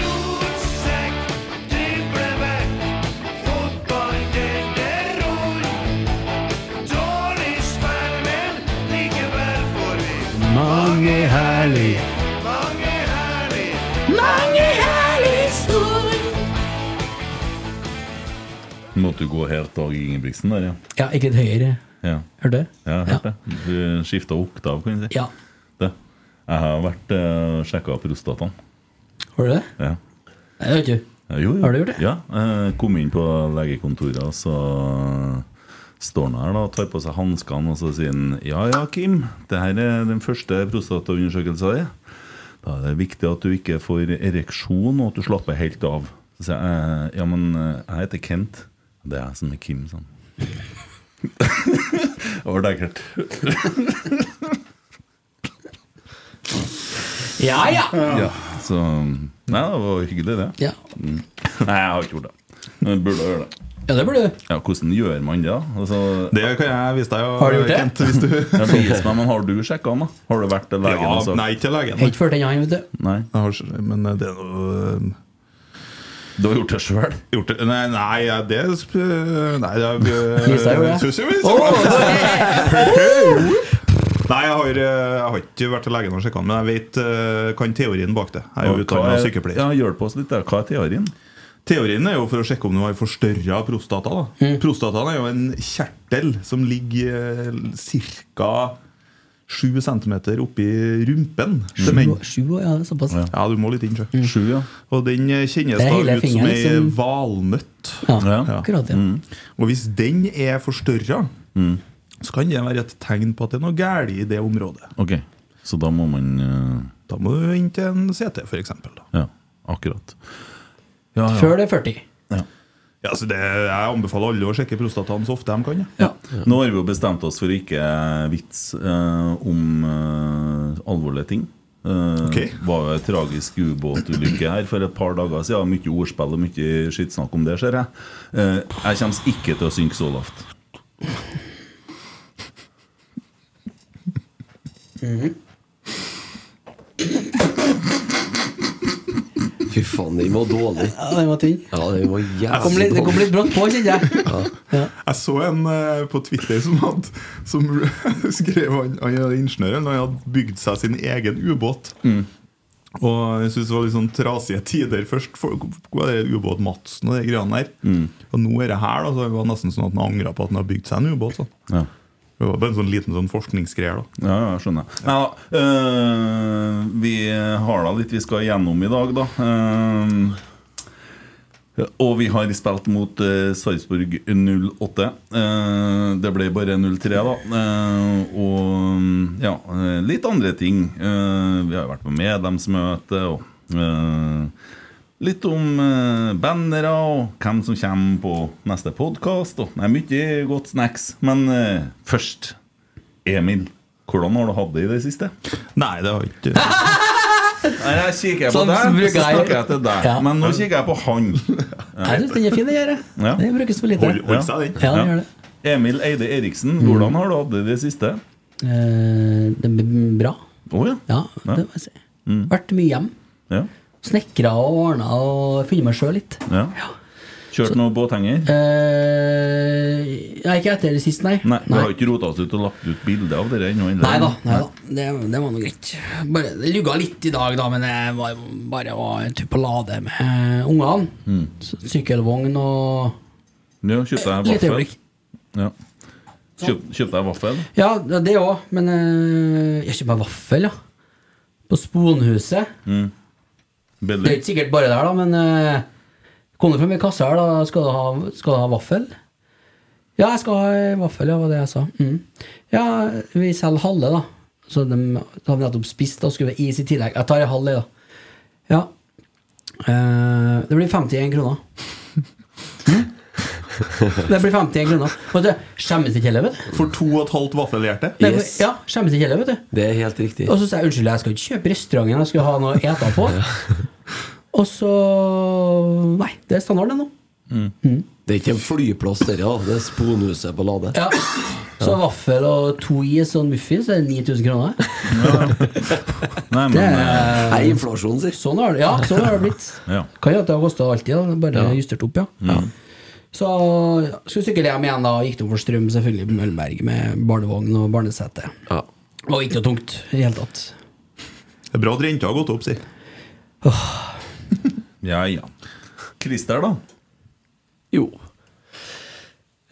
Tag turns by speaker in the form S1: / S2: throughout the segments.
S1: Rotsekk, driblebekk, fotball det ror. Dårlig spill, men likevel får vi mange herlig, mange herlig, mange herlig stor.
S2: Måtte du gå helt Dag Ingebrigtsen der, ja.
S3: Ja, ikke et høyere.
S2: Ja,
S3: Hørte du?
S2: ja jeg hørte det. Du skifta oktav, kan du si.
S3: Ja.
S2: Det. Jeg har vært uh, sjekka prostataen.
S3: Var det det?
S2: Ja.
S3: Nei, det vet du.
S2: Jo, jo.
S3: Har du gjort det?
S2: Ja. eh, kom inn på legekontoret, og så står han her da, og tar på seg hanskene og så sier han Ja ja, Kim, det her er den første prostataundersøkelsen din. Da er det viktig at du ikke får ereksjon, og at du slapper helt av. Så sier jeg «Eh, ja, men eh, jeg heter Kent. Det er jeg som er Kim, sånn. det var lekkert.
S3: Ja, ja!
S2: Ja, så Nei, det var hyggelig, det. Mm.
S3: Ja,
S2: Nei, jeg har ikke gjort det. Men jeg burde gjøre det.
S3: ja det burde du.
S2: Ja, Hvordan gjør man det? da? Altså,
S4: Det kan jeg vise deg.
S3: Har du gjort det?
S4: Kent, hvis du...
S2: ja, vis meg, men Har du sjekka den? da? Har du vært til legen?
S4: ja,
S2: og sagt-
S4: nei, ikke legen.
S3: Jeg har ikke ført den han, vet du.
S2: Nei,
S4: Jeg har ikke- Men eh, det er noe øhm,
S2: Du har gjort det sjøl?
S4: Gjort det Nei, nei ja, det er sp- Nei, det er øh,
S3: Lisa gjorde det.
S4: synes jeg vi- Nei, jeg har, øh, jeg har ikke vært til legen og sjekka, men jeg vet, øh, kan teorien bak det. Jeg er jo
S2: Hva
S4: utdanna
S2: er-
S4: sykepleier.
S2: Ja, Hjelp oss litt. der. Hva er teorien?
S4: Teorien er jo for å sjekke om du har forstørra prostata. Da.
S3: Mm.
S4: Prostataen er jo en kjertel som ligger eh, ca. 7 cm oppi rumpen til menn.
S3: Sju år, ja, det er såpass. Mm.
S2: Ja.
S4: Ja, du må litt inn, sjø.
S2: Sju, ja.
S4: Og den eh, kjennes
S3: Det er
S4: da
S3: hele
S4: ut som
S3: fingeren
S4: ei
S3: som-
S4: valnøtt. Mm.
S3: Ja,
S2: Ja.
S3: akkurat, ja.
S4: Og hvis den er forstørra,
S2: Mm.
S4: så kan det være et tegn på at det er noe galt i det området.
S2: Ok, så da må man eh,
S4: Da må du inn til en CT, f.eks.
S2: Ja, akkurat. Ja, ja.
S3: Før det er 40.
S4: Ja, så det, jeg anbefaler alle å sjekke prostataen så ofte de kan. Ja.
S2: Ja. Nå har vi jo bestemt oss for å ikke vits eh, om eh, alvorlige ting. Eh,
S4: Ok.
S2: var jo en tragisk ubåtulykke her for et par dager siden. Mye ordspill og mye skittsnakk om det, ser jeg. Eh, jeg kommer ikke til å synke så lavt.
S5: Fy faen, den var dårlig.
S3: Ja, den var tynn.
S5: Ja, den var
S3: Det kom litt, det kom litt brått på, kjente jeg.
S4: Jeg så en eh, på Twitter som, hadde, som skrev han, han er ingeniør, han hadde bygd seg sin egen ubåt. Og jeg synes det var litt sånn trasige tider først. For, hva er det ubåt Madsen og de greiene der?
S2: Mm.
S4: Og nå er det her, da, så det var nesten sånn at han angra på at han hadde bygd seg en ubåt. sånn.
S2: Ja.
S4: Det var bare en sånn liten sånn forskningsgreier. da
S2: Ja, ja, skjønner. Nei da. eh, vi har da litt vi skal gjennom i dag, da. Eh, og vi har spilt mot eh, Sarpsborg 08. Eh, det ble bare 0-3, da. Eh, og ja, eh, litt andre ting. Eh, vi har jo vært på medlemsmøte og eh, Litt om eh, bannere og hvem som kommer på neste podkast. Mye godt snacks. Men eh, først Emil, Hvordan har du hatt det i det siste?
S4: Nei, det har ikke Nei,
S2: Nei, jeg kikker på
S3: Sånn
S2: deg,
S3: bruker
S2: så
S3: jeg.
S2: snakker jeg til deg.
S3: Ja.
S2: Men nå kikker jeg på han.
S3: Jeg syns den er fin, den her. jeg.
S2: Ja.
S3: Den brukes for lite.
S4: Hold, hold seg den.
S3: Ja, den gjør det.
S2: Emil Eide Eriksen, hvordan har du hatt det i det siste?
S3: Eh, Den er bra.
S2: Å ja. Mm.
S3: Ja, det må jeg si. Vært mye hjem.
S2: ja.
S3: Snekra og ordna og funnet meg sjøl litt.
S2: ja. Kjørt noe båthenger?
S3: Eh, jeg er ikke etter det sist, nei.
S2: Nei, du
S3: nei.
S2: har ikke rota oss ut og lagt ut bilde av det ennå? eller?
S3: Nei da, nei da. Det, det var nå greit. Bare, det lugga litt i dag, da, men det var bare var en tur på Lade med ungene.
S2: Mm.
S3: S- Sykkelvogn og
S2: Ja, kjøpte jeg
S3: Litt
S2: vaffel?
S3: øyeblikk.
S2: Ja. Kjøp, kjøpte jeg vaffel?
S3: Ja, det det òg, men eh, jeg kjøper meg vaffel, ja. På Sponhuset. Det er
S2: Mm. Billig?
S3: ikke sikkert bare der, da, men uh, kom det frem i kassa her, da. Skal du ha, skal du ha vaffel? Ja, jeg skal ha en vaffel, ja, var det jeg sa. Mm. Ja, vi selger halve, da. Så dem- da har vi nettopp spist, da skulle vi ha is i tillegg. Jeg tar en halv, jeg, da. Ja. Eh, det blir 51 kroner. det blir 51 kroner. Vet du, skjemmes ikke heller, vet du.
S4: For to og et halvt vaffelhjerte.
S3: Nei,
S6: Yes.
S3: Ja, skjemmes ikke heller, vet du.
S6: Det er helt riktig.
S3: Og så sa jeg unnskyld, jeg skal ikke kjøpe restauranten, jeg skal ha noe å ete på. Og så Nei, det er standard, det nå.
S2: Mm.
S3: Mm.
S6: Det er ikke en flyplass, dere, da. Det er sponhuset på Lade.
S3: Ja. Så vaffel og to is og en muffins det er 9000 kroner.
S2: Nei, men
S3: Det
S2: eh,
S3: er,
S6: Nei, inflasjon, sier
S3: sånn har det, ja, sånn har det blitt.
S2: Ja. Mm.
S3: Kan jo at det har kosta alltid, da. bare justert opp, ja. Så ja, skulle sykle hjem igjen, da. Gikk tom for strøm, selvfølgelig, på Møllenberg med barnevogn og barnesete.
S6: Ja.
S3: Det var ikke noe tungt i det hele tatt.
S4: Det er bra at renta har gått opp, si.
S2: Ja, ja. Christer, da?
S6: Jo.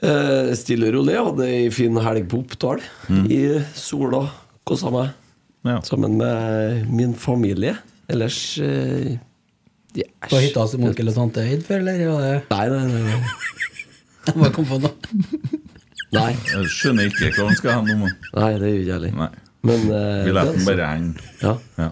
S6: Eh, stille og rolig. Jeg hadde ei en fin helg på Oppdal. I sola. Kosa meg.
S2: Mm. Ja.
S6: Sammen med min familie. Ellers eh, yes.
S3: På hytta til onkel og tante Eid før, eller? Ja, det-
S6: Nei, nei, nei. nei.
S3: Jeg bare kom på noe.
S6: Nei,
S2: Jeg skjønner ikke hva han skal ha nå. men-
S6: nei det gjør jeg heller.
S2: Nei.
S6: Men eh,
S2: Vi lar den
S6: det-
S2: bare henge.
S6: ja.
S2: Ja.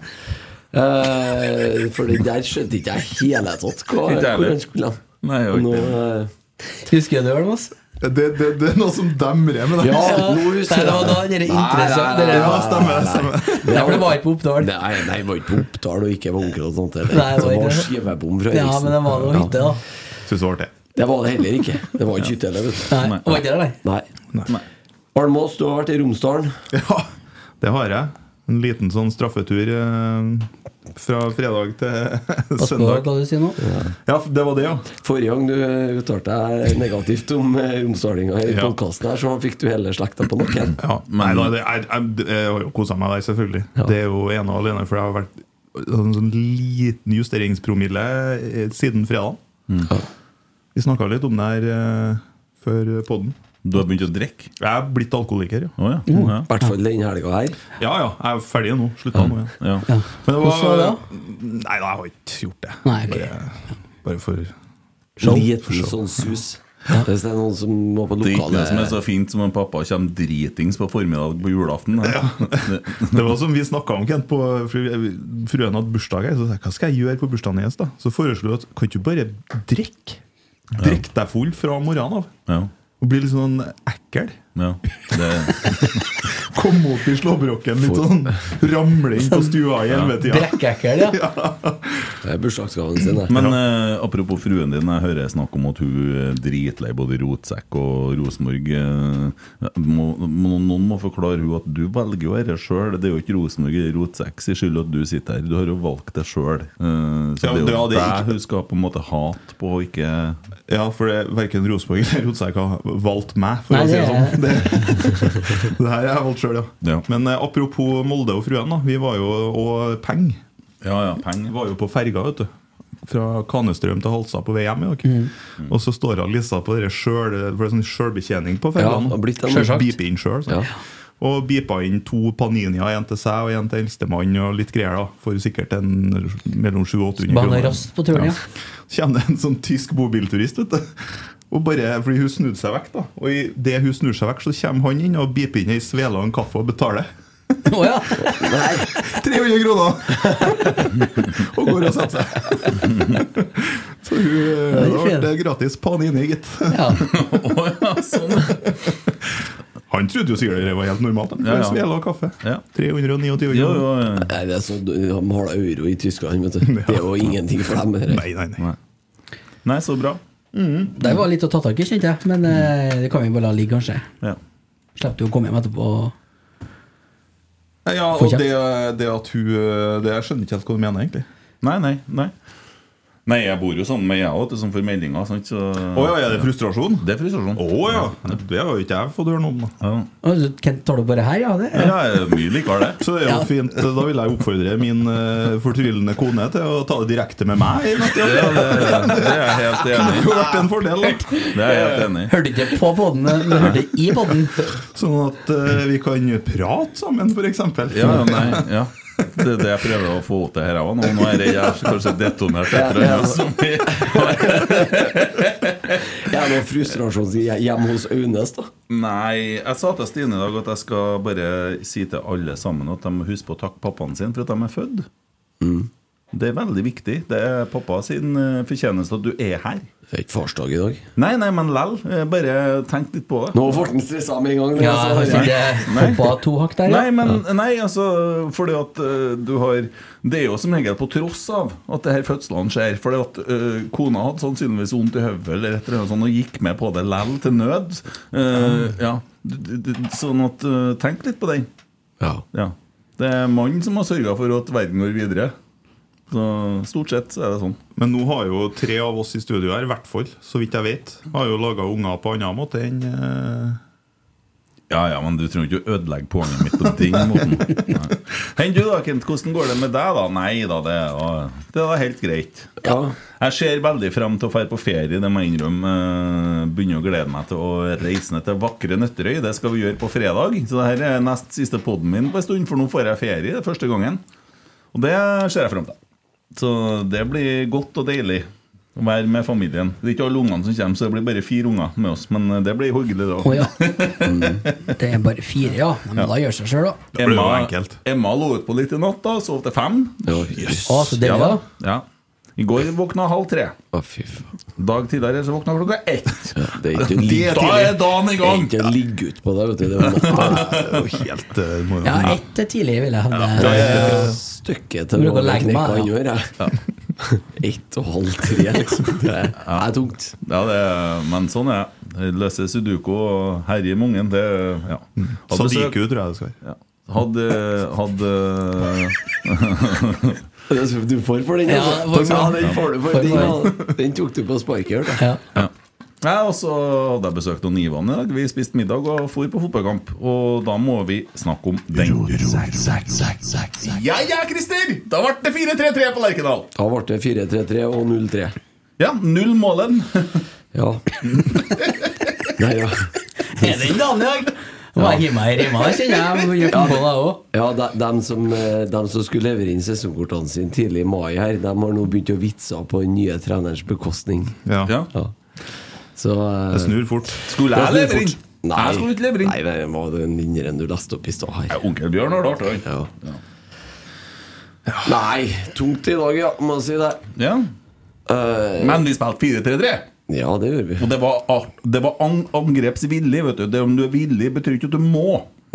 S6: Eh, For det der skjønte ikke jeg hele tatt hva,
S2: Ikke jeg
S6: hvor
S2: heller.
S6: han skulle hen.
S2: Nei, jeg gjør
S6: Og nå,
S2: ikke det.
S6: eh,
S3: Husker du det, Olmas?
S4: Det, det, det er noe som demrer med deg.
S6: Ja, nå
S3: Nei,
S6: husker jeg
S3: det var da dere interessant-
S6: Nei, nei, nei,
S3: dere-
S4: Ja, stemmer, det, stemmer.
S3: Derfor det var ikke på Oppdal.
S6: Nei, nei, det var ikke på Oppdal og ikke på onkel og sånt. Det
S3: Nei, det var
S6: det
S3: ikke
S6: var
S3: det.
S6: skivebom fra
S3: Ja, men det var noe
S6: Ja.
S3: hytte, da.
S4: Synes det var artig.
S6: Det var det heller ikke. Det var ikke hytte heller, vet du.
S3: Nei, var ikke det, nei.
S6: Nei. Almås, du har vært i Romsdalen.
S4: Ja, det har jeg. En liten sånn straffetur eh, fra fredag til
S3: Pass på
S4: søndag.
S3: hva du sier nå.
S4: Ja, det var det, ja.
S6: Forrige gang du eh, uttalte deg negativt om eh, romsdalinga i
S4: Ja.
S6: podkasten her, så fikk du hele slekta på nakken.
S4: ja nei, da, det, jeg, jeg, det- jeg har jo kosa meg der, selvfølgelig. Det er jo ene og alene, for det har vært en sånn liten justeringspromille eh, siden fredag.
S2: Mm.
S4: Vi snakka litt om det her eh, før podden.
S2: Du har begynt å drikke?
S4: Jeg er blitt alkoholiker, ja.
S2: Å ja. ja.
S6: Mm. I hvert fall denne helga her.
S4: Ja ja, jeg er ferdig nå. Slutta nå, ja.
S2: ja.
S4: Men det
S3: Hvordan var det da?
S4: Nei, da, jeg har ikke gjort det.
S3: Nei, ok.
S4: bare, bare for
S6: Liten sånn sus. Hvis det er noen som må på
S2: Det er ikke det som er
S6: lokalet
S2: så fint som om pappa kommer dritings på formiddag på julaften. da.
S4: Det var som vi snakka om, Kent. På, for vi- fruen hadde bursdag her. Så sa jeg hva skal jeg gjøre på bursdagen hennes. da? Så foreslo jeg at kan ikke du bare drikke? Drikk deg full fra morgenen av.
S2: Ja.
S4: Og bli litt sånn ekkel.
S2: ja. Det,
S4: Komme opp i slåbroken, litt sånn ramle inn på stua i ellevetida.
S3: Brekkekkel, ja.
S6: Det er bursdagsgaven sin, det.
S2: men eh, apropos fruen din, jeg hører snakk om at hun er dritlei både rotsekk og Rosenborg. eh, må, må, noen må forklare hun at du velger jo dette sjøl. Det er jo ikke Rosenborg eller rotsekk sin skyld at du sitter her. Du har jo valgt det sjøl. så
S4: Ja,
S2: det er jo
S4: det- det er ikke-
S2: deg hun skal på en måte hate på, og ikke
S4: Ja, for det, verken Rosenborg eller Rotsekk har valgt meg, for å
S3: Nei,
S4: si det
S3: det
S4: sånn. Det, det her har jeg valgt sjøl, ja.
S2: Ja.
S4: Men eh, apropos Molde og fruen, da. Vi var jo og penger.
S2: Ja ja, penger.
S4: var jo på ferga, vet du. Fra Kanestrøm til Halsa på vei hjem i dag. Og så står hun Lisa på dere sjøl, for det er sånn sjølbetjening på ferga.
S6: Ja,
S4: nå.
S6: har blitt det nå.
S4: Selv
S6: Selvsagt.
S4: Beeper inn sjøl.
S6: Ja.
S4: Og beepa inn to Paninia, en til seg og en til eldstemann, og litt greier, da. For sikkert en mellom 700-800
S3: Behandla raskt på turen, ja.
S4: Kommer det en sånn tysk bobilturist, vet du. Og bare fordi hun snudde seg vekk, da. Og i det hun snur seg vekk, så kommer han inn og beeper inn ei svele og en kaffe og betaler.
S3: Å ja.
S7: er
S4: 300 kroner! og går og setter seg. Så hun eh,
S3: er
S4: da ble
S3: fint.
S4: det gratis panini, gitt.
S3: ja.
S2: Å ja, sånn.
S4: Han trodde jo sikkert det var helt normalt. da.
S2: Ja, ja.
S4: Svele og kaffe.
S2: Ja.
S4: 329
S2: Jo,
S4: kroner.
S2: jo, ja.
S6: Nei, det er sånn, De har da euro i Tyskland, vet du. Det er jo ingenting for dem. det
S4: Nei,
S6: der.
S4: nei, nei.
S2: Nei. Nei, så bra.
S3: Det Mm. var litt å ta tak i, kjente jeg. Men eh, det kan vi bare la ligge, kanskje.
S2: Mm. Ja.
S3: Slipper du å komme hjem etterpå.
S4: Ja,
S3: Får
S4: og
S3: kjeft.
S4: det, det at hun eh, det, Jeg skjønner ikke helt hva du mener, egentlig.
S2: Nei, nei, nei. Nei, jeg bor jo sammen med jeg òg, som får meldinger. Sant? Så,
S4: Å ja, er det frustrasjon?
S2: Det er frustrasjon.
S4: Å ja! Det har jo ikke jeg fått høre noe om. da
S2: Ja.
S3: Å, så Kent, tar du bare her, ja? Det?
S2: Ja, jeg er mye likere det.
S4: Så det er jo fint. Da vil jeg oppfordre min eh, fortvilende kone til å ta det direkte med meg. i neste gang.
S2: Ja, det, det er jeg helt
S4: Det
S2: enig
S4: har
S2: i.
S4: jo vært en fordel, da.
S2: Det er jeg helt enig i.
S3: Hørte ikke på podden, men hørte i podden.
S4: Sånn at eh, vi kan prate sammen, f.eks.
S2: Ja, ja, nei, ja. Det er det jeg prøver å få til her òg. Nå Nå er jeg redd jeg har kanskje detonert et eller annet. som vi-
S6: Jeg er noe frustrasjon hjemme hos Aunes, da.
S2: Nei, jeg sa til Stine i dag at jeg skal bare si til alle sammen at de må huske på å takke pappaen sin for at de er født.
S6: Mm.
S2: Det er veldig viktig. Det er pappa sin eh, fortjeneste at du er her.
S6: Det er ikke farsdag i dag.
S2: Nei, nei, men lell. eh, Bare tenk litt på det.
S6: Nå ble han stressa med en gang.
S3: Ja,
S6: altså.
S3: jeg sitter
S2: Nei.
S3: hoppa to hakk der, ja.
S2: Nei, men nei, altså Fordi at eh, du har Det er jo som regel på tross av at det her fødslene skjer. Fordi at eh, kona hadde sannsynligvis vondt i hodet eller et eller annet sånt og gikk med på det lell til nød. Eh, ja. d- d- d- Sånn at eh, Tenk litt på den.
S6: Ja.
S2: Ja. Det er mannen som har sørga for at verden går videre. Så Stort sett så er det sånn.
S4: Men nå har jo tre av oss i studio her, i hvert fall, så vidt jeg vet, har jo laga unger på annen måte enn eh,
S2: Ja, ja, men du trenger ikke å ødelegge poenget mitt på den måten. Nei. Hei, du da, Kent. Hvordan går det med deg, da? Nei da, det er da- det er da helt greit.
S6: ja.
S2: Jeg ser veldig frem til å dra på ferie, det må jeg innrømme. Eh, Begynner å glede meg til å reise ned til vakre Nøtterøy. Det skal vi gjøre på fredag. Så det her er nest siste poden min på en stund, for nå får jeg ferie det er første gangen. Og det ser jeg frem til. Så det blir godt og deilig å være med familien. Det er ikke alle ungene som kommer, så det blir bare fire unger med oss. Men eh, det blir hyggelig, det
S3: Å
S2: òg.
S3: ja. Mm. Det er bare fire, ja. Nei, Men da gjør seg sjøl, da.
S4: Det blir jo enkelt.
S2: Emma lå ut på litt i natt, da. Sov til fem.
S6: Ja, Jøss.
S3: Å, så deilig,
S2: da.
S3: da.
S2: Ja. I går våkna halv tre.
S6: Å, fy faen.
S2: Dag tidligere så våkna klokka ett.
S6: Det er ikke å ligge-
S2: Da er dagen i
S6: det er
S2: gang!
S6: ikke å ligge ut på det, vet du. Det er natta.
S4: Det er jo helt eh, må jo-
S3: Ja, ett er tidlig, vil jeg hevde.
S6: Stykket til
S3: Men du kan
S6: noen
S3: legge
S6: knekka
S3: meg,
S6: han gjør, jeg. Ett og halv tre, liksom. Det er det er tungt.
S2: Ja, det, men sånn er det. Løse sudoku og herje med ungen, det ja. Hadde besøk-
S4: Sadiku, tror jeg det skal være.
S2: Ja. Hadde, hadde
S6: Du får for den,
S3: Ja,
S6: altså.
S3: for-
S6: Ja, den får du for
S3: for-
S6: den, ja. den tok du på sparket, hørte jeg.
S3: Ja.
S2: ja, Og så hadde jeg besøkt noen Ivan i dag. Vi spiste middag og for på fotballkamp. Og da må vi snakke om den. Ja, ja, Christer! Da ble det 4-3-3 på Lerkendal.
S6: Da ble det 4-3-3 og 0-3.
S2: Ja, null målen.
S6: Ja. Nei, ja.
S3: Er det en dag i dag? Må jeg hive meg i rima, da, kjenner jeg. Jeg må gjøre på deg også.
S6: ja de, dem som, eh, dem som skulle levere inn sesongkortene sine tidlig i mai her, de har nå begynt å vitse på den nye trenerens bekostning.
S4: Ja.
S2: Ja.
S6: Ja. Så eh,
S4: Det snur fort.
S2: Skulle jeg levere inn?
S6: Nei.
S2: Jeg skulle ikke levere inn.
S6: Nei, nei, det var den mindre enn du leste opp i stad her.
S2: Ja, Onkel Bjørn har det artig. han.
S6: Ja. Nei, tungt i dag, ja, må jeg si det.
S2: Ja.
S6: Eh,
S2: Men vi spilte 4-3-3.
S6: ja, det gjør vi.
S2: Og det var, art- det var an, angrepsvillig, vet du. Det om du er villig, betyr ikke at du må.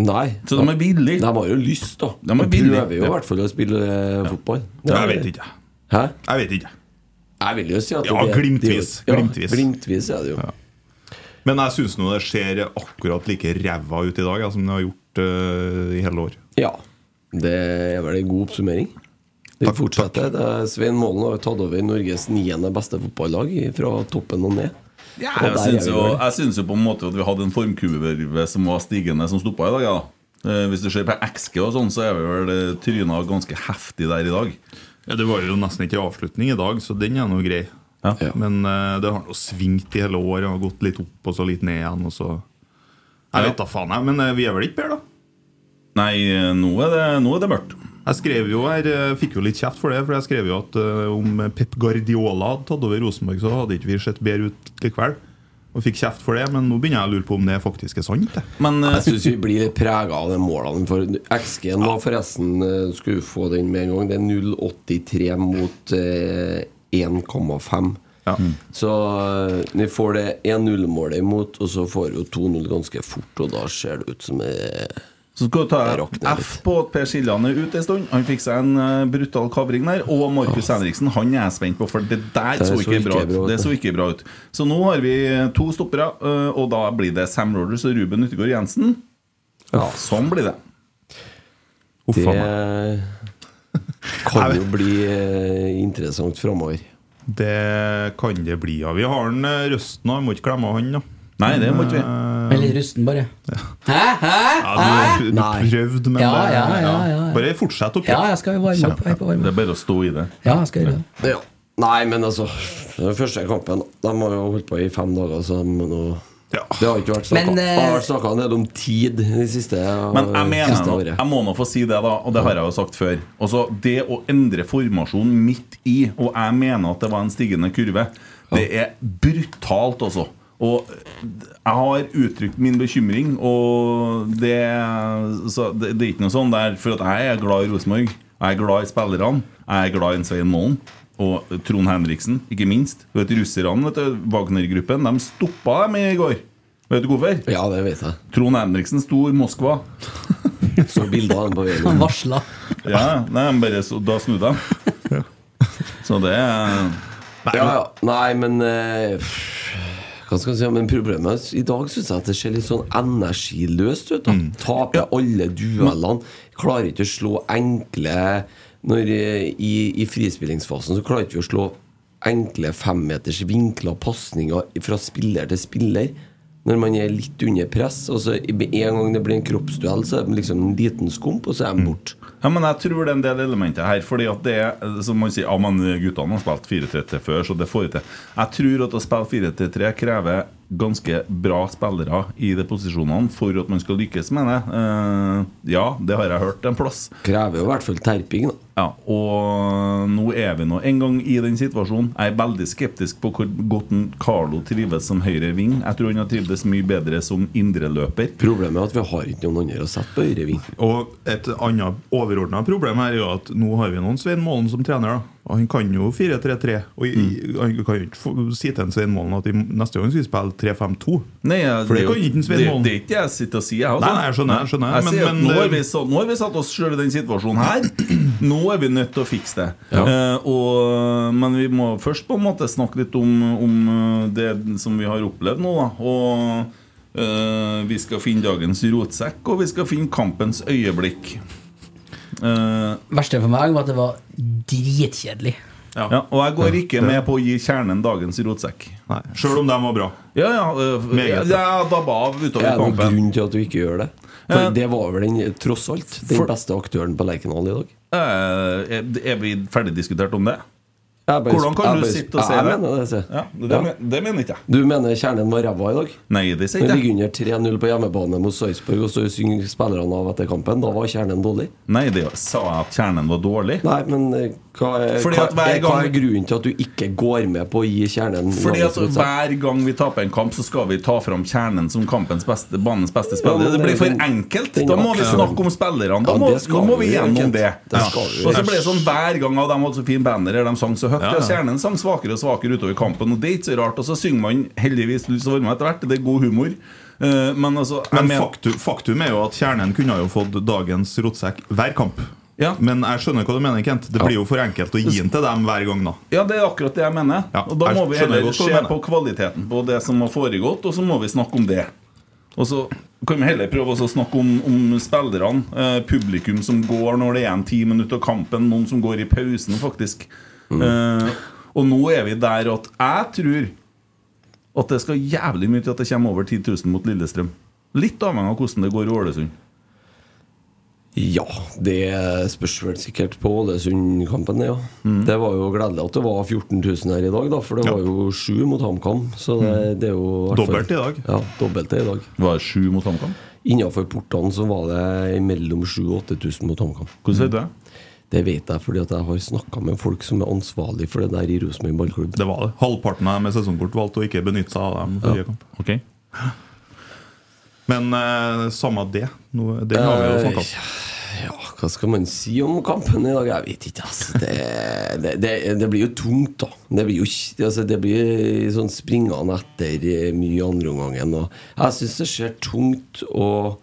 S6: Nei.
S2: Så de er villig.
S6: De har jo lyst, da.
S2: De er villige.
S6: prøver jo i hvert fall å spille eh, fotball.
S4: Jeg vet ikke.
S6: Hæ?
S4: Jeg vet ikke.
S6: Jeg vil jo si at
S4: Ja,
S6: det- det-
S4: glimtvis.
S6: Ja,
S4: Glimtvis.
S6: glimtvis er det jo.
S4: Men jeg syns nå det ser akkurat like ræva ut i dag ja, som det har gjort eh, i hele år.
S6: Ja. Det er vel en god oppsummering. Det
S4: Takk,
S6: fortsetter. Det er Svein Målen har jo tatt over Norges niende beste fotballag fra toppen og ned.
S2: Ja, jeg,
S6: Og der er
S2: syns
S6: vi
S2: jo,
S6: vel.
S2: jeg syns jo på en måte at vi hadde en formkurve som var stigende, som stoppa i dag. Ja. Eh, Hvis du ser på XG og sånn, så er vi vel eh, tryna ganske heftig der i dag.
S4: Ja, Det var jo nesten ikke avslutning i dag, så den er nå grei.
S2: Ja.
S6: Ja.
S4: Men eh, det har nå svingt i hele år. Og gått litt opp og så litt ned igjen. Og så Jeg
S2: Ja.
S4: vet da faen, jeg. Men eh, vi er vel ikke bedre, da?
S2: Nei, eh, nå er det, nå er det mørkt.
S4: Jeg skrev jo her, eh, fikk jo litt kjeft for det, for jeg skrev jo at eh, om Pep Guardiola hadde tatt over Rosenborg, så hadde ikke vi sett bedre ut likevel. Og fikk kjeft for det, men nå begynner jeg å lure på om det faktisk er sant. det.
S2: Men eh,
S6: Jeg syns vi blir litt prega av de målene. For XG-en var forresten eh, Skulle vi få den med en gang. Det er 0,83 mot eh, 1,5.
S4: Ja.
S2: Mm.
S6: Så eh, vi får det 1-0-målet imot, og så får vi jo 2-0 ganske fort, og da ser det ut som eh,
S2: Så skal du
S6: Jeg
S2: ta
S6: rakner
S2: F på at Per Siljan er ute en stund. Han fikk seg en eh, brutal kavring der. Og Markus Henriksen, han er jeg spent på, for det der så, ikke bra ut. Det så ikke bra ut. Så nå har vi to stoppere, eh, og da blir det Sam Rogers og Ruben Yttergård Jensen. Ja, sånn blir det.
S6: Det
S2: faen
S6: kan jo bli eh, interessant framover.
S4: Det kan det bli, ja. Vi har den eh, Røsten, og vi må ikke glemme han, da. eh,
S2: Nei, det må ikke vi.
S3: Jeg er litt Mm. rusten, bare. Hæ? Hæ?
S4: Ja, du
S2: Eh,
S4: har pr-
S6: Nei.
S4: prøvd, men
S3: Ja,
S4: det-
S3: ja, ja, ja, ja.
S4: Bare fortsett å prøve.
S3: Ja, jeg skal jo varme opp. Jeg er på varme.
S2: Det er bare å stå i det.
S3: Ja, jeg skal gjøre det.
S6: Ja. Nei, men altså Den første kampen De har jo holdt på i fem dager, så de må nå
S4: Ja.
S6: Det har ikke vært snakka
S3: Men, eh,
S6: Det har vært snakka en del om tid de siste
S2: Men jeg mener
S6: siste
S2: nå,
S6: året.
S2: jeg må nå få si det, da, og det har jeg jo sagt før. Altså, Det å endre formasjonen midt i, og jeg mener at det var en stigende kurve, det er brutalt, altså. Og jeg har uttrykt min bekymring, og det, så det, det er ikke noe sånn der For at jeg er glad i Rosenborg. Jeg er glad i spillerne. Jeg er glad i en Svein Målen. Og Trond Henriksen, ikke minst. Du vet, Russerne, vet du, Wagner-gruppen, de stoppa dem i går. Vet du hvorfor?
S6: Ja, det vet jeg.
S2: Trond Henriksen sto i Moskva.
S6: Så bilder av den på veien.
S3: Han varsla.
S2: Ja, nei, men bare så, da snudde han. Så det er-
S6: Ja, ja. Nei, men eh, pff, Hva skal jeg si? Men problemet er, i dag syns jeg at det ser litt sånn energiløst ut. da. Taper alle duellene. Klarer ikke å slå enkle når, eh, i, I frispillingsfasen så klarer ikke vi å slå enkle femmeters vinkla pasninger fra spiller til spiller. Når man er litt under press. Og så med en gang det blir en kroppsduell, så er det liksom en liten skump, og så er de borte.
S2: Mm. Ja, men jeg tror det er en del elementer her. Fordi at det er, som man sier, ja, men guttene har spilt 4-3-3 før, så det får vi til. Jeg tror at å spille 4-3-3 krever ganske bra spillere i de posisjonene for at man skal lykkes med det. Eh, ja, det har jeg hørt en plass.
S6: Krever jo i hvert fall terping, da.
S2: Ja, og nå er vi nå en gang i den situasjonen. Jeg er veldig skeptisk på hvor godt en Carlo trives som høyreving. Jeg tror han har trivdes mye bedre som indreløper.
S6: Problemet er at vi har ikke noen andre å sette på høyreving.
S4: Og et annet overordna problem her er jo at nå har vi noen Svein Målen som trener. da Og Han kan jo 4-3-3. Og
S2: Mm.
S4: i- Han kan jo ikke få- si til en Svein Målen at i neste gang skal vi spille 3-5-2.
S2: Nei, jeg-
S4: For det
S2: er jo-
S4: kan ikke en Svein
S2: det-
S4: Målen.
S2: Det er ikke jeg sitter og sier, jeg. altså.
S4: Nei, nei, jeg skjønner, jeg skjønner, men-
S2: sier at
S4: men- eh,
S2: nå, har vi, satt- nå har vi satt oss selv i den situasjonen her. Nå er vi nødt til å fikse det. Eh, og, men vi må først på en måte snakke litt om, om eh, det som vi har opplevd nå. Da. Og eh, vi skal finne dagens rotsekk, og vi skal finne kampens øyeblikk. Eh,
S3: Verste for meg var at det var dritkjedelig.
S2: ja, og jeg går ikke med på å gi kjernen dagens rotsekk.
S4: Nei, Sjøl om de var bra.
S2: Ja, ja, eh,
S4: Meget.
S2: jeg dabba av utover
S6: Er det noen
S2: kampen.
S6: grunn til at du ikke gjør det? For
S2: Eh,
S6: det var vel den, tross alt, den
S2: for-
S6: beste aktøren på Lerkendal i dag.
S2: Eh, er, er vi ferdig diskutert om det?
S6: Jeg bare-
S2: Hvordan kan
S6: jeg
S2: du
S6: bare-
S2: sitte og si
S6: jeg
S2: det?
S6: Mener det, sier jeg.
S2: Ja, det,
S6: Ja.
S2: men- det mener ikke jeg.
S6: Du mener kjernen var ræva i dag?
S2: Nei, det sier ikke
S6: Den ligger
S2: jeg.
S6: under 3-0 på hjemmebane mot Sarpsborg, og så synger spillerne av etter kampen. Da var kjernen dårlig.
S2: Nei, det sa jeg at kjernen var dårlig.
S6: Nei, men eh, hva er,
S2: Fordi
S6: hva,
S2: at hver
S6: er, hva er
S2: gang-
S6: grunnen til at du ikke går med på å gi kjernen
S2: Fordi
S6: navnet
S2: at
S6: som et sett?
S2: Hver gang vi taper en kamp, så skal vi ta fram kjernen som kampens beste, banens beste
S6: Ja,
S2: spiller.
S6: men
S2: Det blir
S6: den-
S2: for
S6: den-
S2: enkelt.
S6: den
S2: Da må vi
S6: aksjonen-
S2: snakke om spillerne. Da
S6: Ja,
S2: må,
S6: det
S2: da
S6: skal
S2: må
S6: vi
S2: vi
S6: gjøre,
S2: gjennom
S6: Kent.
S2: det.
S6: Det
S2: Ja.
S6: skal vi gjøre.
S2: Og så ble det sånn hver gang av dem hadde så fin banner, eller de sang så høyt.
S4: Ja,
S2: Ja,
S4: ja.
S2: Kjernen sang svakere og svakere utover kampen, og det er ikke så rart. Og så synger man heldigvis lys og varme etter hvert. Det er god humor. Eh, Men altså jeg
S4: Men
S2: mener-
S4: faktum, faktum er jo at kjernen kunne jo fått dagens rotsekk hver kamp.
S2: Ja.
S4: Men jeg skjønner hva du mener, Kent. Det blir jo for enkelt å gi den til dem hver gang, da.
S2: Ja, det er akkurat det jeg mener.
S4: Ja,
S2: og da
S4: jeg
S2: må vi
S4: skjønner
S2: heller
S4: godt hva
S2: se
S4: du mener.
S2: på kvaliteten på det som har foregått, og så må vi snakke om det. Og så kan vi heller prøve også å snakke om, om spillerne. Eh, publikum som går når det er en ti minutter av kampen, noen som går i pausen, faktisk.
S4: Mm.
S2: Eh, og nå er vi der at jeg tror at det skal jævlig mye til at det kommer over 10 000 mot Lillestrøm. Litt avhengig av hvordan det går i Ålesund.
S6: Ja, det spørs vel sikkert på Ålesund-kampen, ja. Det var jo gledelig at det var 14 000 her i dag, da, for det
S4: Mm. Ja. Mm.
S6: var jo sju mot HamKam. Så det, det er jo hvert fall-
S4: Dobbelt i dag.
S6: Ja, dobbelt det i dag.
S2: Var det sju mot HamKam?
S6: Innenfor portene så var det mellom 7000 og 8000 mot HamKam. Mm.
S2: Hvordan vet du det?
S6: Det vet jeg fordi at jeg har snakka med folk som er ansvarlig for det der i Rosenborg ballklubb.
S4: Det var det. Halvparten av dem med sesongkort valgte å ikke benytte seg av dem. forrige kamp
S2: Ok.
S4: Men eh, samme det. Nå, det har vi jo snakka om.
S6: Ja, hva skal man si om kampen i dag? Jeg vet ikke, altså. Det, det, det, det blir jo tungt, da. Det blir jo ikke- altså, det blir sånn springende etter eh, mye i andre omgangen. og Jeg syns det ser tungt og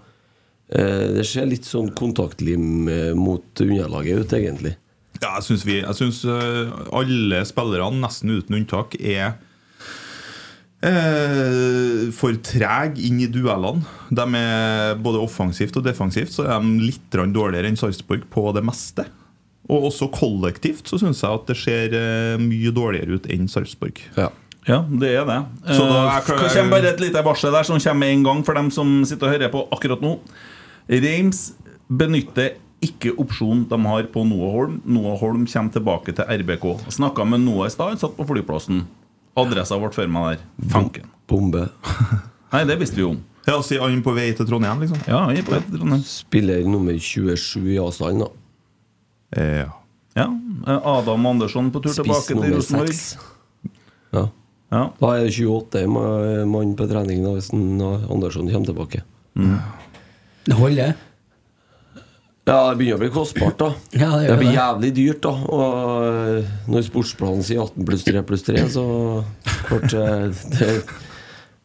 S6: eh, Det ser litt sånn kontaktlim eh, mot underlaget ut, egentlig.
S4: Ja, jeg syns vi Jeg synes, eh, alle spillerne, nesten uten unntak, er eh, for treg inn i duellene. De er både offensivt og defensivt Så er de litt grann dårligere enn Sarpsborg på det meste. Og også kollektivt så syns jeg at det ser eh, mye dårligere ut enn Sarpsborg.
S6: Ja.
S2: Ja, det er det.
S4: Så da
S2: Eh,
S4: er klar-
S2: kan- kommer bare et lite varsel der som kommer med en gang for dem som sitter og hører på akkurat nå. Reims benytter ikke opsjonen de har på Noah Holm. Noah Holm kommer tilbake til RBK. Snakka med Noah i stad, han satt på flyplassen. Adressa ble før meg der. Fanken.
S6: Bombe.
S2: Nei, det visste vi jo om.
S4: Ja, Si han på vei til Trondheim, liksom.
S2: Ja, vi er på et Trondheim.
S6: Spiller nummer 27 i avstand, da.
S4: Eh, ja.
S2: Ja, eh, Adam Andersson på tur tilbake
S6: Spiss
S2: til
S6: nummer
S2: Rosenborg.
S6: 6. Ja.
S2: Ja.
S6: Da er det 28 ma- mann på trening da, hvis en, eh, Andersson kommer tilbake.
S3: Det holder.
S6: Ja, det begynner å bli kostbart, da.
S3: Ja, det
S6: det,
S3: gjør
S6: blir
S3: det.
S6: jævlig dyrt, da. Og eh, når sportsplanen sier 18 pluss 3 pluss 3, så klart, eh, det,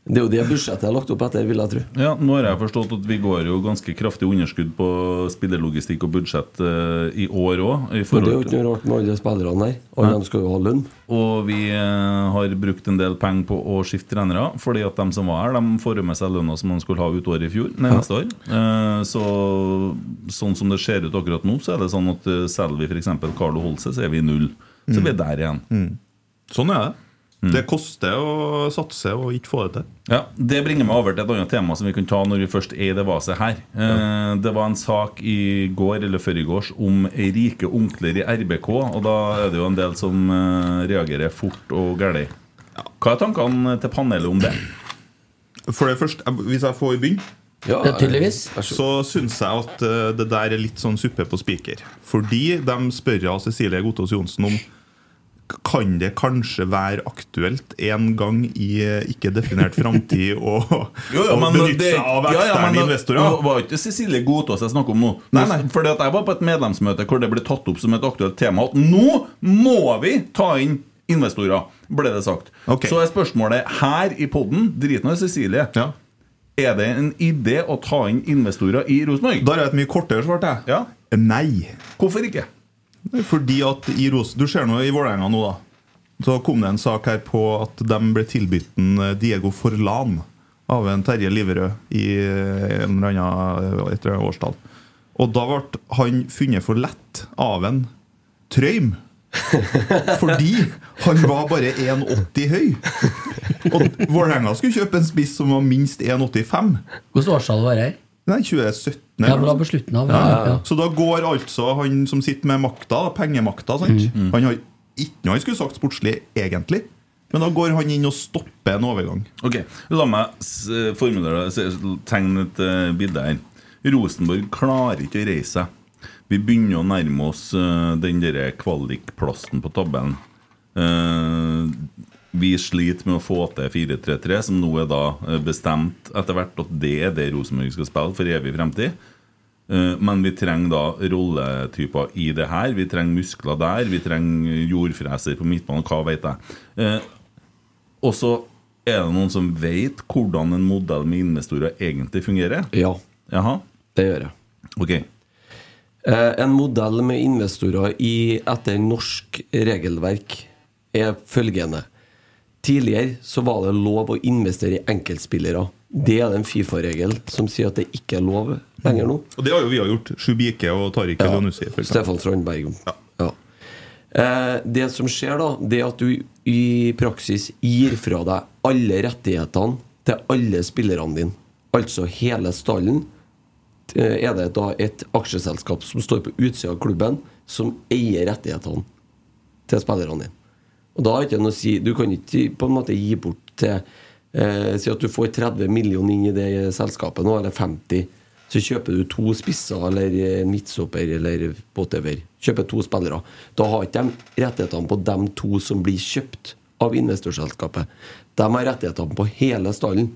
S6: det er jo det budsjettet jeg har lagt opp etter, vil jeg tro.
S2: Ja, nå har jeg forstått at vi går jo ganske kraftig underskudd på spillerlogistikk og budsjett eh, i år
S6: Men det er jo
S2: òg.
S6: ikke noe rart med alle spillerne der. Alle de skal jo ha lønn.
S2: Og vi eh, har brukt en del penger på å skifte trenere, fordi at de som var her, de får jo med seg lønna som de skulle ha ut året i fjor. Nei, neste år. Eh, så sånn som det ser ut akkurat nå, så er det sånn at eh, selger vi f.eks. Carlo Holse, så er vi i null. Så vi er der igjen.
S4: Sånn er det. Det koster å satse og ikke få det til.
S2: Mm. Ja, Det bringer meg over til et annet tema som vi kan ta når vi først er i det vaset her. Eh, det var en sak i går eller før i gårs om rike onkler i RBK, og da er det jo en del som eh, reagerer fort og gæli. Hva er tankene til panelet om det?
S4: For det første, jeg- Hvis jeg får begynne,
S6: Ja,
S3: Det er tydeligvis.
S6: Vær så god.
S4: så syns jeg at eh, det der er litt sånn suppe på spiker. Fordi de spør av Cecilie Gotaas Johnsen om kan det kanskje være aktuelt en gang i eh, ikke-definert framtid å å benytte seg av eksterne
S2: Det
S4: investorer?
S2: var ikke Cecilie Godtaas jeg snakker om nå.
S4: Nei, nei.
S2: Fordi at Jeg var på et medlemsmøte hvor det ble tatt opp som et aktuelt tema at nå må vi ta inn investorer, ble det sagt.
S4: Ok.
S2: Så er spørsmålet her i poden Drit nå i Cecilie.
S4: Ja.
S2: Er det en idé å ta inn investorer i Rosenborg?
S4: Da har jeg et mye kortere svar til. jeg.
S2: Ja.
S4: Nei.
S2: Hvorfor ikke?
S4: Fordi at i Ros Du ser nå i Vålerenga nå, da. Så kom det en sak her på at de ble tilbudt en eh, Diego Forlan av en Terje Liverød i eh, en eller annen eh, et eller annet årstall. Og da ble han funnet for lett av en Trøym. Fordi han var bare 1,80 høy. Og Vålerenga skulle kjøpe en spiss som var minst 1,85.
S3: Hvordan årstall var det her?
S4: Nei, 2017.
S3: Ja,
S4: eller noe
S3: for det var
S4: sånt.
S3: på slutten av ja, ja.
S4: Så da går altså han som sitter med makta, da, pengemakta sant?
S3: Mm.
S4: Han har ikke noe han skulle sagt sportslig, egentlig. Men da går han inn og stopper en overgang.
S2: Ok, La meg s- eh, formulere det, s- tegne et eh, bilde her. Rosenborg klarer ikke å reise seg. Vi begynner å nærme oss eh, den derre kvalikplassen på tabellen. Eh, vi sliter med å få til 4-3-3, som nå er da eh, bestemt etter hvert at det er det Rosenborg skal spille for evig fremtid. Eh, Men vi trenger da rolletyper i det her. Vi trenger muskler der. Vi trenger jordfreser på midtbanen. Hva vet jeg. Eh, Og så er det noen som vet hvordan en modell med investorer egentlig fungerer?
S6: Ja,
S2: Jaha?
S6: det gjør jeg.
S2: Ok.
S6: Eh, en modell med investorer i, etter norsk regelverk er følgende. Tidligere så var det lov å investere i enkeltspillere. Det er den Fifa-regel som sier at det ikke er lov lenger nå.
S4: Og det har jo vi har gjort. Sjubike og Tariq ja. Elionussi. for eksempel.
S6: Stefan Strandberg. Ja. Eh, det som skjer, da, det er at du i praksis gir fra deg alle rettighetene til alle spillerne dine. Altså hele stallen. Eh, Er det da et aksjeselskap som står på utsida av klubben, som eier rettighetene til spillerne dine? Og da er ikke noe å si Du kan ikke på en måte gi bort til eh, Si at du får 30 millioner inn i det selskapet nå, eller 50. Så kjøper du to spisser eller en midtstopper eller whatever. Kjøper to spillere. Da har ikke de rettighetene på de to som blir kjøpt av investorselskapet. De har rettighetene på hele stallen.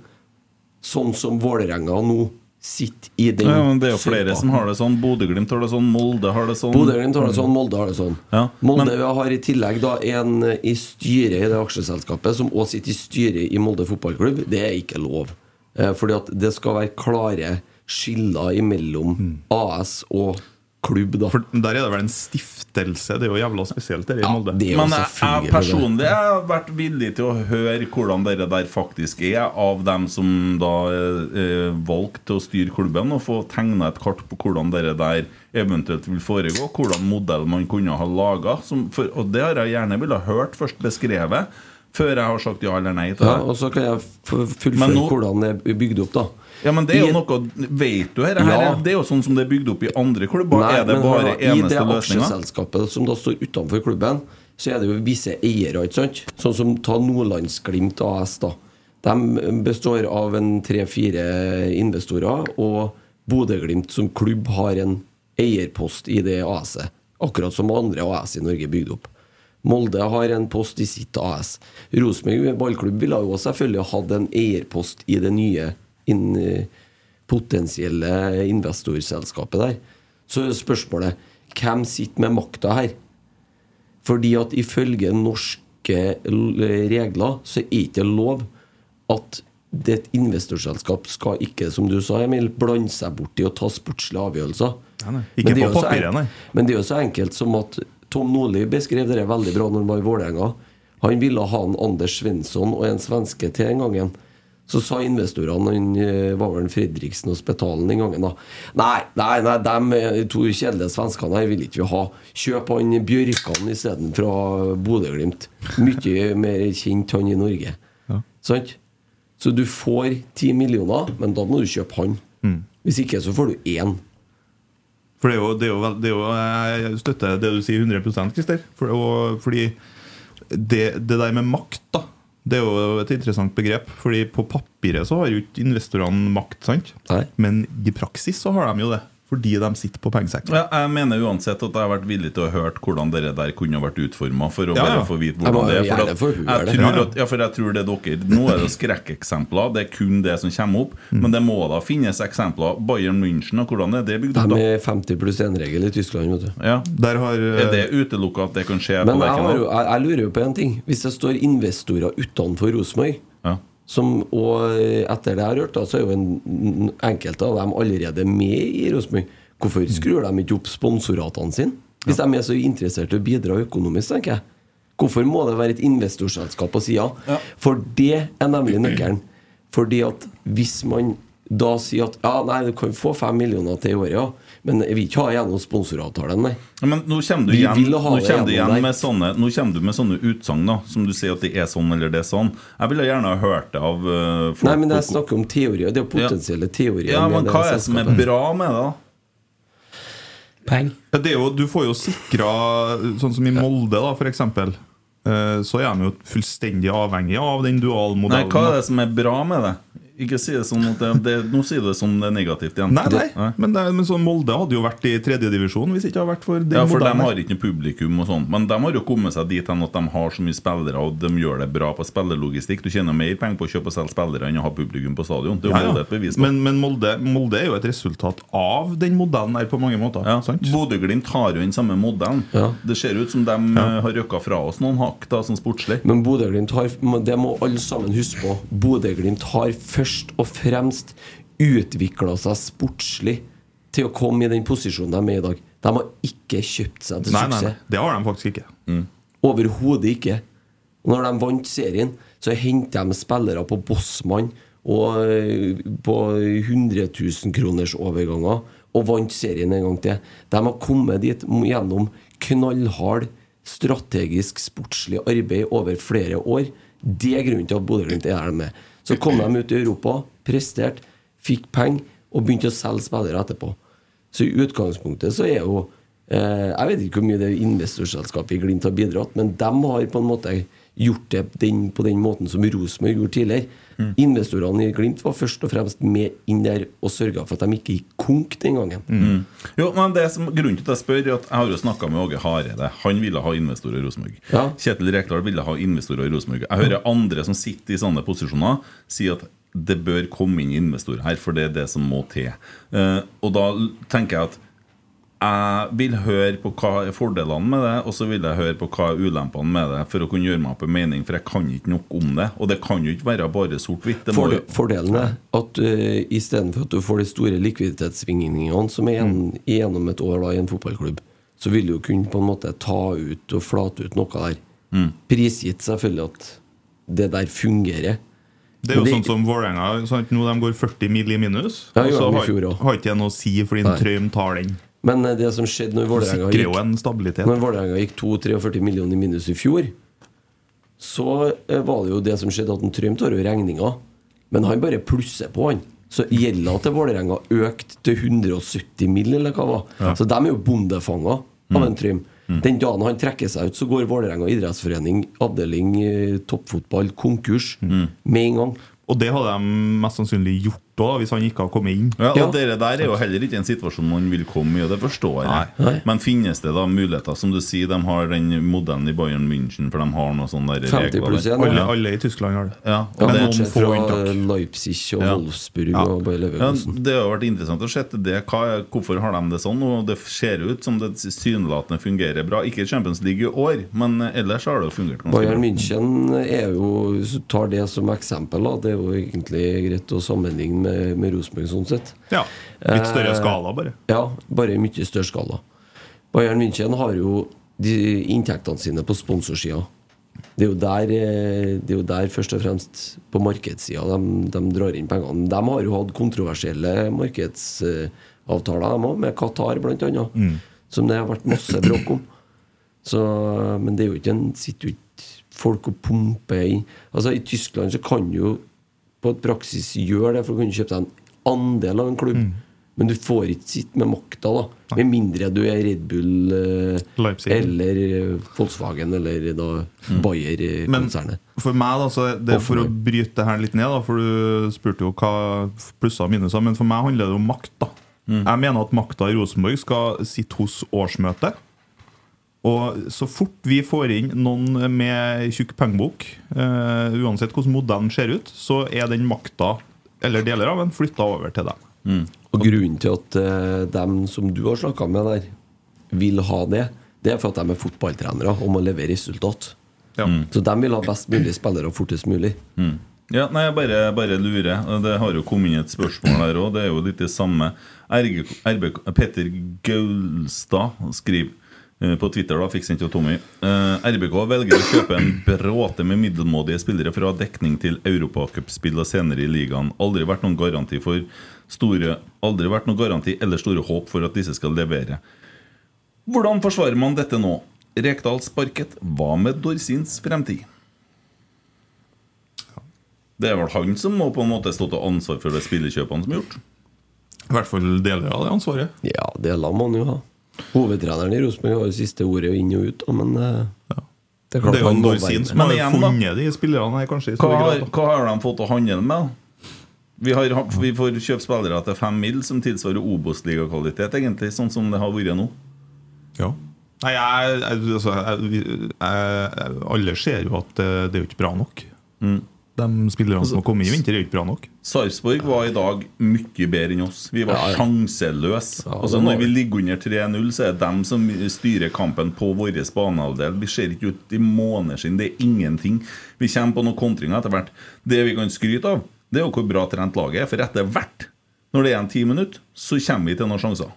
S6: Sånn som Vålerenga nå sitter i den
S2: Ja, men det er jo flere
S6: søpla.
S2: som har det sånn. Bodø-Glimt har det sånn, Molde har det sånn.
S6: Bodø-Glimt har det sånn, Molde har det sånn.
S2: Ja,
S6: Molde
S2: men-
S6: har i tillegg da en eh, i styret i det aksjeselskapet, som også sitter i styret i Molde fotballklubb. Det er ikke lov. Eh, Fordi at det skal være klare skiller imellom
S2: Mm.
S6: AS og klubb, da.
S4: For der er det vel en stiftelse? Det er jo jævla spesielt, det der i Molde.
S6: det er jo
S2: Men jeg, jeg
S6: selvfølgelig
S2: personlig jeg har vært villig til å høre hvordan det der faktisk er, av dem som da eh, valgte å styre klubben, og få tegna et kart på hvordan det der eventuelt vil foregå. Hvordan modell man kunne ha laga. Og det har jeg gjerne ville hørt først beskrevet, før jeg har sagt ja eller nei til
S6: Ja,
S2: det.
S6: og så kan jeg f-
S2: Men
S6: fullføre
S2: nå-
S6: hvordan det er bygd opp, da.
S2: Ja, men det er
S6: I-
S2: jo noe Vet du dette?
S6: Ja.
S2: her? Det er jo sånn som det er bygd opp i andre klubber.
S6: Nei,
S2: er det
S6: men hør
S2: bare
S6: da, I det
S2: eneste løsninga?
S6: aksjeselskapet som da står utenfor klubben, så er det jo visse eiere, ikke sant? Sånn som ta Nordlandsglimt AS, da. De består av en tre-fire investorer, og Bodø-Glimt som klubb har en eierpost i det AS-et. Akkurat som andre AS i Norge er bygd opp. Molde har en post i sitt AS. Rosenborg ballklubb ville jo også selvfølgelig hatt en eierpost i det nye inn, potensielle investorselskapet der. Så er spørsmålet hvem sitter med makta her? Fordi at ifølge norske l- regler så er ikke det lov at det et investorselskap skal ikke, som du sa, Emil, blande seg borti og ta sportslige avgjørelser.
S4: Nei, nei.
S6: Men
S4: Ikke
S6: det er
S4: på
S6: jo så
S4: papiret,
S6: enk-
S4: nei.
S6: Men det er jo så enkelt som at Tom Nordli beskrev det der veldig bra når han var i Vålerenga. Han ville ha en Anders Svensson og en svenske til den gangen. Så sa investorene, han eh, var vel en Fredriksen og Spetalen den gangen, da Nei, nei, nei de eh, to kjedelige svenskene her vil ikke vi ha. Kjøp han Bjørkan isteden fra Bodø-Glimt. Mye mer kjent han i Norge. Sant? Så du får ti millioner, men da må du kjøpe han.
S4: Mm.
S6: Hvis ikke så får du én.
S4: For det er jo, det er jo, vel- det er jo Jeg støtter det du sier 100 Christer. For, og, fordi det, det der med makt, da det er jo et interessant begrep. Fordi på papiret så har jo ikke investorene makt, sant?
S6: Nei.
S4: Men i praksis så har de jo det. Fordi de sitter på pengesekken.
S2: Ja, jeg mener uansett at jeg har vært villig til å høre hvordan dere der kunne vært utforma, for å
S4: Ja, ja.
S2: bare få vite
S6: Jeg må
S2: hvordan det er.
S6: gjerne få
S2: For,
S6: høre
S2: at
S6: det.
S2: jeg tror at, ja, for jeg tror det er dere Nå er det skrekkeksempler, det er kun det som kommer opp.
S6: Mm.
S2: Men det må da finnes eksempler. Bayern München, og hvordan er det bygd opp?
S6: De
S2: da?
S6: er 50 pluss 1-regel i Tyskland, vet du.
S2: Ja.
S4: Der har eh,
S2: Er det utelukka at det kan skje
S6: Men
S2: på
S6: jeg, har
S2: Lerkendal?
S6: jo, jeg, jeg lurer jo på en ting. Hvis det står investorer utenfor Rosenborg
S2: Ja.
S6: som- Og eh, etter det jeg har hørt, da, så er jo en, n- enkelte av dem allerede med i Rosenborg. Hvorfor
S2: Mm.
S6: skrur de ikke opp sponsoratene sine? Hvis de er så interessert i å bidra økonomisk, tenker jeg. Hvorfor må det være et investorselskap på sida? For det er nemlig nøkkelen. Fordi at hvis man da sier at ja, nei, du kan få fem millioner til i året, ja, men vi vil ikke ha gjennom sponsoravtalen, nei.
S2: Ja, Men nå kommer du
S6: Vi
S2: igjen,
S6: vil
S2: nå
S6: ha
S2: kommer
S6: det
S2: du
S6: gjennom
S2: igjen
S6: deg.
S2: med sånne Nå kommer du med sånne utsagn da, som du sier at det er sånn eller det er sånn. Jeg ville gjerne ha hørt det av eh, folk.
S6: Nei, men jeg
S2: på-
S6: snakker om teorier. Det er jo potensielle teorier.
S2: ja,
S6: med
S2: men
S6: det
S2: hva er det som er
S6: selskapet.
S2: bra med det, da?
S3: Peng.
S4: Ja, det er jo, du får jo sikra Sånn som i Molde, da, for eksempel. eh, Så er de jo fullstendig avhengig av den
S2: Nei,
S4: dualmodellen.
S2: hva er
S4: da.
S2: det som er bra med det? Ikke si det sånn at det, det, Nå sier du det som det er negativt igjen.
S4: Nei, nei. Men, det, men sånn Molde hadde jo vært i tredjedivisjon hvis ikke det hadde vært for den
S2: Ja, for de
S4: modellen.
S2: har ikke noe publikum og sånn. Men de har jo kommet seg dit hen at de har så mye spillere, og de gjør det bra på spillerlogistikk. Du tjener mer penger på å kjøpe og selge spillere enn å ha publikum på stadion. Det er jo
S4: Ja, ja.
S2: både et bevis på.
S4: Men, men Molde, Molde er jo et resultat av den modellen her på mange måter.
S2: ja.
S4: sant?
S2: Bodø-Glimt har jo den samme modellen.
S6: Ja.
S2: Det ser ut som de eh, har røkka fra oss noen hakk, da, sånn sportslig.
S6: Men Bodø-Glimt har men Det må alle sammen huske på. Bodø-Glimt har først og fremst utvikla seg sportslig til å komme i den posisjonen de er i dag. De har ikke kjøpt seg til
S4: Nei, nei, nei,
S6: suksess.
S4: det har de faktisk ikke.
S2: Mm.
S6: Overhodet ikke. Og når de vant serien, så henter de spillere på Bossmann og eh, på 100 000 kroners overganger og vant serien en gang til. De har kommet dit m- gjennom knallhard strategisk sportslig arbeid over flere år. Det er grunnen til at Bodø-Glimt er der de er. Så kom de ut i Europa, presterte, fikk penger og begynte å selge spillere etterpå. Så i utgangspunktet så er jo eh, Jeg vet ikke hvor mye det investorselskapet i Glimt har bidratt, men de har på en måte gjort det den, på den måten som Rosenborg gjorde tidligere.
S2: Mm.
S6: Investorene i Glimt var først og fremst med inn der og sørga for at de ikke gikk konk den gangen.
S2: Mm. Jo, men det som, Grunnen til at jeg spør, er at jeg har jo snakka med Åge Hareide. Han ville ha investorer i Rosenborg.
S6: Ja.
S2: Kjetil Rekdal ville ha investorer i Rosenborg. Jeg hører andre som sitter i sånne posisjoner, si at det bør komme inn investorer her, for det er det som må til. Eh, og da l- tenker jeg at jeg vil høre på hva er fordelene med det, og så vil jeg høre på hva er ulempene med det, for å kunne gjøre meg opp en mening, for jeg kan ikke nok om det. Og det kan jo ikke være bare sort-hvitt. det må
S6: Forde,
S2: jo-
S6: fordelen er at uh, istedenfor at du får de store likviditetssvingningene som er igjen,
S2: Mm.
S6: gjennom et år da, i en fotballklubb, så vil du jo kunne på en måte ta ut og flate ut noe der.
S2: Mm.
S6: Prisgitt selvfølgelig at det der fungerer.
S4: Det er jo
S6: Men
S4: sånn som Vålerenga. sant? Nå de går 40 mil i minus.
S6: Ja,
S4: og så
S6: gjorde de i
S4: har
S6: fjor også.
S4: har ikke det noe å si, fordi
S6: Nei.
S4: en Trøim tar den.
S6: Men eh, det som skjedde når Vålerenga
S4: Sikrer jo
S6: gikk,
S4: en stabilitet.
S6: når Vålerenga gikk 2-43 millioner i minus i fjor, så eh, var det jo det som skjedde, at en Trym tar jo regninga. Men han bare plusser på, han. Så gjelda til Vålerenga økte til 170 mill., eller hva det var. Så de er jo bondefanga av
S2: Mm.
S6: en Trym. Den dagen han trekker seg ut, så går Vålerenga idrettsforening, avdeling eh, toppfotball, konkurs
S2: Mm.
S6: med en gang.
S4: Mm. Og det hadde de mest sannsynlig gjort òg, hvis han ikke hadde kommet inn.
S2: Ja, og
S6: Ja.
S2: Dere der er jo heller ikke en situasjon man vil komme i, og det forstår jeg.
S6: Nei.
S2: Men finnes det da muligheter? Som du sier, de har den modellen i Bayern München, for de har noe sånn der
S6: 50 pluss en,
S4: Alle,
S6: Ja.
S4: alle i Tyskland har det.
S2: Ja,
S6: Ja,
S2: og det,
S4: få
S6: bortsett fra
S4: unntak.
S6: Leipzig og
S2: Ja.
S6: Wolfsburg og Bayer
S2: ja,
S6: Leverkusen.
S2: det har vært interessant å se til det. Hva, er- hvorfor har de det sånn? Og det ser ut som det tilsynelatende fungerer bra. Ikke Champions League i år, men ellers har det jo fungert ganske
S4: Mm.
S6: Bayern
S2: bra.
S6: München er jo, hvis du tar det som eksempel, da, det er jo egentlig greit å sammenligne med, med Rosenborg sånn sett.
S4: Ja, Litt
S7: Uh,
S4: større
S6: Eh,
S4: skala, bare.
S6: Ja, bare i mye større skala. Bayern München har jo de inntektene sine på sponsorsida. Det er, jo der, eh, det er jo der først og fremst på markedssida de, de drar inn pengene. De har jo hatt kontroversielle markedsavtaler, de òg, med Qatar bl.a.,
S4: Mm.
S6: som det har vært masse bråk om. Så, men det er jo ikke en sitter jo ikke folk og pumper i Altså I Tyskland så kan du jo på et praksis gjøre det for å kunne kjøpe deg en andel av en klubb.
S4: Mm.
S6: Men du får ikke sitte med makta, da. Med mindre du er Red Bull eh,
S4: Leipzig. Mm.
S6: eller eh, Volkswagen eller eh, da
S4: Men
S6: Bayer-konsernet.
S4: for meg, da, så er det
S6: Og for
S4: for å
S6: meg.
S4: bryte det her litt ned, da, for du spurte jo hva plusser og minuser, men for meg handler det om makt. da. Jeg mener at makta i Rosenborg skal sitte hos årsmøtet. Og så fort vi får inn noen med tjukk pengebok, eh, uansett hvordan modellen ser ut, så er den makta, eller deler av den, flytta over til dem.
S6: Og grunnen til at eh, dem som du har snakka med der, vil ha det, det er for at de er fotballtrenere og må levere resultat.
S4: Ja. Mm.
S6: Så de vil ha best mulig spillere fortest mulig.
S2: Ja, nei, jeg bare, bare lurer. Det har jo kommet inn et spørsmål her òg. Det er jo litt det samme. RG, RBK, Petter Gaulstad skriver eh, på Twitter, da, fikk sendt til Tommy. Eh, RBK velger å kjøpe en bråte med middelmådige spillere for å ha dekning til europacupspill og senere i ligaen. Aldri vært noen garanti for store Aldri vært noen garanti eller store håp for at disse skal levere. Hvordan forsvarer man dette nå? Rekdal sparket. Hva med Dorsins fremtid? Det er vel han som må på en måte stå til ansvar for det spillekjøpene som er gjort.
S4: I hvert fall deler av det ansvaret.
S6: Ja, det la man jo ha. Hovedtreneren i Rosenborg har jo siste ordet inn og ut, da, men eh, det er klart
S4: Det er jo
S6: han må være
S4: Dorsin
S6: med.
S4: som har
S2: Men igjen, da.
S4: funnet de spillerne her, kanskje. i
S2: Hva
S4: større grad,
S2: har,
S4: da.
S2: hva har de fått å handle med? Vi, har, vi får kjøpe spillere til fem mil, som tilsvarer Obos-ligakvalitet, egentlig, sånn som det har vært nå.
S4: Ja. Nei, jeg, jeg, altså, jeg, jeg, jeg, Eh, alle ser jo at eh, det er jo ikke bra nok.
S2: Mm.
S4: De spillerne
S2: Altså,
S4: som har kommet i vinter, er jo ikke bra nok.
S2: Sarpsborg var i dag mye bedre enn oss. Vi var sjanseløse. altså,
S6: det var
S2: når vi ligger under 3-0, så er det dem som styrer kampen på vår banehalvdel. Vi ser ikke ut i måneskinn. Det er ingenting. Vi kommer på noen kontringer etter hvert. Det vi kan skryte av, det er jo hvor bra trent laget er. For etter hvert, når det er en ti minutter, så kommer vi til noen sjanser.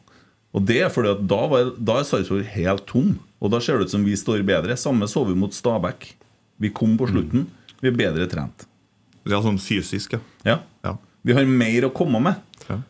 S2: Og det er fordi at da, var, da er Sarpsborg helt tom. Og da ser det ut som vi står bedre. Samme så vi mot Stabæk. Vi kom på
S4: Mm.
S2: slutten. Vi er bedre trent.
S4: Ja, sånn fysisk, ja.
S2: Ja.
S4: Ja.
S2: Vi har mer å komme med.
S4: Ja.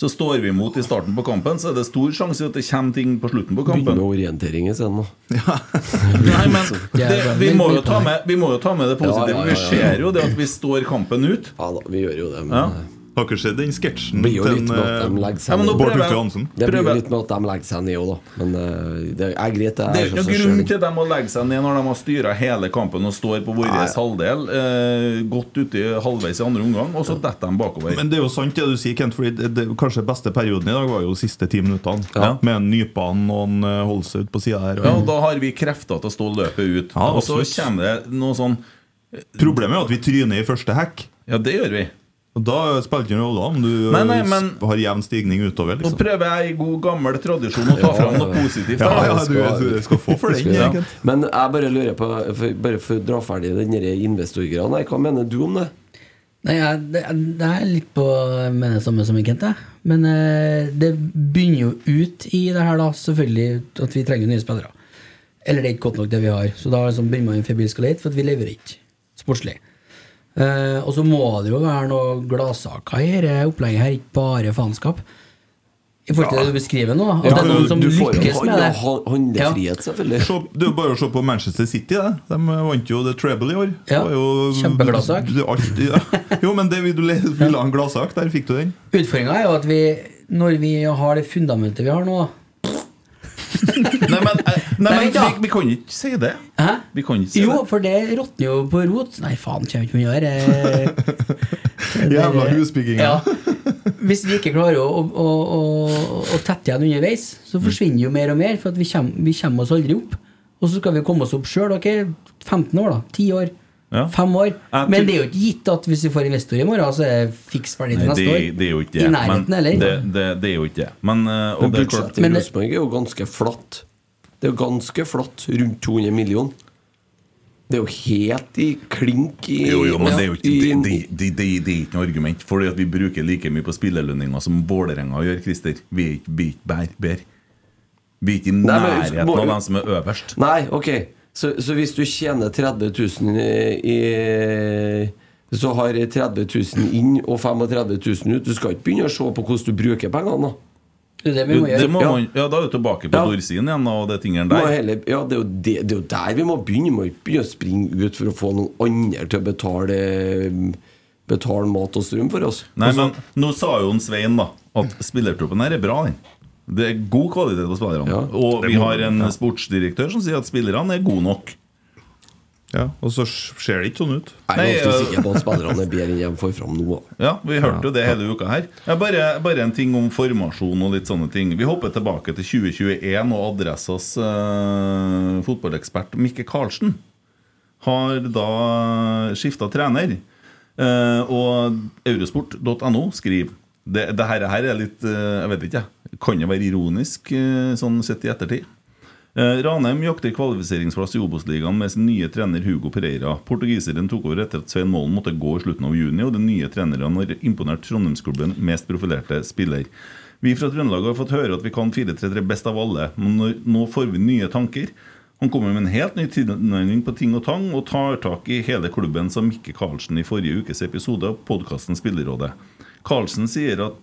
S2: Så står vi imot i starten på kampen, så er det stor sjanse for at det kommer ting på slutten på
S6: Begynne med
S2: kampen.
S6: orientering isteden, da.
S2: Nei, men det, vi, må jo
S3: Veldig
S2: ta med, vi må jo ta med det positive.
S6: Ja, ja, ja, ja.
S2: Vi ser jo det at vi står kampen ut.
S6: Ja da, vi gjør jo det, men
S2: Ja.
S6: eh,
S4: Har dere sett den sketsjen
S6: blir jo
S4: til
S6: litt med at de
S4: en,
S6: legger
S2: Ja,
S6: seg
S2: men nå
S4: eh,
S6: ned.
S4: Bård
S2: prøver jeg-
S4: Viktor Hansen?
S6: Det blir jo
S2: prøver-
S6: litt med at de legger seg ned òg, da. Men eh, det
S2: Det er jo
S6: er greit, det. er
S2: ikke
S6: seg
S2: noen grunn
S6: selv.
S2: til dem å legge seg ned når de har styra hele kampen og står på vår halvdel, eh, godt uti halvveis i andre omgang, og så detter de bakover.
S4: Men det er jo sant det du sier, Kent. Fordi det, det, kanskje beste perioden i dag var jo de siste ti minuttene.
S6: Ja.
S4: Med en Nypan og en eh, Holse ut på sida her. Og
S2: ja, og da har vi krefter til å stå løpet ut.
S4: Ja,
S2: og så
S4: absolutt.
S2: kommer det noe sånn
S4: Problemet er jo at vi tryner i første hekk.
S2: Ja, det gjør vi.
S4: Og Da spiller det ingen rolle om du
S2: Nei, nei, men-
S4: har jevn stigning utover.
S2: Nå
S4: Liksom.
S2: prøver jeg i god gammel tradisjon å ta fram noe positivt.
S4: Ja,
S2: da.
S4: ja, du, du skal få for den.
S6: Ja.
S4: egentlig.
S6: Men jeg bare lurer på for, Bare for å dra ferdig den der investorgreia Nei, hva mener du om det?
S3: Nei, jeg, det, det er litt på eh, med det samme som Kent, jeg. Men eh, det begynner jo ut i det her, da, selvfølgelig, at vi trenger nye spillere. Eller det er ikke godt nok, det vi har. Så da liksom begynner man febrilsk å lete, for at vi leverer ikke sportslig. Eh, og så må det jo være noe gladsaker i dette opplegget her, ikke bare faenskap. I forhold til det du beskriver nå, at
S6: Ja,
S3: det er noen som
S6: du får jo
S3: lykkes
S6: hand-
S3: med det.
S6: hand- handlefrihet, selvfølgelig.
S4: Se, det er jo bare å se på Manchester City. Det. De vant jo The Treble i år.
S3: Ja,
S4: Det var jo-
S3: kjempegladsak.
S4: Det- alt- ja. Jo, men det vil du le- ville ha en gladsak. Der fikk du den.
S3: Utfordringa er jo at vi, når vi har det fundamentet vi har nå,
S2: Nei, men, eh, nei, men
S3: Nei,
S2: vi,
S3: da.
S2: vi kan ikke si det.
S3: Hæ?
S2: Vi kan ikke si
S3: Jo,
S2: det.
S3: for det råtner jo på rot. Nei, faen, kommer ikke mye å gjøre. eh.
S4: Jævla husbygging, ja.
S3: Ja. Hvis vi ikke klarer å, å, å, å- å tette igjen underveis, så
S2: Mm.
S3: forsvinner jo mer og mer. For at vi kommer, vi kommer oss aldri opp. Og så skal vi komme oss opp sjøl. Okay? 15 år, da. 10 år.
S2: Ja.
S3: 5 år.
S2: Jeg tror-
S3: Men det er jo ikke gitt at hvis vi får investor i morgen, så er det fiks ferdig
S2: Nei,
S3: til neste
S2: det,
S3: år.
S2: det er jo ikke det.
S3: I nærheten,
S2: men,
S3: eller?
S2: Det, det, det er jo ikke det. Men, eh, og
S6: Men
S2: det er klart,
S6: budsjettet i
S3: Men det-
S6: Rosenborg er jo ganske flatt. Det er jo ganske flatt. Rundt 200 millioner. Det er jo helt i klink i
S2: Jo, jo, men det er jo ikke,
S6: i-
S2: det, det, det, det, det er ikke noe argument. Fordi at vi bruker like mye på spillerlønninger som Vålerenga gjør, Christer. Vi er ikke vi er ikke bær- bedre. Vi er ikke i
S6: Nei, men-
S2: nærheten av dem som er øverst.
S6: Nei, ok. Så, så hvis du tjener 30 000 i, i Så har 30 000 inn og 35 000 ut. Du skal ikke begynne å se på hvordan du bruker pengene, da.
S3: Det er det vi
S2: Jo,
S3: må
S2: det
S3: gjøre.
S2: må
S6: Ja.
S2: man, ja, da er du tilbake på
S6: Ja.
S2: Dorsin igjen da, og det tingene
S6: Du må
S2: der.
S6: heller, ja, det er, jo det, det er jo der vi må begynne. Vi må ikke begynne å springe ut for å få noen andre til å betale Betale mat og strøm for oss.
S2: Nei, men nå sa jo en Svein da at spillertroppen her er bra. den. Det er god kvalitet på spillerne.
S6: Ja.
S2: Og vi har en sportsdirektør som sier at spillerne er gode nok.
S4: Ja, og så ser det ikke sånn ut.
S6: Jeg er ganske
S2: Nei,
S6: sikker på at spillerne er bedre enn de får fram nå. da.
S2: Ja, vi hørte jo det hele uka her. Ja, bare, bare en ting om formasjon og litt sånne ting. Vi hopper tilbake til 2021 og Adressas eh, fotballekspert Mikke Karlsen har da skifta trener. Eh, og eurosport.no skriver det, det her, her er litt eh, Jeg vet ikke, jeg. Kan det være ironisk eh, sånn sett i ettertid? Eh, Ranheim jakter kvalifiseringsplass i Obos-ligaen med sin nye trener Hugo Pereira. Portugiseren tok over etter at Svein Målen måtte gå i slutten av juni, og den nye treneren har imponert Trondheimsklubben mest profilerte spiller. Vi fra Trøndelag har fått høre at vi kan 4-3-3 best av alle, men når, nå får vi nye tanker. Han kommer med en helt ny tilnærming på ting og tang, og tar tak i hele klubben, sa Mikke Karlsen i forrige ukes episode av podkasten Spillerådet. Karlsen sier at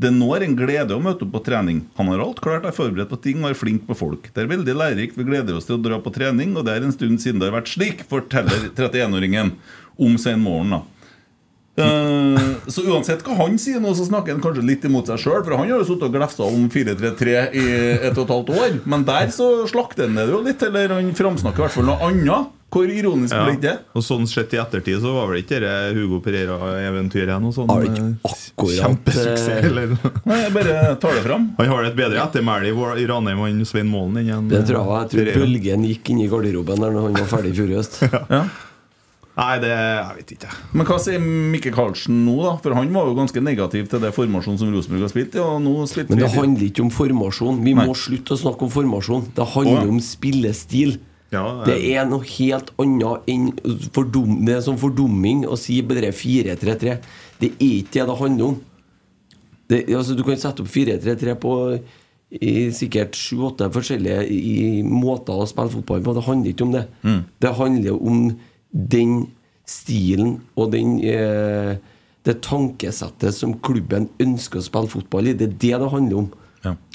S2: det nå er en glede å møte opp på trening. Han har alt klart, er forberedt på ting og er flink på folk. Det er veldig lærerikt, vi gleder oss til å dra på trening, og det er en stund siden det har vært slik, forteller 31-åringen om Svein Målen, da. Eh, så uansett hva han sier nå, så snakker han kanskje litt imot seg sjøl, for han har jo sittet og glefsa om 4-3-3 i et og et halvt år, men der så slakter han det jo litt, eller han framsnakker i hvert fall noe annet. Hvor ironisk
S4: Ja.
S2: blir ikke det?
S4: Og sånn sett i ettertid så var vel ikke det Hugo Pereira-eventyret noe sånn
S6: Har ikke
S4: eh,
S6: akkurat,
S4: kjempesuksess,
S6: eh,
S4: eller
S2: Nei, Jeg bare tar det fram.
S4: Han har et bedre ettermæle i Vår- i Ranheim enn Svein Målen enn en, eh,
S6: Det tror jeg, jeg tror
S4: Pereira.
S6: bølgen gikk inn i garderoben der når han var ferdig i fjor høst.
S4: Nei, det Jeg vet ikke, jeg.
S2: Men hva sier Mikke Karlsen nå, da? For han var jo ganske negativ til det formasjonen som Rosenborg har spilt i. Og nå spilte
S6: Men det
S2: vi-
S6: handler ikke om formasjon. Vi
S2: Nei.
S6: må slutte å snakke om formasjon. Det
S2: Å,
S6: handler
S2: ja.
S6: om spillestil.
S4: Ja, eh.
S6: det
S4: det-
S6: er noe helt annet enn fordum, Det er sånn fordumming å si bare 4-3-3. Det er ikke det det handler om. Det, altså, du kan sette opp 4-3-3 på i sikkert sju-åtte forskjellige i, i måter å spille fotball på. Det handler ikke om det.
S2: Mm.
S6: Det handler om den stilen og den eh, det tankesettet som klubben ønsker å spille fotball i. Det er det det handler om.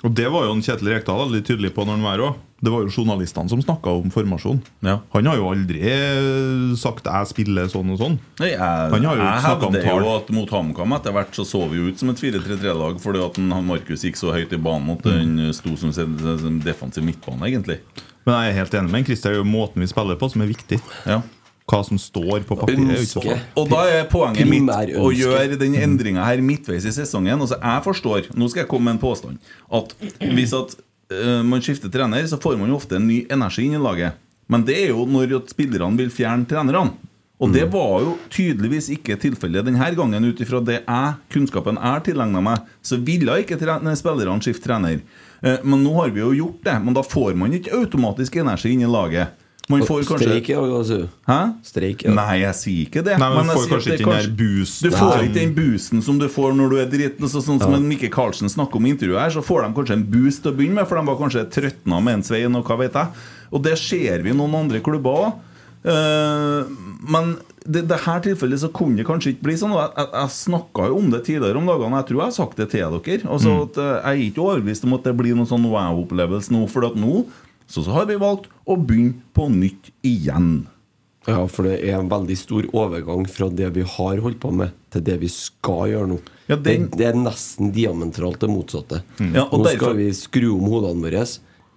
S4: Og det var jo en Kjetil Rekdal veldig tydelig på når han var her òg. Det var jo journalistene som snakka om formasjon.
S2: Ja.
S4: Han har jo aldri eh, sagt 'jeg spiller sånn og sånn'.
S2: Nei, jeg,
S4: Han har jo
S2: jeg
S4: ikke snakket om
S2: hevder
S4: tall.
S2: jo at mot HamKam etter hvert så så vi jo ut som et 4-3-3-lag fordi at han- han Markus gikk så høyt i banen at han sto som, sin- som defensiv midtbane, egentlig.
S4: Men jeg er helt enig med han. Christer. Det er jo måten vi spiller på, som er viktig.
S2: Ja.
S4: Hva som står på papiret. er jo ikke så
S6: Ønske.
S4: farlig.
S2: Og da er poenget mitt
S6: Primærønske.
S2: å gjøre den endringa her midtveis i sesongen. Altså, jeg forstår, nå skal jeg komme med en påstand, at hvis at eh, man skifter trener, så får man jo ofte en ny energi inn i laget. Men det er jo når at spillerne vil fjerne trenerne. Og
S6: Mm.
S2: det var jo tydeligvis ikke tilfellet denne gangen, ut ifra det jeg, kunnskapen jeg tilegna meg. Så ville ikke tre- nei, spillerne skifte trener. Eh, Men nå har vi jo gjort det. Men da får man ikke automatisk energi inn i laget. Man får
S6: Streik,
S2: kanskje
S6: ja. Altså.
S2: Hæ?
S6: Streik, ja.
S2: Nei, jeg sier ikke det.
S4: Nei, men
S2: jeg sier
S4: får
S2: at
S4: kanskje
S2: det
S4: ikke den
S2: kanskje-
S4: der boosten.
S2: Du får
S4: Nei.
S2: ikke den boosten som du får når du er dritten. Så, sånn som en Mikke Karlsen snakker om i intervjuet her, så får de kanskje en boost til å begynne med, for de var kanskje trøtna med en svein, og hva vet jeg. Og det ser vi i noen andre klubber òg. men det, det her tilfellet så kunne det kanskje ikke bli sånn. Og jeg, jeg, jeg snakka jo om det tidligere om dagene. Jeg tror jeg har sagt det til dere.
S4: Mm.
S2: Altså at eh, Jeg er ikke overbevist om at det blir noen sånn wow-opplevelse nå, for at nå så, så har vi valgt å begynne på nytt igjen.
S6: Ja, for det er en veldig stor overgang fra det vi har holdt på med, til det vi skal gjøre nå.
S2: Ja, den- Mm.
S6: det, det er nesten diametralt det motsatte.
S2: Ja, og
S6: nå
S2: derfor-
S6: skal vi skru om hodene våre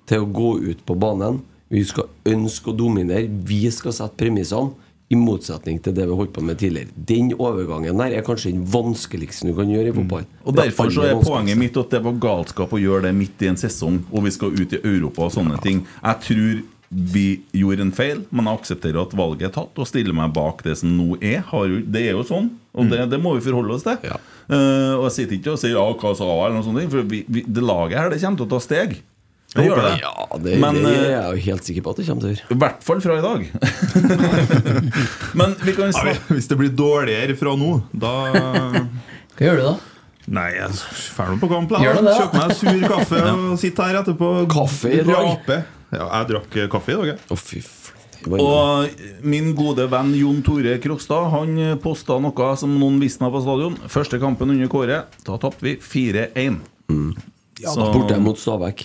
S6: til å gå ut på banen. Vi skal ønske å dominere. Vi skal sette premissene, i motsetning til det vi holdt på med tidligere. Den overgangen der er kanskje den vanskeligste du kan gjøre i fotball.
S2: Mm. Og
S6: Det
S2: Derfor så
S6: aller
S2: er poenget
S6: vanskeligste.
S2: mitt at det var galskap å gjøre det midt i en sesong, og vi skal ut i Europa og sånne ting. Jeg tror vi gjorde en feil, men jeg aksepterer at valget er tatt, og stiller meg bak det som nå er. Har, jo- det er jo sånn, og det, det må vi forholde oss til.
S6: Ja.
S2: Eh, og jeg sitter ikke og sier ja, hva sa jeg, eller noe sånt, for vi, vi, det laget her det kommer til å ta steg. Det gjør det.
S6: Ja, det,
S2: Men,
S6: det er
S2: eh,
S6: jeg jo helt sikker på at det kommer til å gjøre.
S2: I hvert fall fra i dag. men vi kan snakke
S4: Hvis det blir dårligere fra nå, da
S3: Hva gjør du da?
S4: Nei, jeg drar nå på kamp. da.
S3: Gjør du det?
S4: Kjøper meg sur kaffe og sitter her etterpå.
S6: Kaffe i dag?
S4: Rape. Ja, jeg drakk eh, kaffe i dag, jeg.
S6: Å, fy flate. Det var ingen-
S2: Og min gode venn Jon Tore Krokstad Han posta noe som noen visste på stadion. Første kampen under Kåre. Da tapte vi 4-1. så,
S6: Mm. Borte mot Stabæk.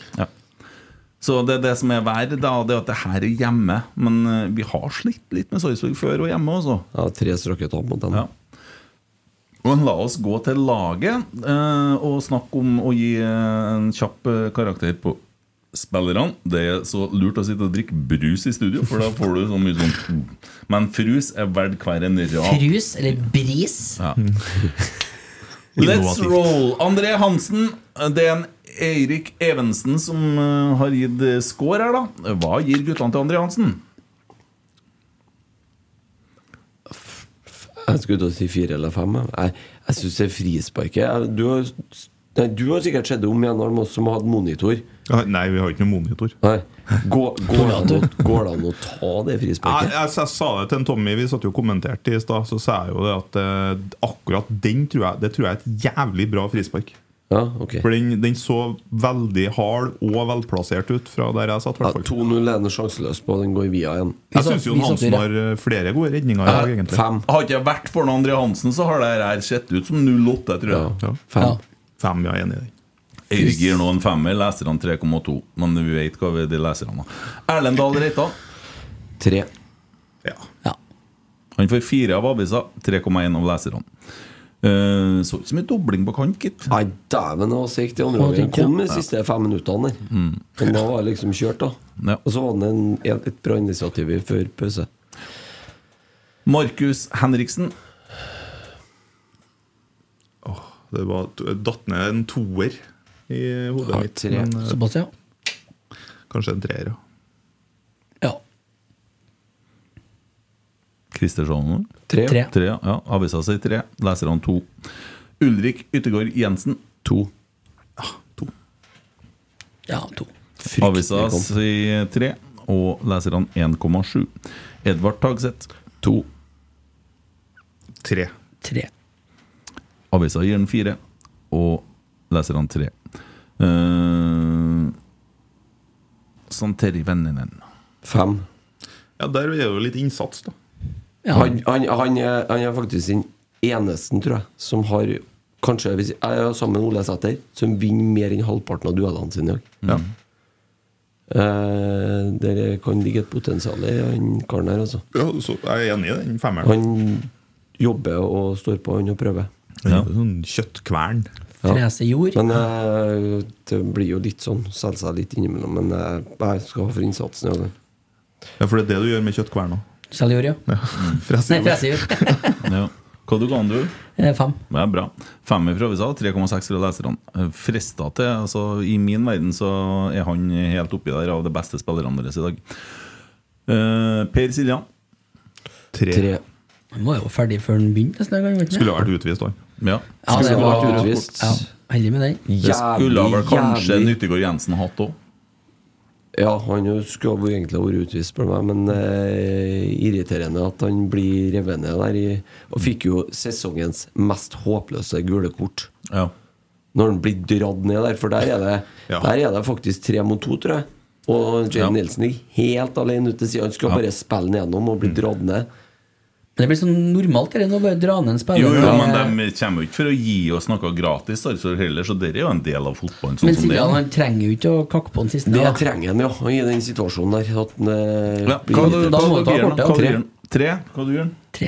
S2: så det er det som er verre, da, det er at det her er hjemme. Men eh, vi har slitt litt med Sarpsborg før og hjemme, altså.
S6: Ja, tre strake tap mot dem.
S2: Ja. Men la oss gå til laget eh, og snakke om å gi eh, en kjapp eh, karakter på spillerne. Det er så lurt å sitte og drikke brus i studio, for da får du så mye sånn mm. Men frus er verdt hver en rap.
S3: Frus eller bris?
S2: Let's roll! André Hansen. Det er en Eirik Evensen som eh, har gitt eh, score her, da. Hva gir guttene til André Hansen?
S6: Jeg skulle til å si fire eller fem. jeg. Jeg, jeg syns det er frisparket jeg- du, har- nei, du har sikkert sett det om igjen, Arne, som har hatt monitor.
S4: Ah, Nei, vi har ikke noen monitor.
S6: Nei. Gå, går, det an å, går det an å ta det
S4: Jeg,
S6: frisparket?
S4: jeg, jeg sa det til en Tommy, vi satt jo og kommenterte i stad, så sa jeg jo det at eh, akkurat den tror jeg, det tror jeg er et jævlig bra frispark.
S6: Ja, ok.
S4: For den, den så veldig hard og velplassert ut fra der jeg satt.
S6: Ja,
S4: hvertfall.
S6: 2-0 er Altså, den sjanseløs på, den går via igjen.
S4: Jeg syns jo
S3: Vi satt- vi
S4: Hansen
S3: satt i
S4: har eh, flere gode redninger i dag, egentlig.
S6: Eh, Fem.
S2: Har ikke jeg vært for noen André Hansen, så har det her sett ut som 08, tror jeg.
S6: Ja,
S4: Ja.
S6: fem.
S3: Ja.
S4: Fem, ja, enig i den.
S2: Eirik gir nå en femmer, leserne 3,2. Men vi vet hva vi de leserne har. Erlend Dahl Reitan.
S6: Tre.
S4: Ja.
S3: Ja.
S2: Han får fire av avisa, 3,1 av leserne. Eh, så ut som en dobling på kant, gitt.
S6: Nei, dæven, det var segt i andre
S3: Hva
S6: omgang.
S3: tenkte jeg?
S6: Kom de siste fem minuttene der.
S2: Mm.
S6: Men da var det liksom kjørt, da.
S2: Ja.
S6: Og så var det en, et bra initiativ i før pause.
S2: Markus Henriksen.
S4: Det var datt ned en toer i hodet
S6: Ja,
S4: mitt.
S6: tre.
S4: Men eh,
S3: Såpass, ja.
S4: kanskje en treer, ja.
S3: ja.
S2: Christer Sjalmo.
S6: Tre.
S3: Tre.
S2: Tre, ja. ja. Avisa sier tre, leserne to. Ulrik Yttergård Jensen.
S6: To.
S3: Ja, to.
S2: Avisa
S6: kom.
S2: sier tre, og leserne 1,7. Edvard Tagseth.
S6: To.
S4: Tre.
S3: Tre.
S2: Avisa gir den fire, og leserne tre. Uh, Santeri Venninen.
S6: Fem.
S4: Ja, der er det jo litt innsats, da.
S3: Ja.
S6: Han, han, han, er, han er faktisk den eneste, tror jeg, som har Kanskje hvis jeg er sammen med Ole Sæther, som vinner mer enn halvparten av duellene sine i dag. Eh, der kan ligge et potensial i han karen her, altså.
S4: Ja, så Jeg er enig i den femmeren.
S6: Han jobber og står på, han og prøver.
S4: Ja. Sånn kjøttkvern.
S3: Therese Jord.
S6: Men eh, det blir jo litt sånn, selger seg litt innimellom. Men eh, jeg skal ha for innsatsen. i dag.
S4: Ja, for det er det du gjør med kjøttkverna.
S3: Selger Jord, ja.
S4: Freser
S3: Nei,
S4: jo.
S3: Therese Jord.
S2: Ja. Hva du ga han, du?
S3: Eh, Fem.
S2: Det er bra. Femmer fra USA, 3,6 fra leserne. Eh, Frista til altså, I min verden så er han helt oppi der av de beste spillerne våre i dag. Eh, per Siljan.
S4: Tre.
S6: Tre.
S3: Han var jo ferdig før han begynte. nesten, jeg kan ikke-
S4: Skulle ha vært utvist, han.
S2: Ja.
S3: Ja, det
S6: Skulle
S3: var-
S6: vært utvist.
S3: Ja, heldig med den.
S2: Det skulle vel kanskje
S6: jævlig-
S2: Nyttegård Jensen hatt òg.
S6: Ja, han jo skulle jo egentlig ha vært utvist, spør du meg, men eh, irriterende at han blir revet ned der. I, og fikk jo sesongens mest håpløse gule kort.
S2: Ja.
S6: Når han blir dratt ned der, for der er det,
S4: Ja.
S6: der er det faktisk tre mot to, tror jeg. Og
S2: Ja.
S6: Jane Nilsen gikk helt alene ut til siden. Han skulle
S2: Ja.
S6: bare spille den gjennom og bli dratt ned.
S3: Men det blir sånn normalt dette nå, bare dra ned en spiller.
S2: Jo, jo,
S3: Ja.
S2: men de kommer jo ikke for å gi oss noe gratis, altså heller, så dette er jo en del av fotballen. Sånn
S3: Men
S2: som det
S3: Siljan
S2: er.
S3: han trenger jo ikke å kakke på den siste.
S6: Det
S3: da.
S6: trenger han, ja, i den situasjonen der. At han, eh,
S2: Ja,
S6: blir
S2: hva
S6: irritert.
S2: du-
S3: Da må
S2: hva
S3: du
S2: du
S3: ta
S2: gjør
S3: kortet,
S2: nå?
S3: ja.
S2: Hva du gjør nå? Tre? Hva du gjør nå?
S3: Tre.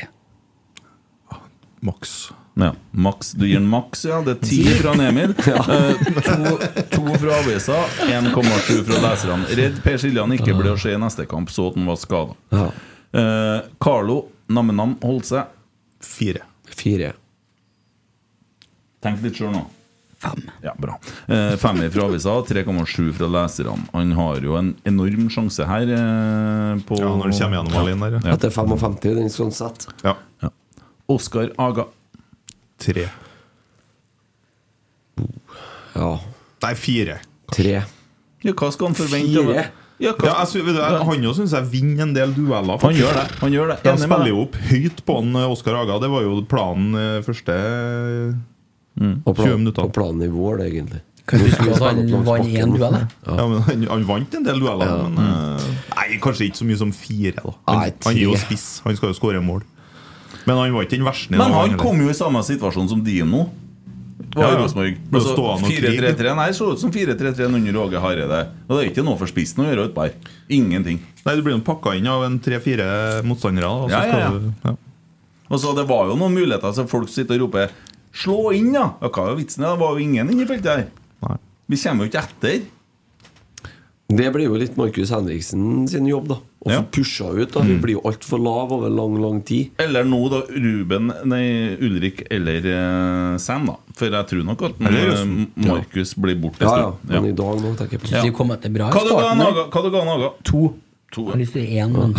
S4: Maks.
S2: Ja, maks. Du gir en maks, ja. Det er ti fra en Emil. Eh, to, to fra avisa, 1,7 fra leserne. Redd Per Siljan ikke ble å se i neste kamp, så at han var skada.
S6: Ja.
S2: Carlo Nammenam holdt seg.
S4: Fire.
S6: Fire.
S2: Tenk litt sjøl nå.
S3: Fem.
S2: Ja, bra. Eh, femmer fra avisa, 3,7 fra leserne. Han har jo en enorm sjanse her. Eh, på
S4: Ja, når du kommer gjennom alene der, ja.
S6: Etter 55, den skal han sette.
S4: ja.
S2: Ja. Oskar Aga.
S4: Tre.
S6: Ja.
S4: Nei, fire.
S6: Tre.
S2: Ja, hva skal han forvente?
S6: Fire?
S2: av- Ja,
S4: Ja,
S2: hva?
S4: jeg, sy- vet du, jeg, han jo syns jeg vinner en del dueller.
S2: Han
S4: faktisk.
S2: gjør det. Han gjør det.
S4: De
S2: Enig med
S4: spiller
S2: deg.
S4: jo opp høyt på han Oskar Haga. Det var jo planen eh, første
S2: Mm.
S6: Og
S4: 20
S6: plan,
S4: minutter.
S6: på planen i vår, det, egentlig.
S3: Kan du huske
S6: Nå
S3: at han
S6: skal vi spille opp langs
S3: vant
S6: bakken.
S3: én duell? da?
S4: ja. men han, han vant en del dueller, men eh, Nei, kanskje ikke så mye som fire. da
S6: Nei,
S4: Han,
S6: tre.
S4: han er jo spiss, han skal jo skåre mål. Men han var ikke den verste. i
S2: Men
S4: dag,
S2: han
S4: heller.
S2: kom jo i samme situasjon som Dino. Var
S4: Ja,
S2: i
S4: ja.
S2: Rosenborg.
S4: Ble
S2: Altså,
S4: stående og krige.
S2: 4-3-3 Nei, så ut som 4-3-3 under Åge Hareide. Og det er ikke noe for spissen å gjøre utpå her. Ingenting.
S4: Nei, Du blir jo pakka inn av en tre-fire motstandere. da, og så
S2: Ja, ja, ja.
S4: skal du- ja.
S2: Og så Det var jo noen muligheter, så folk sitter og roper 'slå inn', da! Ja, hva er vitsen? da? Det var jo ingen inne i feltet her.
S4: Nei.
S2: Vi kommer jo ikke etter.
S6: Det blir jo litt Markus Henriksen sin jobb, da. Å
S2: Ja.
S6: få pusha ut. da Vi blir jo altfor lav over lang, lang tid.
S2: Eller nå, da. Ruben, nei, Ulrik eller eh, Sam, da. For jeg tror nok at
S4: Eller
S2: eh,
S4: Østen.
S2: Markus blir borte en
S6: Ja, ja.
S2: stund.
S6: Men i
S2: Ja.
S6: dag nå tenker jeg på
S3: Så de kom etter bra i
S2: Hva du ga
S3: starten.
S2: han,
S3: der.
S2: Aga? Hva du ga han, Aga?
S3: To.
S2: To,
S3: Jeg
S2: ja.
S3: har lyst til én, men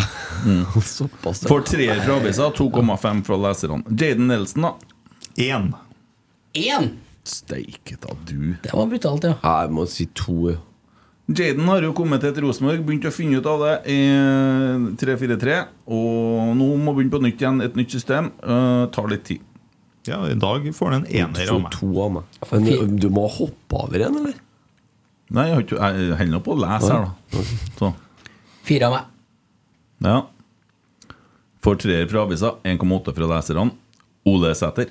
S6: såpass.
S2: For treer fra avisa, 2,5 fra leserne. Jaden Nelson, da.
S4: Én.
S3: én!
S2: Steike ta du.
S3: Det var brutalt, ja.
S6: Ja, Jeg må si to. ja.
S2: Jaden har jo kommet til et Rosenborg, begynt å finne ut av det i eh, 3-4-3. Og nå må begynne på nytt igjen, et nytt system. Eh, tar litt tid.
S4: Ja, I dag får han en ener av
S6: To,
S4: meg.
S6: to av meg. Men du må hoppe over en, eller?
S2: Nei, jeg, har ikke- jeg holder nå på å lese her, da. Så,
S3: Fire av meg.
S2: ja. For treer fra avisa, 1,8 fra leserne. Ole Sæter.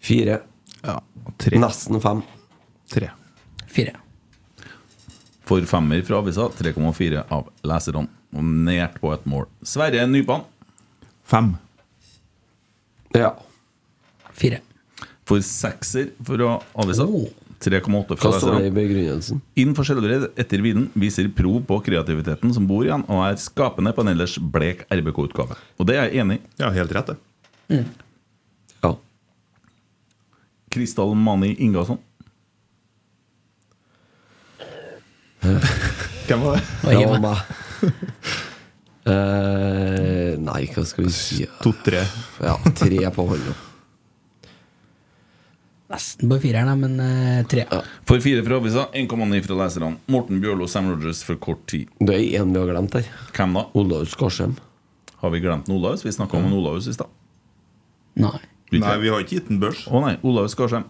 S6: Fire.
S4: Ja, tre.
S6: Nesten fem.
S4: tre.
S3: Fire.
S2: For femmer fra avisa, 3,4 av leserne. Og nært på et mål. Sverre Nypan.
S4: Fem.
S6: Ja.
S3: Fire.
S2: For sekser fra avisa.
S3: Oh.
S2: 3,8 fra
S6: Hva står det
S2: leserne.
S6: i begrunnelsen?
S2: Inn for selvred etter viden viser prov på kreativiteten som bor i han, og er skapende på en ellers blek RBK-utgave. Og det er jeg enig i.
S4: Ja, helt rett, det.
S6: Ja.
S2: Kristall Mani Ingasson.
S4: Hvem var det?
S3: Og
S6: Det
S3: jeg
S6: var
S3: meg.
S6: meg. Eh, nei, hva skal vi si
S4: To-tre.
S6: Ja, tre på hånda.
S3: Nesten på fireren, da, men eh, tre.
S2: For fire fra avisa, 1,9 fra leserne. Morten Bjørlo Sam Rogers for kort tid.
S6: Det er én vi har glemt her.
S2: Hvem da?
S6: Olaug Skarsheim.
S2: Har vi glemt en Olaus? Vi snakka om en Olaus i stad.
S3: Nei.
S4: Nei, vi har ikke gitt den børs.
S2: Å nei, Olaus Skarsheim.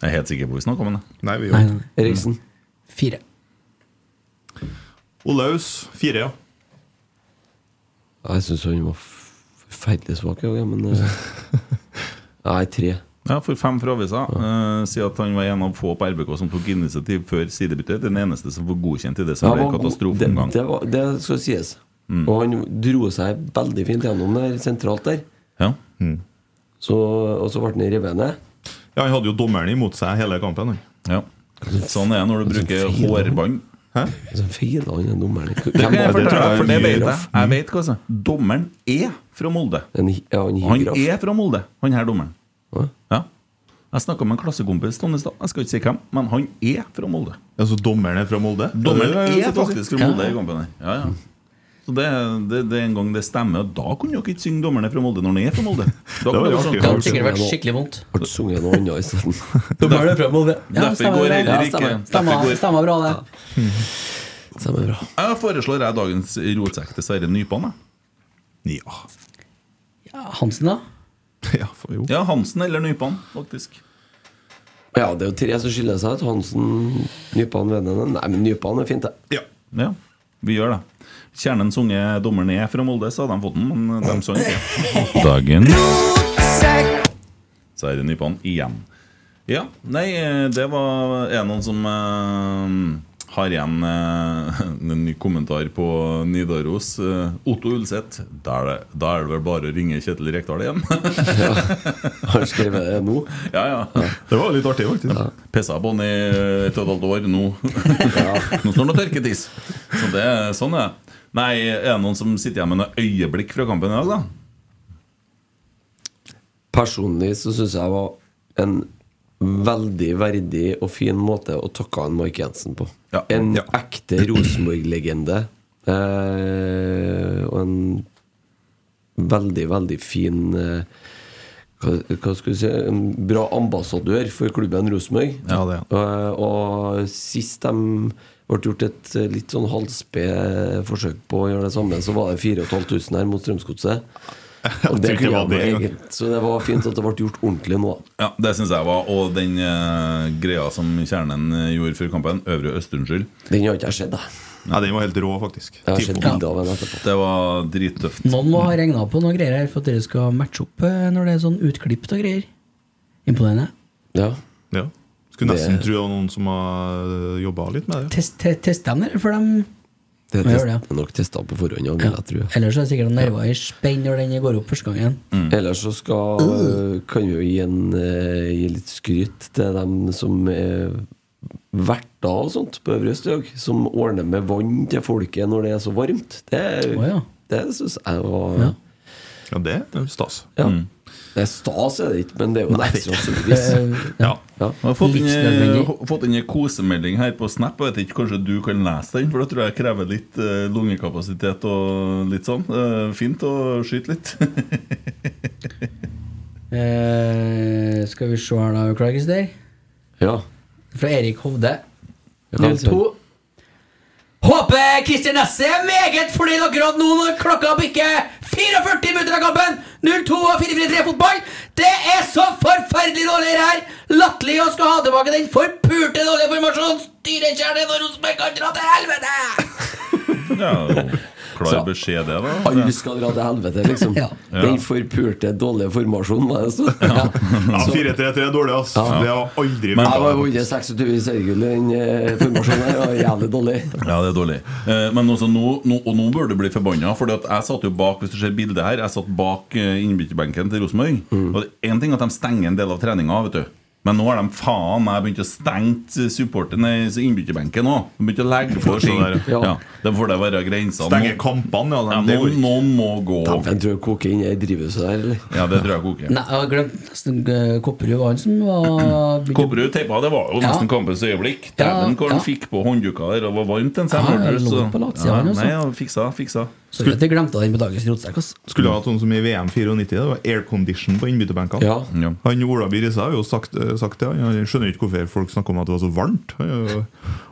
S2: Jeg er helt sikker på at vi snakka om ham.
S4: Nei, vi
S3: Nei,
S4: gjorde
S3: nei.
S4: det.
S6: Eriksen.
S3: Fire.
S4: Olaus. Fire, ja.
S6: Jeg syns han var f- forferdelig svak, jeg, ja, men eh, Nei, tre.
S2: Ja, for fem fra avisa eh, sier at han var en av få på RBK som tok initiativ før sidebyttet. Den eneste som får godkjent i det som
S6: Han
S2: ble
S6: var god.
S2: katastrofeomgang.
S6: Det, det, var- det skal sies.
S2: Mm.
S6: Og han dro seg veldig fint gjennom der sentralt der.
S2: Ja.
S6: Så, og så ble han revet ned.
S4: Ja, Han hadde jo dommeren imot seg hele kampen. han.
S2: ja. Sånn er det
S6: Altså,
S2: når du bruker hårbånd.
S6: Så feila Altså, han den dommeren.
S2: Det kan jeg
S6: var det?
S2: fortelle deg, for det
S4: mye
S2: vet jeg.
S4: raff.
S2: Jeg vet hva som er. Dommeren er fra Molde.
S6: En, hi- ja, en
S2: Han
S6: higraff.
S2: er fra Molde, han her dommeren.
S6: Hva?
S2: Ja. Jeg snakka med en klassekompis om det i stad. Jeg skal ikke si hvem, men han er fra Molde.
S4: Ja, Så dommeren er fra Molde?
S2: Dommeren
S4: Ja, ja, ja,
S2: er
S4: så-
S2: faktisk fra Molde i kampen her. Ja, ja. Så det, det, det er en gang det stemmer, og da kunne dere ikke synge dommerne fra Molde når de er fra Molde. Da
S4: var
S2: kunne dere
S4: artig.
S2: sånn-
S8: Det
S4: Det hadde
S8: hadde sikkert vært skikkelig vondt.
S6: Ble sunget noe annet isteden.
S2: Derfor går heller ikke-
S3: Stemmer,
S2: derfor går-
S3: stemmer bra, det.
S6: Stemmer bra.
S2: Jeg foreslår jeg dagens rotsekk til Sverre Nypan. jeg.
S4: Ja.
S3: Ja, Hansen, da?
S4: ja for jo.
S2: Ja, Hansen eller Nypan, faktisk.
S6: Ja, det er jo tre som skiller seg ut. Hansen, Nypan, Vennene. Nei, men Nypan er fint, det.
S2: Ja. Vi gjør det. Kjernen sunget 'Dommeren er fra Molde', så hadde de fått den, men de sang ikke. Dagen Så er det Nypan igjen. Ja, nei, eh, det var Er det noen som eh, har igjen eh, en ny kommentar på Nidaros? Eh, Otto Ulseth. Da er det- da er det vel bare å ringe Kjetil Rekdal igjen.
S6: Har skrevet det nå.
S2: ja, ja.
S4: Det var litt artig, faktisk.
S2: Pissa på den i et og et halvt år. Nå Nå står den og tørker tiss. Så det, sånn er det. Nei, er det noen som sitter igjen med noen øyeblikk fra kampen i dag, da?
S6: Personlig så syns jeg var en veldig verdig og fin måte å takke han Mark Jensen på.
S2: Ja.
S6: En
S2: Ja.
S6: ekte Rosenborg-legende. Eh, og en veldig, veldig fin eh, hva, hva skal vi si En bra ambassadør for klubben Rosenborg.
S4: Ja, det er han.
S6: Eh, og sist de ble gjort et eh, litt sånn halvsped forsøk på å gjøre det samme, så var det 4500 her mot Strømsgodset. Og det
S4: Jeg tror ikke det
S6: kunne
S4: var
S6: jeg
S4: det
S6: egentlig- Så det var fint at det ble gjort ordentlig nå.
S2: Ja, Det syns jeg var. Og den eh, greia som kjernen eh, gjorde før kampen, Øvre Øst, unnskyld,
S6: Den har ikke jeg sett, da.
S4: Nei, den var helt rå, faktisk.
S6: Jeg har sett
S4: Tifo.
S6: bilder av den etterpå.
S2: det var drittøft.
S3: Noen må ha regna på noen greier her for at dere skal matche opp eh, når det er sånn utklipt og greier. Imponerende.
S6: Ja.
S4: Ja. Skulle nesten
S6: Det-
S4: tro det var noen som har jobba litt med det.
S3: Test, te, test dem der, for dem
S6: Det er
S3: Ja,
S6: test,
S3: gjør det, ja.
S6: det er nok testa på forhånd, ja, vil jeg tro.
S3: ja. Ellers er det sikkert noen nerver i spenn når den går opp første gangen.
S4: Mm.
S6: Ellers så skal, kan vi jo gi, en, eh, gi litt skryt til dem som er verter og sånt på Øvre Østøy, som ordner med vann til folket når det er så varmt. Det,
S3: Å, ja.
S6: det syns jeg var ja.
S3: Ja.
S4: Ja, det er stas.
S2: Mm.
S6: Det er stas, er det ikke, men det er jo en ekstra service.
S3: Eh,
S4: Ja.
S6: Ja.
S2: Jeg har fått inn, eh,
S3: Livsnødvendig.
S2: ho- fått inn en kosemelding her på Snap. Jeg vet ikke, Kanskje du kan lese den? For da tror jeg jeg krever litt eh, lungekapasitet og litt sånn. Eh, fint å skyte litt.
S3: eh, skal vi se her, da. Beklager, der
S6: Ja.
S3: Fra Erik Hovde.
S6: Ja,
S3: 02. Håper Christian Nesse er meget fornøyd akkurat nå når klokka bikker 44 minutter av kampen. 02 og 4-4-3 fotball. Det er så forferdelig dårlig det her. Latterlig å skal ha tilbake den forpulte dårlige formasjonen. Styrekjernen og Rosenborg kan dra til helvete!
S2: Ja, jo. klar
S6: Så-
S2: beskjed, det, da.
S6: Alle skal dra til helvete, liksom.
S3: Ja.
S6: Den forpulte, dårlige formasjonen, var det så? Ja.
S4: Ja, 4-3-3 er dårlig, ass. Det har aldri
S2: Men-
S6: Jeg var
S4: vært
S6: vunnet 26 seriegull i den eh, formasjonen her, og jævlig dårlig.
S2: Ja, det er dårlig. Eh, men også nå, nå, og nå bør du bli forbanna. For jeg satt jo bak hvis du ser bildet her Jeg satt bak eh, innbytterbenken til Rosenborg.
S3: Mm.
S2: Og det er én ting at de stenger en del av treninga, vet du. Men nå har de faen meg begynt å stenge supporterne i innbytterbenken òg. De begynte å legge på ting.
S6: Ja.
S2: Ja, de får det være grensene.
S4: Stenge
S2: Nå-
S4: kampene,
S2: Ja,
S4: ja. det
S2: noen,
S4: går ikke.
S2: noen må gå.
S6: Jeg tror jeg koker inn i drivhuset der, eller?
S2: Ja, det tror jeg koker.
S3: Nei, altså, jeg har glemt nesten eh, Kopperud var han som var
S2: Kopperud teipa, det var jo
S3: Ja.
S2: nesten kampens øyeblikk.
S3: Ja,
S2: Dæven, hvor han
S3: ja.
S2: fikk på håndduka der, og var varmt en
S3: Ja,
S2: semmer.
S3: det lå på latsida, han også.
S2: nei, ja, fiksa, fiksa.
S3: Sorry at jeg glemte den på dagens rotsekk. ass.
S4: Skulle ha hatt sånn som i VM 94. Det var aircondition på innbytterbenkene.
S6: Ja.
S2: Ja.
S4: Han Ola By Rissa har jo sagt, eh, sagt det. Han han skjønner ikke hvorfor folk snakker om at det var så varmt. Han har jo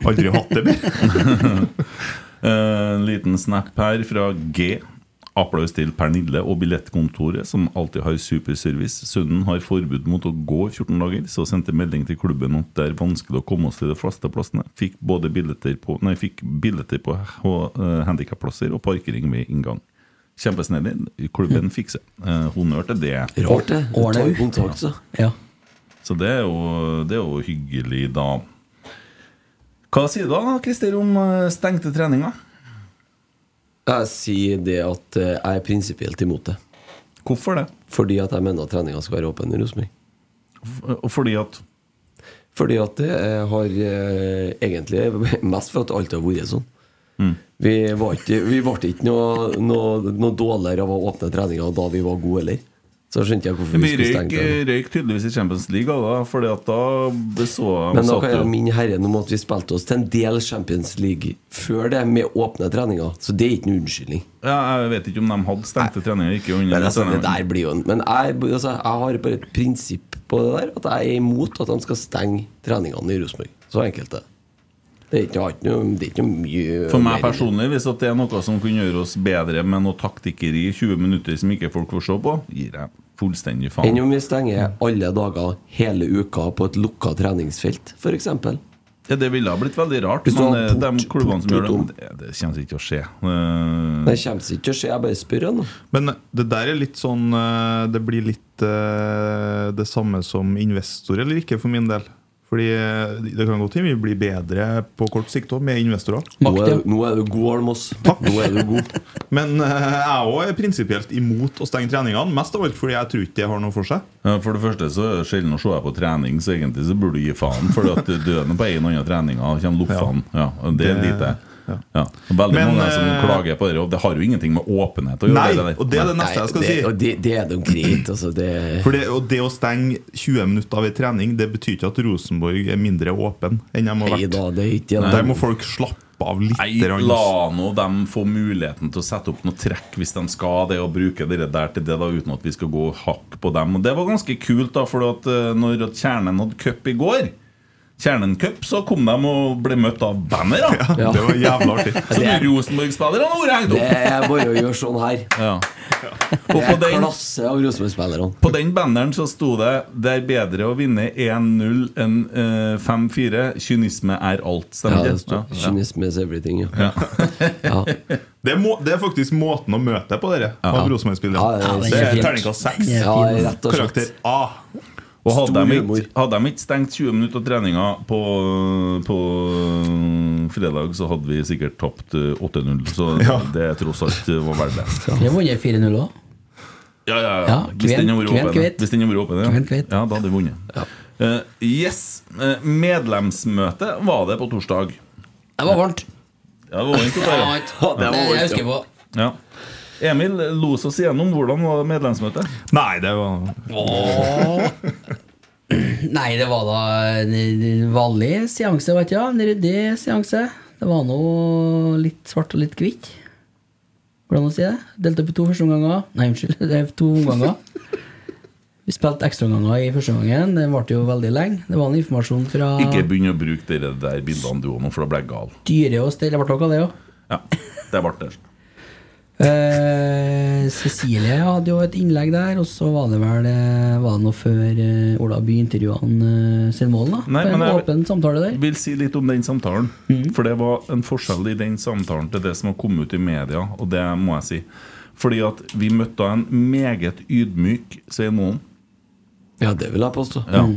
S4: aldri hatt det mer.
S2: Eh, En liten snap her fra G. Applaus til Pernille og billettkontoret, som alltid har superservice. Sunden har forbud mot å gå i 14 dager, så sendte melding til klubben at det er vanskelig å komme oss til de fleste plassene. Fikk både billetter på Nei, fikk billetter på eh, handikapplasser og parkering ved inngang. Kjempesnill. Klubben fikser. Eh, Honnør til det.
S6: Rart, det. Du
S3: Ordne
S6: tar
S3: ut.
S6: kontakt, så.
S3: Ja.
S2: Så det er jo, det er jo hyggelig, da. Hva sier du da, Christer, om eh, stengte treninger?
S6: Jeg sier det at eh, jeg er prinsipielt imot det.
S2: Hvorfor det?
S6: Fordi at jeg mener at treninga skal være åpen i Rosenborg.
S2: F- og Fordi at
S6: Fordi at det eh, har eh, egentlig mest for at det alltid har vært sånn.
S2: Mm.
S6: Vi, var ikke, vi ble ikke noe, noe, noe dårligere av å åpne treninga da vi var gode, eller? Så skjønte jeg hvorfor
S2: Men
S6: vi skulle
S2: røyk,
S6: stenge den.
S2: røyk tydeligvis i Champions League, da, Fordi at da så jeg
S6: Men da
S2: satt
S6: kan
S2: jo-
S6: jeg minne herren om at vi spilte oss til en del Champions League før det, med åpne treninger. Så det er ikke noen unnskyldning.
S2: ja, Jeg vet ikke om de hadde stengte treninger. Ikke under
S6: Men altså, det
S2: treninger.
S6: der blir jo en Men jeg, altså, jeg har bare et prinsipp på det der, at jeg er imot at de skal stenge treningene i Rosenborg. Så enkelt er det. Det er ikke, jeg har ikke noe, det er ikke noe mye
S2: For meg
S6: mer-
S2: personlig, hvis at det er noe som kunne gjøre oss bedre med noe taktikkeri i 20 minutter som ikke folk får se på, gir jeg fullstendig
S6: Enn
S2: faen.
S6: om vi stenger alle dager hele uka på et lukka treningsfelt, f.eks.
S2: Ja, det ville ha blitt veldig rart,
S6: Hvis du
S2: men eh,
S6: hadde
S2: de
S6: port-
S2: klubbene som gjør det,
S6: portum.
S2: det, det kommer ikke til å skje.
S6: Det
S2: Eh,
S6: kommer ikke til å skje, jeg bare spør. Jeg, nå.
S4: Men det der er litt sånn eh, Det blir litt eh, det samme som investor eller ikke, for min del. Fordi eh, det kan godt hende vi blir bedre på kort sikt òg, med investorer.
S6: Nå,
S3: Makt,
S6: er,
S3: ja.
S6: nå er du god, Almås.
S4: Takk.
S6: Nå er du god.
S4: Men eh, jeg òg er prinsipielt imot å stenge treningene. Mest av alt fordi jeg tror ikke det har noe for seg.
S2: Ja, For det første så er det sjelden å se deg på trening, så egentlig så burde du gi faen. For at døden på en og annen trening og kommer loffene. Ja. det er
S4: Det-
S2: lite. Ja. Veldig
S4: Men,
S2: mange som
S4: eh,
S2: klager på det, og det har jo ingenting med åpenhet å gjøre.
S4: Nei,
S2: der.
S4: og det er det
S6: Nei,
S4: neste jeg skal
S6: det,
S4: si.
S6: og det, det er noe greit, altså. Det,
S4: For det, og det å stenge 20 minutter av en trening Det betyr ikke at Rosenborg er mindre åpen enn de har
S6: nei
S4: vært.
S6: da, det er ikke
S4: Der
S6: det.
S4: må folk slappe av litt.
S2: Nei,
S4: grann.
S2: la nå dem få muligheten til å sette opp noe trekk hvis de skal det, og bruke det der til det, da, uten at vi skal gå hakk på dem. Og Det var ganske kult, da, for at eh, når at Kjernen hadde cup i går, Kjernen Cup, så kom de og ble møtt av bannere.
S6: Ja.
S4: Det var jævla artig.
S2: Som Rosenborg-spillerne har vært hengt
S6: Det
S2: opp!
S6: er bare å gjøre sånn her.
S2: Ja. Og
S6: Det
S2: på
S6: er
S2: den,
S6: klasse av Rosenborg-spillerne.
S2: på den banneren så sto det 'Det er bedre å vinne 1-0 enn eh, 5-4'. Kynisme er alt.
S6: Ja,
S2: Stemmer
S6: det
S2: ikke?
S6: står Kynisme is everything, ja.
S2: Ja.
S6: Ja.
S4: Det er, må, det er faktisk måten å møte deg på, dere. Av Rosenborg-spillere.
S6: Ja,
S3: det er
S4: det er
S3: helt-
S4: terningkast seks.
S3: den er
S6: Ja,
S3: fin, altså.
S6: rett og slett.
S4: Karakter A.
S2: Og hadde
S6: Stor
S2: de,
S6: humor.
S2: ikke, hadde de ikke stengt 20 minutter av treninga på, på øh, fredag, så hadde vi sikkert tapt øh, 8-0. Så
S4: Ja.
S2: det er tross alt øh, var verdt det.
S3: Vi har vunnet 4-0 òg.
S2: Ja, ja, ja.
S3: Ja,
S2: Hvis den hadde
S3: kven-
S2: vært åpen,
S3: kven kvitt.
S2: Hvis den hadde vært åpen, ja.
S3: Kven kvitt.
S2: ja, da hadde vi vunnet. Eh, yes. eh, medlemsmøte var det på torsdag.
S3: Det var varmt.
S2: Ja, det var vondt å
S3: Det
S2: ta
S3: var
S2: i.
S3: varmt.
S6: Ja, det var
S3: Det- Jeg
S6: varmt,
S3: husker på
S2: ja. Emil, los oss igjennom. Hvordan var medlemsmøtet?
S4: Nei, det var
S3: Nei, det var da en en vanlig seanse, vet jeg. En ryddig seanse. Det var nå litt svart og litt hvitt. Hvordan å si det? Delt opp i to førsteomganger. Nei, unnskyld. Det er to omganger. Vi spilte ekstraomganger i første omgangen. Det varte jo veldig lenge. Det var en informasjon fra
S2: Ikke begynn å bruke de der bildene du òg nå, for da blir jeg gal.
S3: dyre og stell. Det ble noe av det òg.
S2: Ja, det ble det.
S3: Eh, Cecilie hadde jo et innlegg der, og så var det vel eh, Var det noe før eh, Ola By intervjua eh, Selmålen, da?
S2: Nei,
S3: På en
S2: men jeg-
S3: åpen samtale der. Mm.
S2: vil si litt om den samtalen. For det var en forskjell i den samtalen til det som har kommet ut i media, og det må jeg si. Fordi at vi møtte da en meget ydmyk Svein Moen.
S6: Ja, det vil jeg påstå. Mm.
S2: Ja.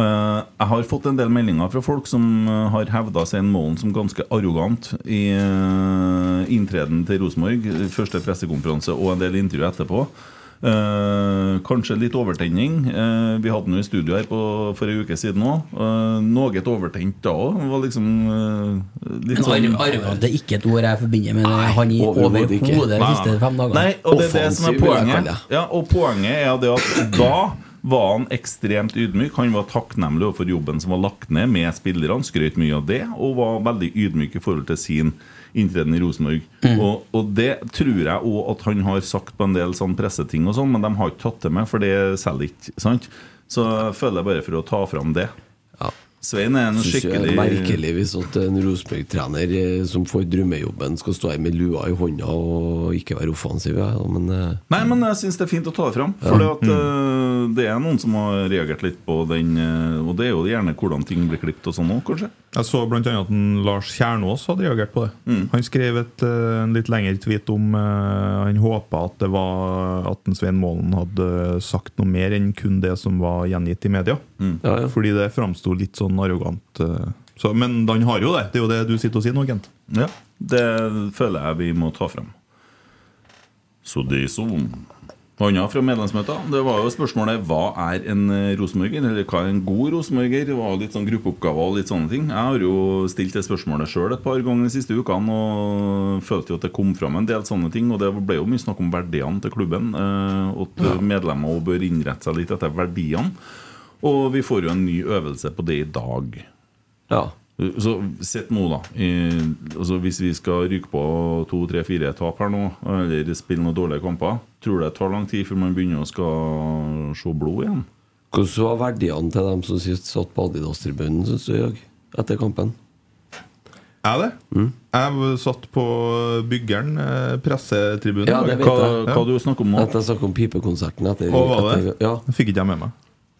S2: Eh, Jeg har fått en del meldinger fra folk som eh, har hevda Svein Målen som ganske arrogant i eh, inntreden til Rosenborg. Første pressekonferanse og en del intervju etterpå. Eh, kanskje litt overtenning. Eh, vi hadde den jo i studio her på, for ei uke siden òg. noe overtent da òg. Var liksom eh, litt sånn
S3: Arv, det er ikke et ord jeg forbinder med det. Han gir
S6: overhodet
S3: overhodet
S6: ikke.
S3: de
S2: Nei,
S3: siste
S2: nei.
S3: fem dagene.
S2: Nei, og det er det som er
S6: Offensiv, vil jeg kalle
S2: poenget.
S6: det.
S2: Ja, og poenget er det at da var han ekstremt ydmyk. Han var takknemlig overfor jobben som var lagt ned med spillerne, skrøt mye av det, og var veldig ydmyk i forhold til sin inntreden i Rosenborg. Og, og det tror jeg òg at han har sagt på en del sånn presseting og sånn, men de har ikke tatt det med, for det selger ikke, sant? Så jeg føler jeg bare for å ta fram det.
S6: Ja.
S2: Svein er en
S6: Synes jeg det er
S2: skikkelig
S6: merkelig hvis at en Rosenborg-trener eh, som får drømmejobben, skal stå her med lua i hånda og ikke være offensiv. Ja, men eh,
S2: Nei, men jeg syns det er fint å ta det fram. For eh, det er noen som har reagert litt på den. eh, og det er jo gjerne hvordan ting blir klippet og sånn òg, kanskje.
S4: Jeg så blant annet at en Lars Kjernås hadde reagert på det.
S2: Mm.
S4: Han skrev et, eh, en litt lengre tweet om eh, han håpa at det var at en Svein Målen hadde sagt noe mer enn kun det som var gjengitt i media.
S2: Mm.
S6: ja, ja.
S4: Fordi det framsto litt sånn arrogant. eh. Så, men han har jo det. Det er jo det du sitter og sier nå, Kent.
S2: Ja, Det føler jeg vi må ta fram. Så det er sånn. Noe annet fra medlemsmøtet. Det var jo spørsmålet hva er en eh, rosenborger, eller hva er en god rosenborger? Det var jo litt sånn gruppeoppgaver og litt sånne ting. Jeg har jo stilt det spørsmålet sjøl et par ganger de siste ukene og følte jo at det kom fram en del sånne ting. Og det ble jo mye snakk om verdiene til klubben, eh, og at medlemmer også bør innrette seg litt etter verdiene. Og vi får jo en ny øvelse på det i dag.
S6: Ja.
S2: Så sett nå, da. I, altså hvis vi skal ryke på to, tre, fire tap her nå, eller spille noen dårlige kamper, tror du det tar lang tid før man begynner å skal se blod igjen?
S6: Hvordan var verdiene til dem som sist satt på Adidas-tribunen, syns du, Jørg? Etter kampen? Mm?
S4: Er det? Jeg satt på byggeren, eh, pressetribunen.
S6: Ja, det vet
S2: Hva,
S6: jeg.
S2: hva du snakker om nå?
S6: At jeg snakker om pipekonserten etter
S4: Og var det?
S6: etter- Ja.
S4: Det fikk ikke jeg med meg.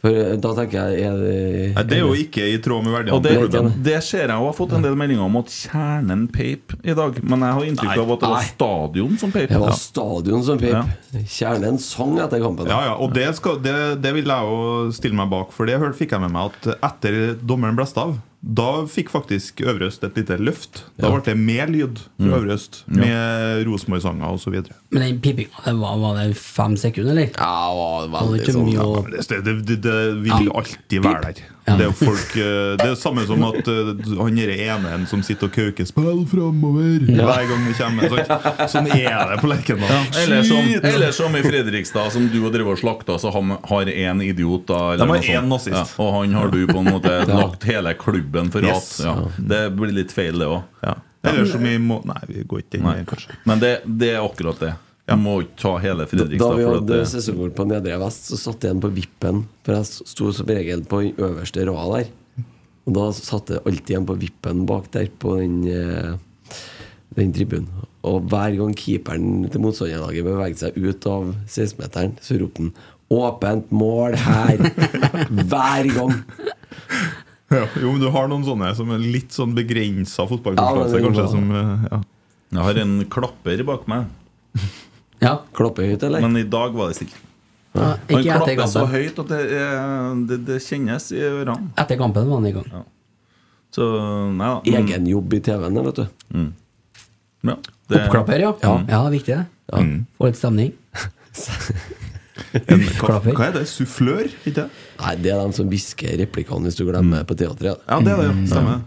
S6: For eh, da tenker jeg er det-
S4: Nei, det er jo ikke i tråd med verdiene.
S2: Og det,
S4: til klubben.
S2: det ser jeg jo har fått en del meldinger om at kjernen peip i dag. Men jeg har inntrykk av at det var
S6: Nei.
S2: stadion som peip.
S6: Det var
S2: Ja.
S6: stadion som pep.
S2: Ja.
S6: Kjernen sang etter kampen.
S4: Ja, ja, og det, skal, det, det vil jeg jo stille meg bak, for det hørte- fikk jeg med meg at etter dommeren blåste av, da fikk faktisk Øvre Øst et lite løft. Da ble det mer lyd
S6: Mm.
S4: fra Øvre Øst, med Rosenborg-sanger osv.
S3: Men den pipinga, det var, var det fem sekunder, eller?
S6: Ja, det var
S3: Det var
S6: veldig
S3: ikke
S6: sånn
S3: mye å
S4: Det, det, det, det vil alltid være der. Det er jo folk eh, Det er samme som at eh, han derre ene en som sitter og kauker 'spill framover' hver gang vi kommer. Sånn, sånn er det på Lerkendal.
S2: Eller som,
S4: Shit!
S2: eller som i Fredrikstad, som du har drevet og slakta, så han har én idiot da eller
S4: De har
S2: noe sånt.
S4: én nazist.
S2: Ja, og han har du på en måte lagt hele klubben for
S4: Yes.
S2: hat. Ja. Det blir litt feil, det òg.
S4: Ja. Eller som i må... Nei, vi går ikke inn
S2: Nei,
S4: der, kanskje.
S2: Men det, det er akkurat det. Du må ikke ta hele
S6: Da
S2: Fredrikstad.
S6: vi
S2: For at
S6: hadde
S2: det,
S6: sesongkort på Nedre Vest, så satt jeg en på vippen. For jeg sto som regel på den øverste rada der. Og da satt jeg alltid en på vippen bak der, på den, eh, den tribunen. Og hver gang keeperen til motstanderlaget beveget seg ut av 16-meteren, så ropte han 'Åpent mål her!' Hver gang.
S4: Ja, jo, men du har noen sånne som er litt sånn begrensa fotballforståelse,
S6: Ja, men det
S4: kanskje.
S6: er
S4: Som, eh, ja.
S2: jeg har en klapper bak meg,
S3: Ja.
S6: Klappe høyt, eller?
S2: men i dag var det stille.
S3: Ja,
S2: Han
S3: Ikke etter
S2: klapper så
S3: kampen.
S2: høyt at det, er- det, det kjennes i ørene.
S3: Etter kampen var han i gang.
S2: Så nei da. men-
S6: Egen jobb i TV-en, det, vet du.
S2: Ja, det- Mm.
S3: Oppklapper, ja. Ja, det er viktig, det. Få litt stemning.
S4: hva,
S3: Klapper.
S4: hva er det? Sufflør? Ikke det? Mm.
S6: Nei, det er dem som hvisker replikkene hvis du glemmer på teatret.
S4: Ja, det er det. ja. Stemmer.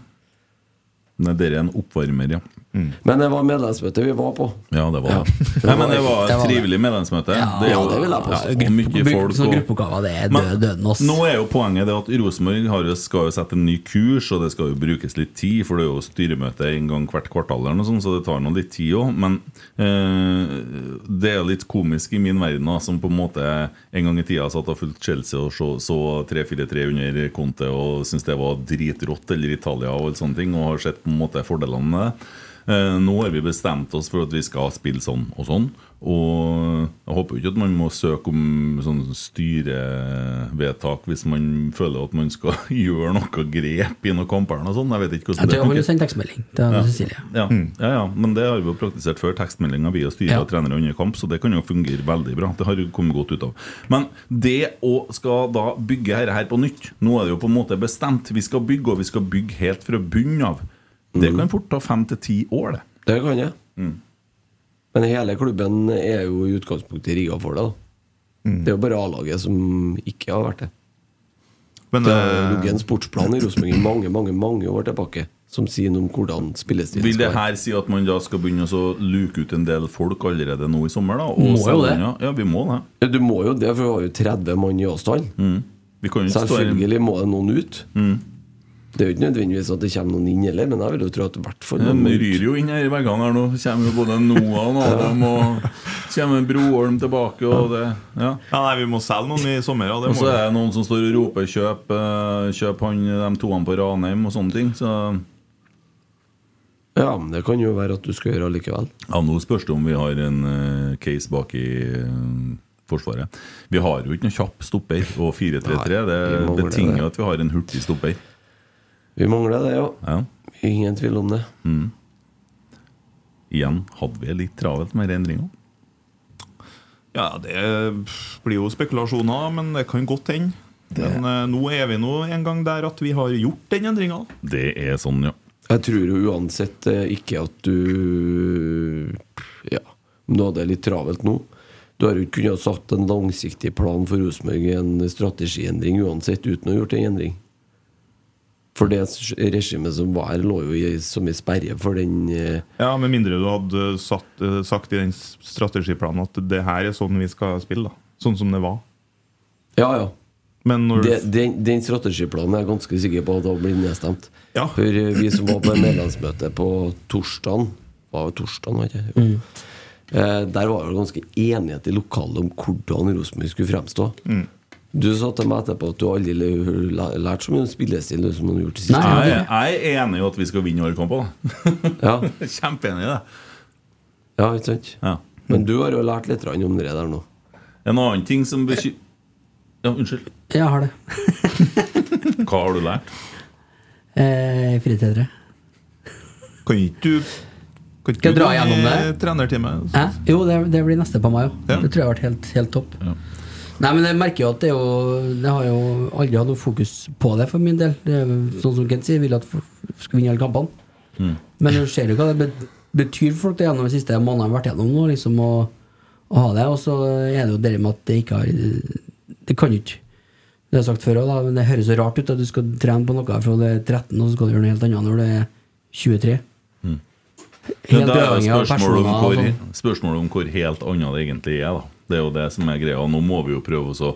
S2: Nei, dere er en oppvarmer, ja.
S6: Mm. Men det var medlemsmøtet vi var på.
S2: Ja, det var det. Nei, men det var et
S3: Det var det.
S2: trivelig medlemsmøte. er
S6: ja,
S2: jo-
S6: det vil jeg
S2: ja,
S6: påstå.
S2: og mye
S3: Bruk-
S2: folk
S3: Sånn
S2: og-
S3: gruppeoppgaver, det er
S2: Men
S3: død, døden oss.
S2: Nå er jo poenget det at Rosenborg har jo- skal jo sette en ny kurs, og det skal jo brukes litt tid, for det er jo styremøte en gang hvert kvartal, eller noe sånt, så det tar nå litt tid òg. Men eh, det er jo litt komisk i min verden, da, som på en måte en gang i tida satt og fulgte Chelsea og så, så 3-4-3 under Conte og syntes det var dritrått, eller Italia og alle sånne ting, og har sett på en måte fordelene med det. Eh, Nå har vi bestemt oss for at vi skal spille sånn og sånn. Og jeg håper jo ikke at man må søke om sånn styrevedtak hvis man føler at man skal gjøre noe grep i noen kamper. eller noe sånt. Jeg vet ikke
S3: Jeg
S2: hvordan
S3: tror jeg
S2: det
S3: holder
S2: funker.
S3: sendt tekstmelding til Cecilie.
S2: Ja,
S6: Mm.
S2: ja, ja, men det har vi jo praktisert før. Tekstmeldinger via styre
S3: Ja.
S2: og trenere under kamp, så det kan jo fungere veldig bra. Det har jo kommet godt ut av. Men det å skal da bygge dette her på nytt Nå er det jo på en måte bestemt. Vi skal bygge, og vi skal bygge helt fra bunnen av. Det kan fort ta fem til ti år, det. Mm.
S6: Mm. Det kan jeg. Men hele klubben er jo i utgangspunktet rigga for det. da
S4: Mm.
S6: Det er jo bare A-laget som ikke har vært det.
S4: Men
S6: Det har ligget en
S4: eh,
S6: sportsplan i Rosenborg i mange mange, mange år tilbake som sier noe om hvordan spillestilen
S2: Vil det
S6: skal være.
S2: her si at man da skal begynne å så luke ut en del folk allerede nå i sommer? da? og
S3: Må jo
S2: selge
S3: det.
S2: unna? Ja, vi må det. Mm.
S6: Ja, Du må jo det, for vi har jo 30 mann i avstand.
S2: Vi kan jo ikke stå Mm. her
S6: Selvfølgelig må det noen ut. Det er jo ikke nødvendigvis at det kommer noen inn heller, men jeg vil jo tro at i hvert fall
S2: De
S6: noen må
S2: ryr
S6: ut.
S2: jo inn her i veggene her nå. Kommer jo både Noah og Adam, og kommer Broholm tilbake, og det Ja.
S4: ja, nei, vi må selge noen i sommer. Ja, det
S2: Og
S4: må
S2: så
S4: vi.
S2: er det noen som står og roper 'kjøp, eh, kjøp han, de toene på Ranheim' og sånne ting. Så
S6: Ja, men det kan jo være at du skal gjøre allikevel.
S2: Ja, Nå spørs det om vi har en eh, case bak i eh, Forsvaret. Vi har jo ikke noen kjapp stopper, og 4-3-3 det
S6: Nei, vi mangler
S2: betinger
S6: det.
S2: at vi har en hurtig stopper.
S6: Vi mangler det, ja.
S2: Ja. Mm.
S6: Ingen tvil om det.
S2: Igjen hadde vi litt travelt med endringene.
S4: Ja, det blir jo spekulasjoner, men det kan godt hende. Men eh, nå er vi nå en gang der at vi har gjort den endringa.
S2: Det er sånn, ja.
S6: Jeg tror jo uansett eh, ikke at du Ja, om du hadde det litt travelt nå, Du har jo ikke kunnet satt en langsiktig plan for Rosenborg, en strategiendring uansett, uten å ha gjort en endring. For det regimet som var her, lå jo i, som i sperre for den eh,
S4: Ja, Med mindre du hadde satt, eh, sagt i den s- strategiplanen at det her er sånn vi skal spille. da Sånn som det var.
S6: Ja, ja.
S4: Men når
S6: Det- Den, den strategiplanen er jeg ganske sikker på at har blitt nedstemt.
S4: Ja.
S6: For eh, vi som var på medlemsmøtet på torsdagen Var det torsdagen, var det ikke? Jo. Eh, der var det ganske enighet i lokalet om hvordan Rosenborg skulle fremstå. Du sa til meg etterpå at du aldri l- l- lært så mye om spillestil du, som du har gjort i siste.
S3: Nei.
S2: Jeg, jeg er enig i at vi skal vinne alle kamper. da.
S6: Ja,
S2: Kjempeenig i det.
S6: ja, ikke sant?
S2: Ja.
S6: Men du har jo lært litt grann om det der nå.
S2: En annen ting som beky... Ja, unnskyld.
S3: Jeg har det.
S2: Hva har du lært?
S3: Eh, Fritidere.
S4: Kan ikke du Kan ikke
S3: Skal jeg
S4: du
S3: dra
S4: gå i
S3: gjennom det?
S4: Trenertime.
S3: Hæ? Jo, det, det blir neste på meg òg.
S4: Ja.
S3: Det tror jeg har vært helt, helt topp. Nei, men jeg merker jo at det er jo Det har jo aldri hatt noe fokus på det for min del. Det er jo sånn som Kent sier, vil at folk skal vinne alle kampene. Men du ser jo hva det bet- betyr for folk det gjennom de siste månedene har vært gjennom nå, liksom å, å ha det. Og så er det jo det med at det ikke har Det kan jo ikke Det har jeg sagt før òg, men det høres så rart ut at du skal trene på noe fra du er 13, og så skal du gjøre noe helt annet når du er 23.
S2: Ja,
S3: Helt
S2: da er
S3: uavhengig
S2: jo
S3: av
S2: spørsmålet, om
S3: personer. og
S2: hvor,
S3: sånn.
S2: altså. spørsmålet om hvor helt annet det egentlig er. da Det er jo det som er greia. Nå må vi jo prøve oss å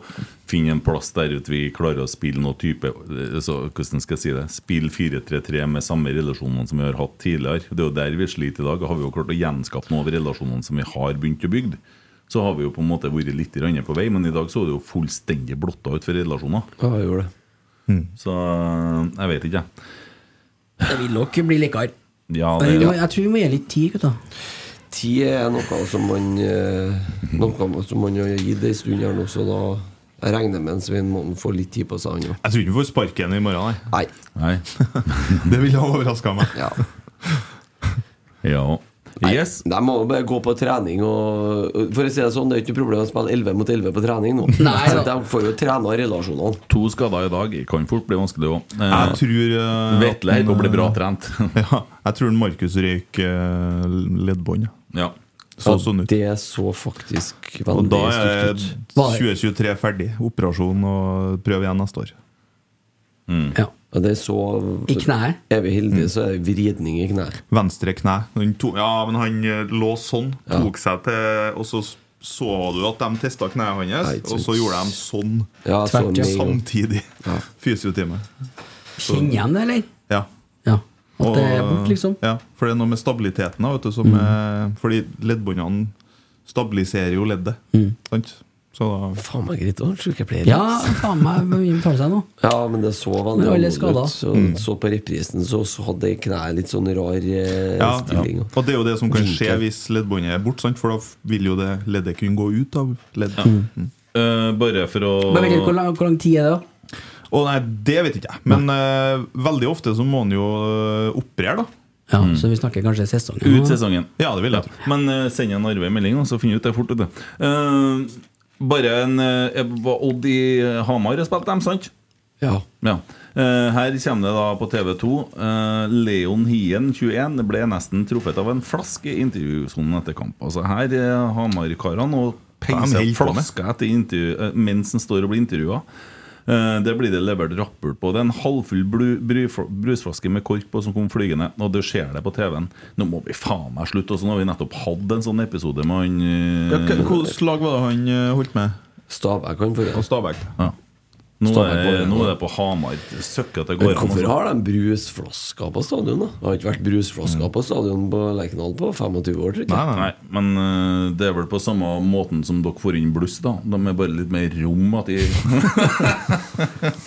S2: finne en plass der ute vi klarer å spille noe type altså, Hvordan skal jeg si det? Spille 4-3-3 med samme relasjonene som vi har hatt tidligere. Det er jo der vi sliter i dag. Har vi jo klart å gjenskape noe av relasjonene som vi har begynt å bygge, så har vi jo på en måte vært litt grann på vei, men i dag så er det jo fullstendig blotta ut for relasjoner.
S6: Ja, jeg gjorde det.
S2: Så eh, jeg vet ikke, jeg.
S3: Det vil nok bli likere.
S2: Ja,
S3: Men vi må-
S2: det,
S3: Jeg tror vi må gi litt tid, gutta.
S6: Tid er noe som man eh, Noe som man har gitt ei stund her nå, så da jeg regner med en Svein Månen får litt tid på seg, han òg.
S4: Jeg tror ikke vi får sparken i morgen, nei.
S6: Nei.
S2: nei.
S4: Det ville ha overraska meg.
S6: Ja.
S2: Ja.
S6: Nei,
S2: Yes.
S6: De må jo bare gå på trening og For å si det sånn, det er ikke noe problem å spille 11 mot 11 på trening nå.
S3: Nei,
S6: Så
S3: da.
S6: de får jo trena relasjonene.
S2: To skader i dag kan fort bli vanskelig òg.
S4: Jeg tror eh,
S2: Vetle holder på å bli bra trent.
S4: Ja, jeg tror Markus røyk eh, leddbånd. ja.
S2: ja.
S4: Så
S6: Og
S4: sånn ut.
S6: Det så faktisk
S4: Og
S6: veldig
S4: da er
S6: stygt ut.
S4: 2023 ferdig. Operasjon og prøv igjen neste år.
S2: Mm.
S3: Ja.
S6: Og det så
S3: I kneet.
S6: Er vi heldige, så er det vridning i kneet.
S4: Venstre kne. Den to, ja, men han eh, lå sånn, tok seg til Og så så du at de testa kneet
S6: Nei,
S4: hans,
S6: ikke
S4: og
S6: sant.
S4: så gjorde de sånn
S6: Ja, så
S3: Tvert, ja.
S6: med en gang.
S4: samtidig.
S6: Ja.
S4: Fysiotime.
S3: Kjenner igjen det, eller?
S4: Ja.
S3: Ja. At
S4: Og-
S3: det er bort, liksom. Mm.
S4: Ja, for det er noe med stabiliteten. da, Vet du, som, eh, fordi leddbåndene stabiliserer jo leddet.
S3: Mm.
S4: Sant? Så da
S6: Faen meg greit å ha en sykepleier.
S3: Ja, faen meg, hvor mye betaler seg nå?
S6: Ja, men det så veldig
S3: Men alle
S6: alvorlig
S3: skader.
S6: ut. Så,
S2: Mm.
S6: så på reprisen så, så hadde kneet litt sånn rar eh,
S4: Ja,
S6: stilling.
S4: og det er jo det som kan skje
S6: Vinkel.
S4: hvis leddbåndet er borte, sant? for da f- vil jo det leddet kunne gå ut av ledd. Mm.
S2: Eh, bare for å
S3: Men vet dere hvor, lang, hvor lang tid er det, da?
S4: Og nei, det vet ikke jeg, men eh, veldig ofte så må han jo eh, operere, da.
S3: Ja, Mm. Så vi snakker kanskje sesong?
S2: Ut sesongen.
S4: Ja, det vil jeg.
S2: Men eh, send en Arve en melding, og så finner vi ut det fort. vet du. Eh, bare en eh, jeg var Odd i eh, Hamar har spilt dem, sant?
S6: Ja.
S2: Ja. Eh, her kommer det da på TV2. eh, Leon Hien, 21, ble nesten truffet av en flaske i intervjusonen etter kamp. Altså her er Hamar-karene og
S4: De
S2: peiser
S4: holder på med.
S2: flaska etter intervju, eh, mens han står og blir intervjua. Eh, Det blir det levert rapport på. Det er en halvfull bru, bru, brusflaske med kork på som kom flygende, og det skjer det på TV-en. Nå må vi faen meg slutte, og så nå har vi nettopp hatt en sånn episode med han eh,
S4: Hvilket lag var det han eh, holdt med?
S6: Stabæk kan
S4: Og
S6: forrige.
S4: Stabæk?
S2: ja. nå,
S6: Stavanger
S2: er,
S6: går det nå.
S2: nå er det på Hamar. Søkk at det går
S6: Men
S2: an. altså.
S6: hvorfor har de brusflasker på stadion, da? Det har ikke vært brusflasker på stadion på Lerkendal på 25 år, tror jeg.
S4: Nei, nei.
S2: Mm. Nei, men eh, det er vel på samme måten som dere får inn bluss, da. De er bare litt mer rom at de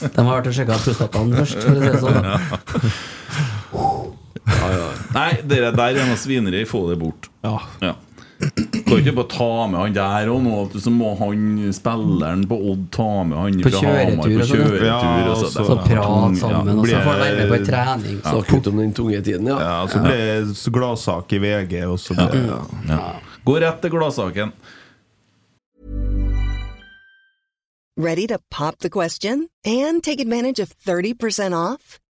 S3: De har vært og sjekka prostataen først. For å si det sånn. da.
S2: Nei, dere der er noe svineri. Få det bort. Ja. Kan ikke bare ta med han der òg nå, at så må han spilleren på Odd ta med han
S3: På
S2: fra
S3: kjøretur
S2: Hamar på
S3: og sånn, ja.
S2: kjøretur. altså.
S4: Ja,
S2: og så-
S4: så-
S3: Så
S2: Det er tung-
S3: prat sammen, og
S4: blir-
S3: så får være med på en trening. Så.
S6: Snakker ut om den tunge tiden, ja.
S4: Ja, så ble det s- gladsak i VG, og så ble det
S2: Ja. Ja. Gå rett til gladsaken.
S8: Ready to pop the question and take advantage of 30% off?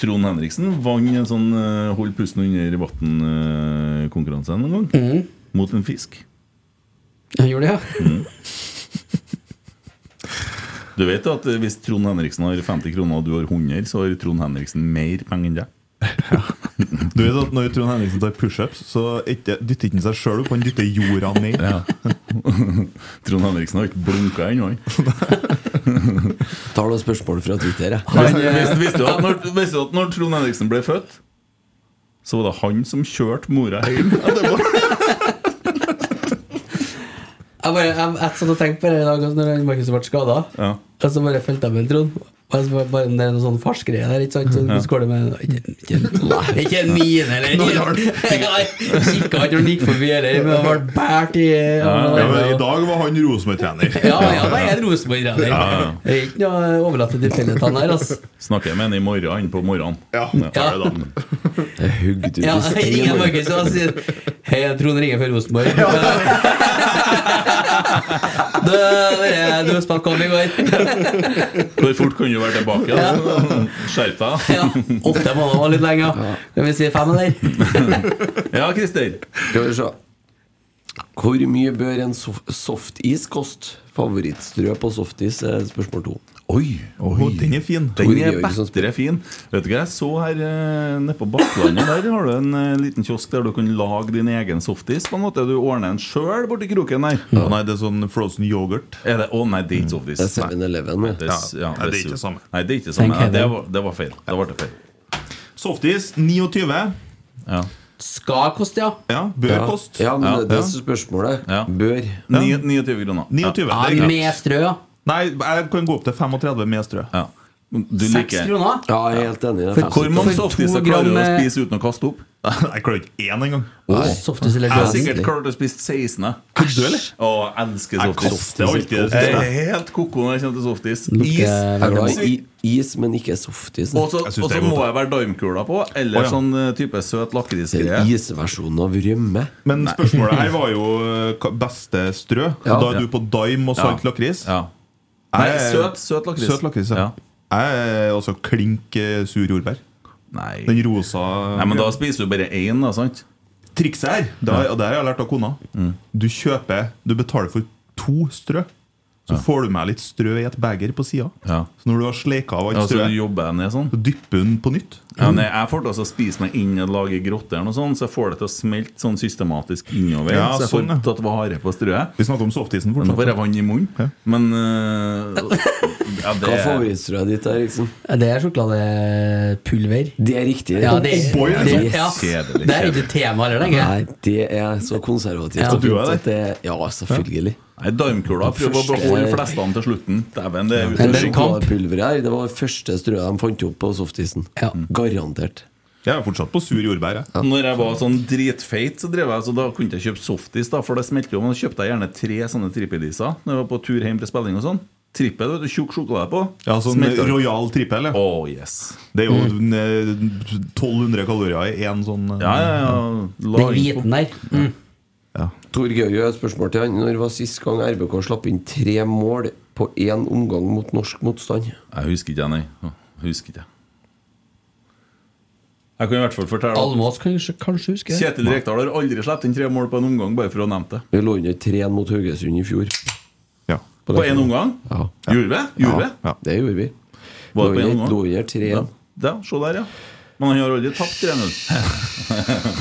S2: Trond Henriksen vant en sånn eh, hold pusten under vann-konkurranse en gang. Mot en fisk. Mhm.
S3: Han gjorde det, Mhm. ja?
S2: Du vet at eh, hvis Trond Henriksen har 50 kroner og du har 100, så har Trond Henriksen mer penger enn deg.
S4: Du vet at Når Trond Henriksen tar pushups, så ikke, dytter ikke han seg sjøl opp, han dytter jorda ned.
S2: Trond Henriksen har ikke blunka ennå, han.
S6: Tar noen spørsmål fra Twitter, jeg.
S4: eh,
S2: Visste visste du at når, visste du at når Trond Henriksen ble født, så var det han som kjørte mora hjem?
S3: Jeg bare, jeg, jeg satt og tenkte på det i dag altså, Når Markus ble skada.
S2: Ja.
S3: Og så bare fulgte jeg med Trond. Og så bare, bare, det er noe sånn farsgreie der. Ikke sant? Så hvordan går det med Ikke, ikke, nei, er ikke en mine, eller? Kikka ikke når han gikk forbi, eller? Men han ble båret i
S4: Ja, men I dag var han Rosenborg-trener.
S3: Ja, ja, det er en Rosenborg-trener. Det er ikke noe overlatt til tilfeldighetene her, altså.
S2: Snakker med han i morgen, han på morgenen.
S4: Ja,
S2: tar det da.
S6: Det er hugd ut
S3: Ja,
S6: i
S3: jeg
S6: stein.
S3: ringer Markus og han sier Hei, jeg tror han ringer fra Rosenborg. Du, dere, du spilte kamp i går.
S2: Hvor fort kan du være tilbake? da? Skjerp deg.
S3: Ja, Åtte måneder var litt lenge. ja. Kan vi si fem, eller?
S2: Ja, Christer.
S6: Skal vi se. Hvor mye bør en sof softis koste? Favorittstrø på softis er spørsmål to.
S2: Oi,
S4: Å, den er fin.
S2: Den
S6: Tor sånn
S2: er
S6: Jørgensen spør.
S2: bedre fin. Vet du hva jeg så her eh, nede på Bakklandet? Der har du en eh, liten kiosk der du kan lage din egen softis. på en måte Du ordner en sjøl borti kroken der.
S4: Å Nei, det er sånn frozen yoghurt.
S2: Er det, å nei, det er ikke softis.
S6: Mm. Det er 7-Eleven. ja.
S2: Det er s- ja,
S4: Nei, det er ikke
S2: sur.
S4: samme.
S2: Nei, det er ikke samme.
S3: Thank
S2: Ja, det,
S3: heaven.
S2: var, det var feil. Det ble feil.
S4: Softis 29.
S2: Ja.
S3: Skal koste, ja.
S4: Ja, bør
S6: Ja.
S4: koste.
S6: Ja, men
S2: Ja,
S6: det, det
S2: ja.
S6: er spørsmålet.
S2: Ja.
S6: Bør.
S2: Ni- 29 kroner.
S4: 29.
S2: Ja.
S4: det er
S3: ja
S4: greit.
S3: med strø, ja.
S4: Nei, jeg kan gå opp til 35 med strø.
S2: Ja. Du
S3: Seks
S2: liker
S3: kroner.
S6: Ja, jeg er helt enig. Det er
S2: Hvor
S6: fem
S2: mange
S3: For to
S2: softiser klarer
S3: gram,
S2: du å
S3: eh,
S2: spise uten å kaste opp?
S4: Jeg klarer ikke én engang.
S3: Softis eller
S2: Jeg har
S3: glass.
S2: sikkert klart å spise 16.
S4: du, eller?
S2: Å, jeg elsker
S4: Jeg
S2: softis.
S4: kaster alltid
S2: Jeg er helt koko når jeg kommer til softis. Is.
S6: Jeg er glad i is, men ikke softis.
S2: Og så
S4: Jeg synes
S2: og
S4: det
S2: så
S4: er godt,
S2: må
S4: da.
S2: jeg være daimkula på, eller
S4: Å, ja.
S2: sånn eh, type søt
S6: Det er
S2: lakrisgreie.
S6: Isversjonen av rømme.
S4: Men spørsmålet her var jo eh, hva- beste strø.
S6: Ja.
S4: Da er du på daim og salt
S2: Ja.
S4: lakris.
S2: Ja. Nei,
S4: Jeg-
S2: søt, søt lakris.
S4: Søt lakris, ja.
S2: Ja.
S4: Jeg er altså klink eh, sur jordbær.
S2: Nei.
S4: Den rosa
S2: Nei, men da spiser du bare én, da, sant?
S4: Trikset her, det har, og det her har jeg lært av kona
S2: Mm.
S4: Du kjøper, du betaler for to strø. Så får du med litt strø i et beger på sida.
S2: Ja.
S4: Så når du har sleka av alt
S2: Ja, så
S4: strøet,
S2: du jobber jeg ned sånn?
S4: så dypper du den på nytt.
S2: Ja, nei, jeg får det altså spise meg inn og lage grotter, og sånn, så jeg får det til å smelte sånn systematisk innover.
S4: Ja,
S2: så jeg får
S4: sånn, ja.
S2: tatt vare på strøet.
S4: Vi snakker om softisen
S2: Nå får
S4: fortsatt.
S2: jeg vann i munnen. Men øh, ja,
S6: Hva
S2: det
S6: er favorittstrøet ditt? Eriksen?
S3: Det er sjokoladepulver.
S6: Det er riktig.
S3: Ja, det er,
S4: boy,
S3: det,
S6: liksom.
S3: ja.
S2: Kjedelig,
S3: det er ikke tema heller lenger.
S6: Nei, det er så konservativt.
S3: Ja.
S6: og fint
S4: Du er det?
S6: at det- Ja, selvfølgelig.
S2: Nei, Darmkula prøver å beholde flestene til slutten. Dæven, det er
S3: Men
S2: utrolig.
S3: den kamp.
S6: Sjokoladepulveret her, det var det første strøet de fant opp på softisen.
S3: Ja.
S6: Garantert.
S4: Jeg er fortsatt på sur jordbær. Jeg.
S2: Når jeg var sånn dritfeit, så drev jeg, så da kunne jeg ikke kjøpe softis, da, for det smelte jo. Men da kjøpte jeg gjerne tre sånne trippeliser når jeg var på tur hjem til spilling og sånn. Trippel, vet du, tjukk sjokolade på.
S4: Ja, sånn
S2: Smelter.
S4: Royal trippel. ja.
S2: Å, yes.
S4: Det er jo eh, 1200 kalorier i én sånn eh,
S2: Mm. Ja, ja, ja. La inn
S3: Den
S2: på-
S3: hviten der. Mm.
S6: Tor Georg, jeg har et spørsmål til han. Når var sist gang RBK slapp inn tre mål på én omgang mot norsk motstand.
S2: Jeg husker ikke, nei. Jeg husker ikke. Jeg kan i hvert fall fortelle at
S3: Almås kanskje, kanskje husker det.
S2: Kjetil Rekdal har aldri sluppet inn tre mål på en omgang, bare for å ha nevnt det.
S6: Vi lå under 3-1 mot Haugesund i fjor.
S2: På
S6: det-
S2: en omgang?
S6: Ja.
S2: Gjorde vi? Gjorde
S6: ja. ja, det gjorde vi.
S2: Var det på en
S6: Lå under-
S2: omgang?
S6: Lå under 3-1.
S2: Ja. Ja, se der, ja. Men han har aldri tapt 3-0.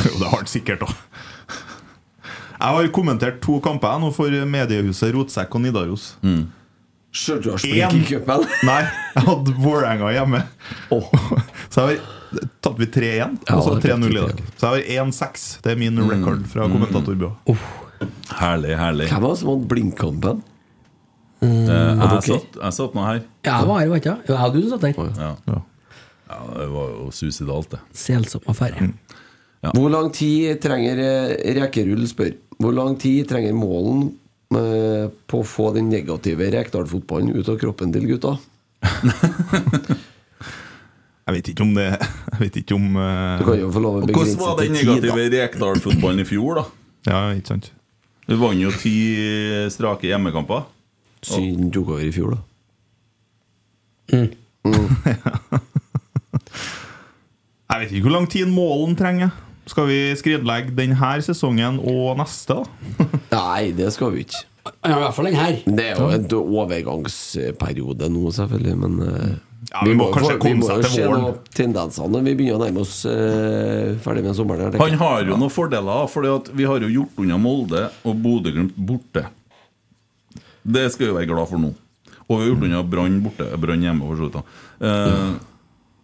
S4: Jo, det har han sikkert òg. Jeg har kommentert to kamper jeg nå for mediehuset Rotsekk og Nidaros. Mm.
S6: Sjøl du har sprek i cupen?
S4: Nei, jeg hadde Vålerenga hjemme. Så jeg har Tapte vi 3-1, og så
S2: Ja, det er
S4: 3-0 i dag.
S2: riktig.
S4: Så jeg har 1-6. Det er min record fra
S3: Mm.
S4: kommentatorbyrået.
S2: Herlig, herlig.
S6: Hvem var det som hadde blindkampen?
S2: Eh,
S6: dere?
S2: Jeg satt, jeg satt nå her.
S3: Ja, jeg var her, vet du. Jo, Jeg og du som satt der.
S2: Ja. ja, det var jo suicidalt, det.
S3: Selsom affære.
S6: Hvor lang tid trenger eh, Rekerull spør Hvor lang tid trenger målen eh, på å få den negative Rekdal-fotballen ut av kroppen til gutta?
S4: Jeg vet ikke om det Jeg vet ikke om eh,
S6: Du kan jo få lov å
S2: Og
S6: begrense
S2: hvordan var den
S6: til tid, da.
S2: negative Rekdal-fotballen i fjor, da?
S4: Ja, ikke sant.
S2: Vi vant jo ti strake hjemmekamper.
S6: Syden tok over i fjor, da. Mm.
S4: Jeg vet ikke hvor lang tid målen trenger. Skal vi skredlegge denne sesongen og neste? da?
S6: Nei, det skal vi ikke.
S3: Ja, i hvert fall den her.
S6: Det er jo en d- overgangsperiode nå, selvfølgelig, men eh,
S4: Ja, vi må
S6: jo
S4: kanskje
S6: få-
S4: komme
S6: vi må
S4: seg
S6: jo
S4: til
S6: se
S4: våren.
S6: noe tendensene når vi begynner å nærme oss eh, ferdig med sommeren. her, tenker
S2: Han
S6: jeg.
S2: har jo noen fordeler, for vi har jo gjort unna Molde og Bodø-Glimt borte. Det skal vi være glad for nå. Og vi har gjort unna Brann borte. Brann hjemme, for så vidt. da. Eh,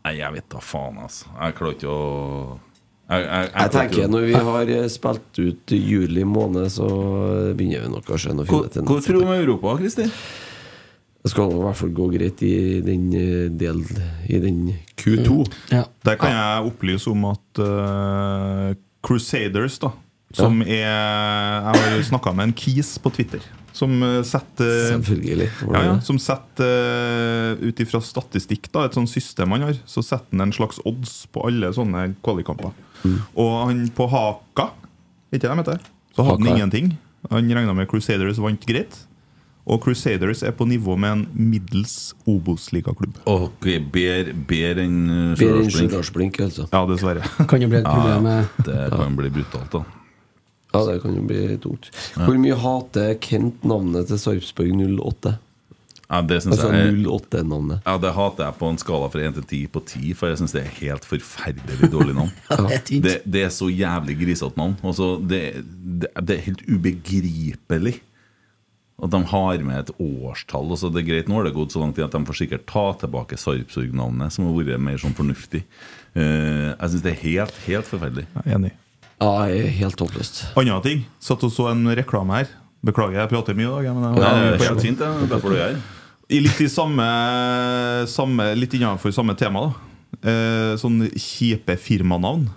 S2: Nei, jeg vet da faen, altså. Jeg klarer ikke å Jeg, jeg, jeg
S6: Jeg
S2: klarer ikke
S6: tenker
S2: å-
S6: Når vi har eh, spilt ut juli måned, så begynner vi nok å skjønne og
S2: Hvor hvor
S6: finne tendenser.
S2: tror du om Europa, Kristin?
S6: Det skal i hvert fall gå greit i den eh, del I den Q2.
S2: Mm.
S3: Ja.
S4: Der kan jeg opplyse om at eh, Crusaders, da som er Jeg har snakka med en kis på Twitter som eh, setter
S6: Selvfølgelig. Hvordan
S4: ja, ja,
S6: er det?
S4: Som setter, eh, ut ifra statistikk, da, et sånt system han har, så setter han en slags odds på alle sånne kvalikkamper. Og han på Haka, ikke det de heter, så hadde
S6: Haka,
S4: han
S6: ja.
S4: ingenting. Han regna med Crusaders vant greit. Og Crusaders er på nivå med en middels Obos-ligaklubb.
S2: Ok, Bedre bedre enn eh,
S6: Bedre enn
S2: Stjørdals-Blink.
S6: Stjørdalsblink, altså.
S4: Ja, dessverre.
S3: Kan jo bli et problem med
S2: Det kan bli brutalt, da.
S6: Ja, det kan jo bli tungt. Hvor mye hater Kent navnet til Sarpsborg 08?
S2: Ja, det synes
S6: Altså
S2: jeg er-
S6: 08-navnet.
S2: Ja, Det hater jeg på en skala fra 1 til 10 på 10, for jeg syns det er helt forferdelig dårlig navn.
S3: det er tynt.
S2: det, det er så jævlig grisete navn. Altså, det, det, det er helt ubegripelig at de har med et årstall. Altså, det er greit, Nå har det gått så lang tid at de får sikkert ta tilbake Sarpsborg-navnet, som har vært mer sånn fornuftig. Eh, jeg syns det er helt, helt forferdelig.
S4: Jeg er enig.
S6: Ja, jeg er helt håpløst.
S4: Andre ting. Satt og så en reklame her. Beklager, jeg prater mye i dag. jeg, Men jeg,
S2: Det
S4: jeg,
S2: er
S4: på
S2: helt
S4: jakt.
S2: fint, det. er Derfor du er her.
S4: I litt i samme, samme Litt innenfor samme tema, da. Eh, sånn kjipe firmanavn.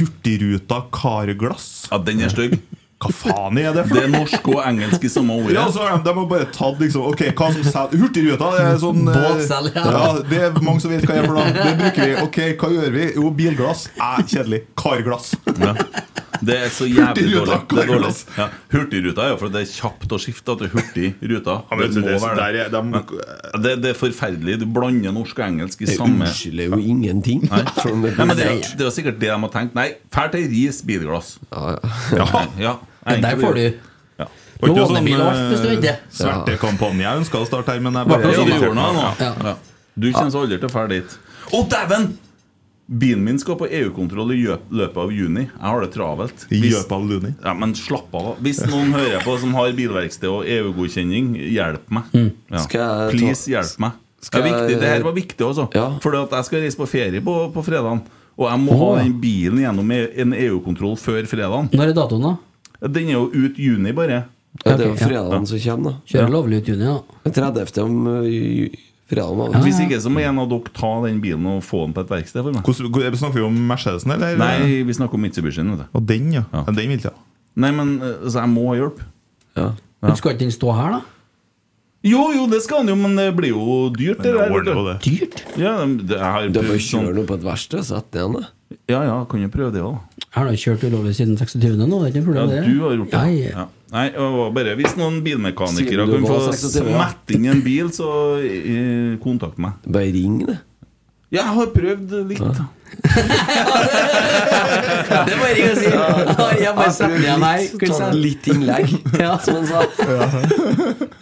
S4: Hurtigruta Karglass.
S2: Mm. Ja, den er stygg.
S4: Hva faen er det for
S2: Det er norsk og engelsk i samme ordet.
S4: Ja, så har de, de har bare tatt liksom Ok, hva som selger Hurtigruta det er sånn eh,
S3: Båtsel, ja.
S4: ja. Det er mange som vet hva det er for noe. Det bruker vi. Ok, hva gjør vi? Jo, bilglass. Eh, kjedelig. Karglass.
S2: Ja. Det er så jævlig
S4: Hurtigruta,
S2: dårlig. Det er dårlig.
S4: Carlos.
S2: Ja. Hurtigruta er jo for det er kjapt å skifte til hurtigruta.
S4: men
S2: det,
S4: det-
S2: må
S4: det-
S2: være
S4: der
S2: det.
S4: er- de-
S2: Ja. det, det er forferdelig. Du blander norsk og engelsk i
S6: Jeg
S2: samme
S6: unnskylder jo ingenting. selv om det
S2: Nei, men det,
S6: blir feil.
S2: det var sikkert det de har tenkt. Nei, fær til ris, bilglass.
S6: Ja, ja.
S2: Ja, ja.
S3: Der får du
S2: ja.
S4: sånn,
S3: lånebil og alt hvis du vil det.
S4: Svertekampanje eh, jeg ønska å starte her, men jeg
S2: Ja,
S4: bare sånn
S2: du gjorde noe nå.
S3: Ja.
S2: sånn. Ja. Du kommer aldri til å fære dit. Å, dæven! Bilen min skal på EU-kontroll i jø- løpet av juni. Jeg har det travelt.
S4: I
S2: Hvis-
S4: løpet av Luni.
S2: Ja, men slapp av. da. Hvis noen hører på som har bilverksted og EU-godkjenning, hjelp meg. Ja.
S6: Skal jeg ta-
S2: Please, hjelp meg.
S6: Skal
S2: det, er viktig.
S6: jeg-
S2: det her var viktig også.
S6: Ja.
S2: Fordi at jeg skal reise på ferie på, på fredagen. Og jeg må
S3: Åh.
S2: ha den bilen gjennom e- en EU-kontroll før fredagen.
S3: Når er datoen, da?
S2: Den er jo ut juni, bare.
S6: Ja, det er jo
S3: Ok, ja.
S6: fredagen som kommer, da.
S3: Kjører lovlig ut juni, da.
S6: 30. om ø, eh, ju- fredagen. var det.
S2: Hvis ikke så må en av dere ta den bilen og få den på et verksted for meg.
S4: Hvordan, hvordan- snakker vi om Mercedesen, eller?
S2: Nei, vi snakker om Mitsubishi. vet du.
S4: Og den, ja.
S2: Ja.
S4: Den vil jeg ha.
S2: Nei, men eh, Så jeg må ha hjelp.
S6: Ja.
S3: Men Skal ikke den stå her, da?
S2: Jo, jo, det skal han jo, men det blir jo dyrt. Det der, vet du.
S4: Ordner jo det.
S3: Dyrt.
S2: Ja, det, jeg har
S6: Da må
S2: prøvd
S6: vi kjøre
S2: sånn-
S6: noe på et verksted og sette det igjen, da.
S2: Ja, ja, kan jo prøve det òg.
S3: Jeg har da kjørt ulovlig siden 26. nå, det er ikke noe
S2: Ja,
S3: problem. det.
S2: du har gjort det.
S3: Nei,
S2: Ja. Nei, det var bare hvis noen bilmekanikere
S6: Siden du
S2: kan få
S6: var seks og tjue, ja.
S2: smette inn en bil, så eh, kontakt meg.
S6: Bare ring, det.
S2: Jeg har prøvd litt. da.
S1: Det må jeg ringe og si. Jeg bare setter
S6: prøvde
S1: igjen her.
S6: litt,
S1: kunne
S6: tatt
S1: sagt.
S6: litt innlegg, som han sa.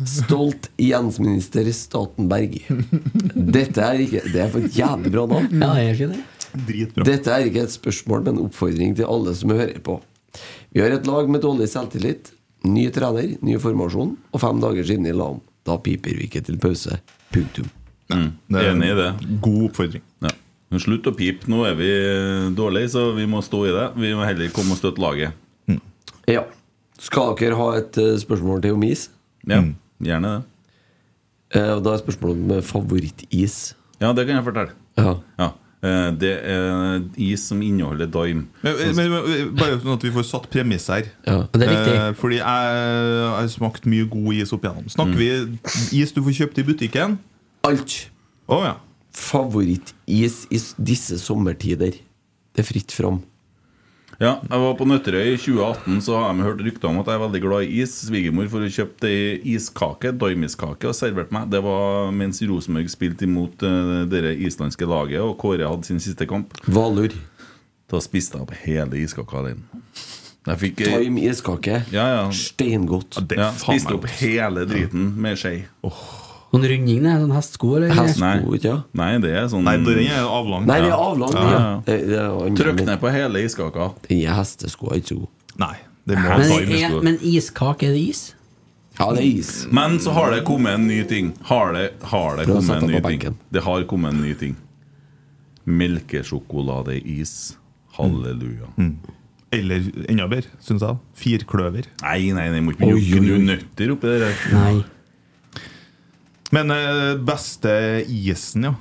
S6: Stolt jensminister Stoltenberg. Dette er ikke Det er for et jævlig bra navn.
S3: Ja, jeg gjør ikke det.
S6: Dette er ikke et spørsmål, men en oppfordring til alle som hører på. Vi har et lag med dårlig selvtillit, ny trener, ny formasjon, og fem dager siden i LAN. Da piper vi ikke til pause. Punktum.
S2: Mm,
S6: det er-
S2: Enig i det.
S4: God oppfordring.
S2: Ja. Men Slutt å pipe. Nå er vi dårlige, så vi må stå i det. Vi må heller komme og støtte laget.
S6: Ja. Skal dere ha et eh, spørsmål til om is? Eh,
S2: Ja,
S3: Mm.
S2: gjerne det.
S6: og da er spørsmålet om favorittis.
S2: Ja, det kan jeg fortelle.
S6: Ja.
S2: Eh, Det er is som inneholder daim.
S4: Men, eh, men, men, bare sånn at vi får satt premiss her.
S3: Det er viktig.
S4: Eh, fordi jeg jeg har smakt mye god is opp igjennom. Snakker vi is du får kjøpt i butikken?
S6: Alt.
S4: Å ja.
S6: Favorittis i s- disse sommertider. Det er fritt fram.
S2: Ja, jeg var på Nøtterøy i 2018, så har jeg hørt rykter om at jeg er veldig glad i is. Svigermor for å kjøpte ei iskake, daimiskake, og serverte meg. Det var mens Rosenborg spilte imot eh, det islandske laget, og Kåre hadde sin siste kamp.
S6: Valur.
S2: Da spiste jeg opp hele iskaka alene. Jeg fikk eh,
S6: Time iskake.
S2: ja, ja.
S6: Steingodt.
S2: ja,
S4: faen meg
S2: Spiste opp
S4: godt.
S2: hele driten med skje.
S3: Noen runding, det? Sånn hestsko, eller?
S6: Hestsko, ikke ja.
S2: Nei, det er sånn
S4: Nei, den er avlang.
S6: Nei, det er avlang.
S2: Ja,
S6: Ja.
S2: ja.
S6: Det, det er-
S2: Trykk ned på hele iskaka.
S6: Den er hestesko, er ikke så god.
S4: Nei, det må
S3: Men,
S4: daim i
S3: er,
S4: skoen.
S3: men iskake, er det is?
S6: Ja, det er is.
S2: Men så har det kommet en ny ting. Har det, har det
S6: Prøv å
S2: kommet
S6: sette
S2: en ny
S6: på benken.
S2: ting? Det har kommet en ny ting. Melkesjokoladeis. Halleluja.
S4: Mm.
S6: Mm.
S4: Eller enda bedre, syns jeg. Firkløver.
S2: Nei, nei, nei, må ikke begynne å gnu nøtter oppi det der.
S3: Nei.
S4: Men eh, beste isen, ja.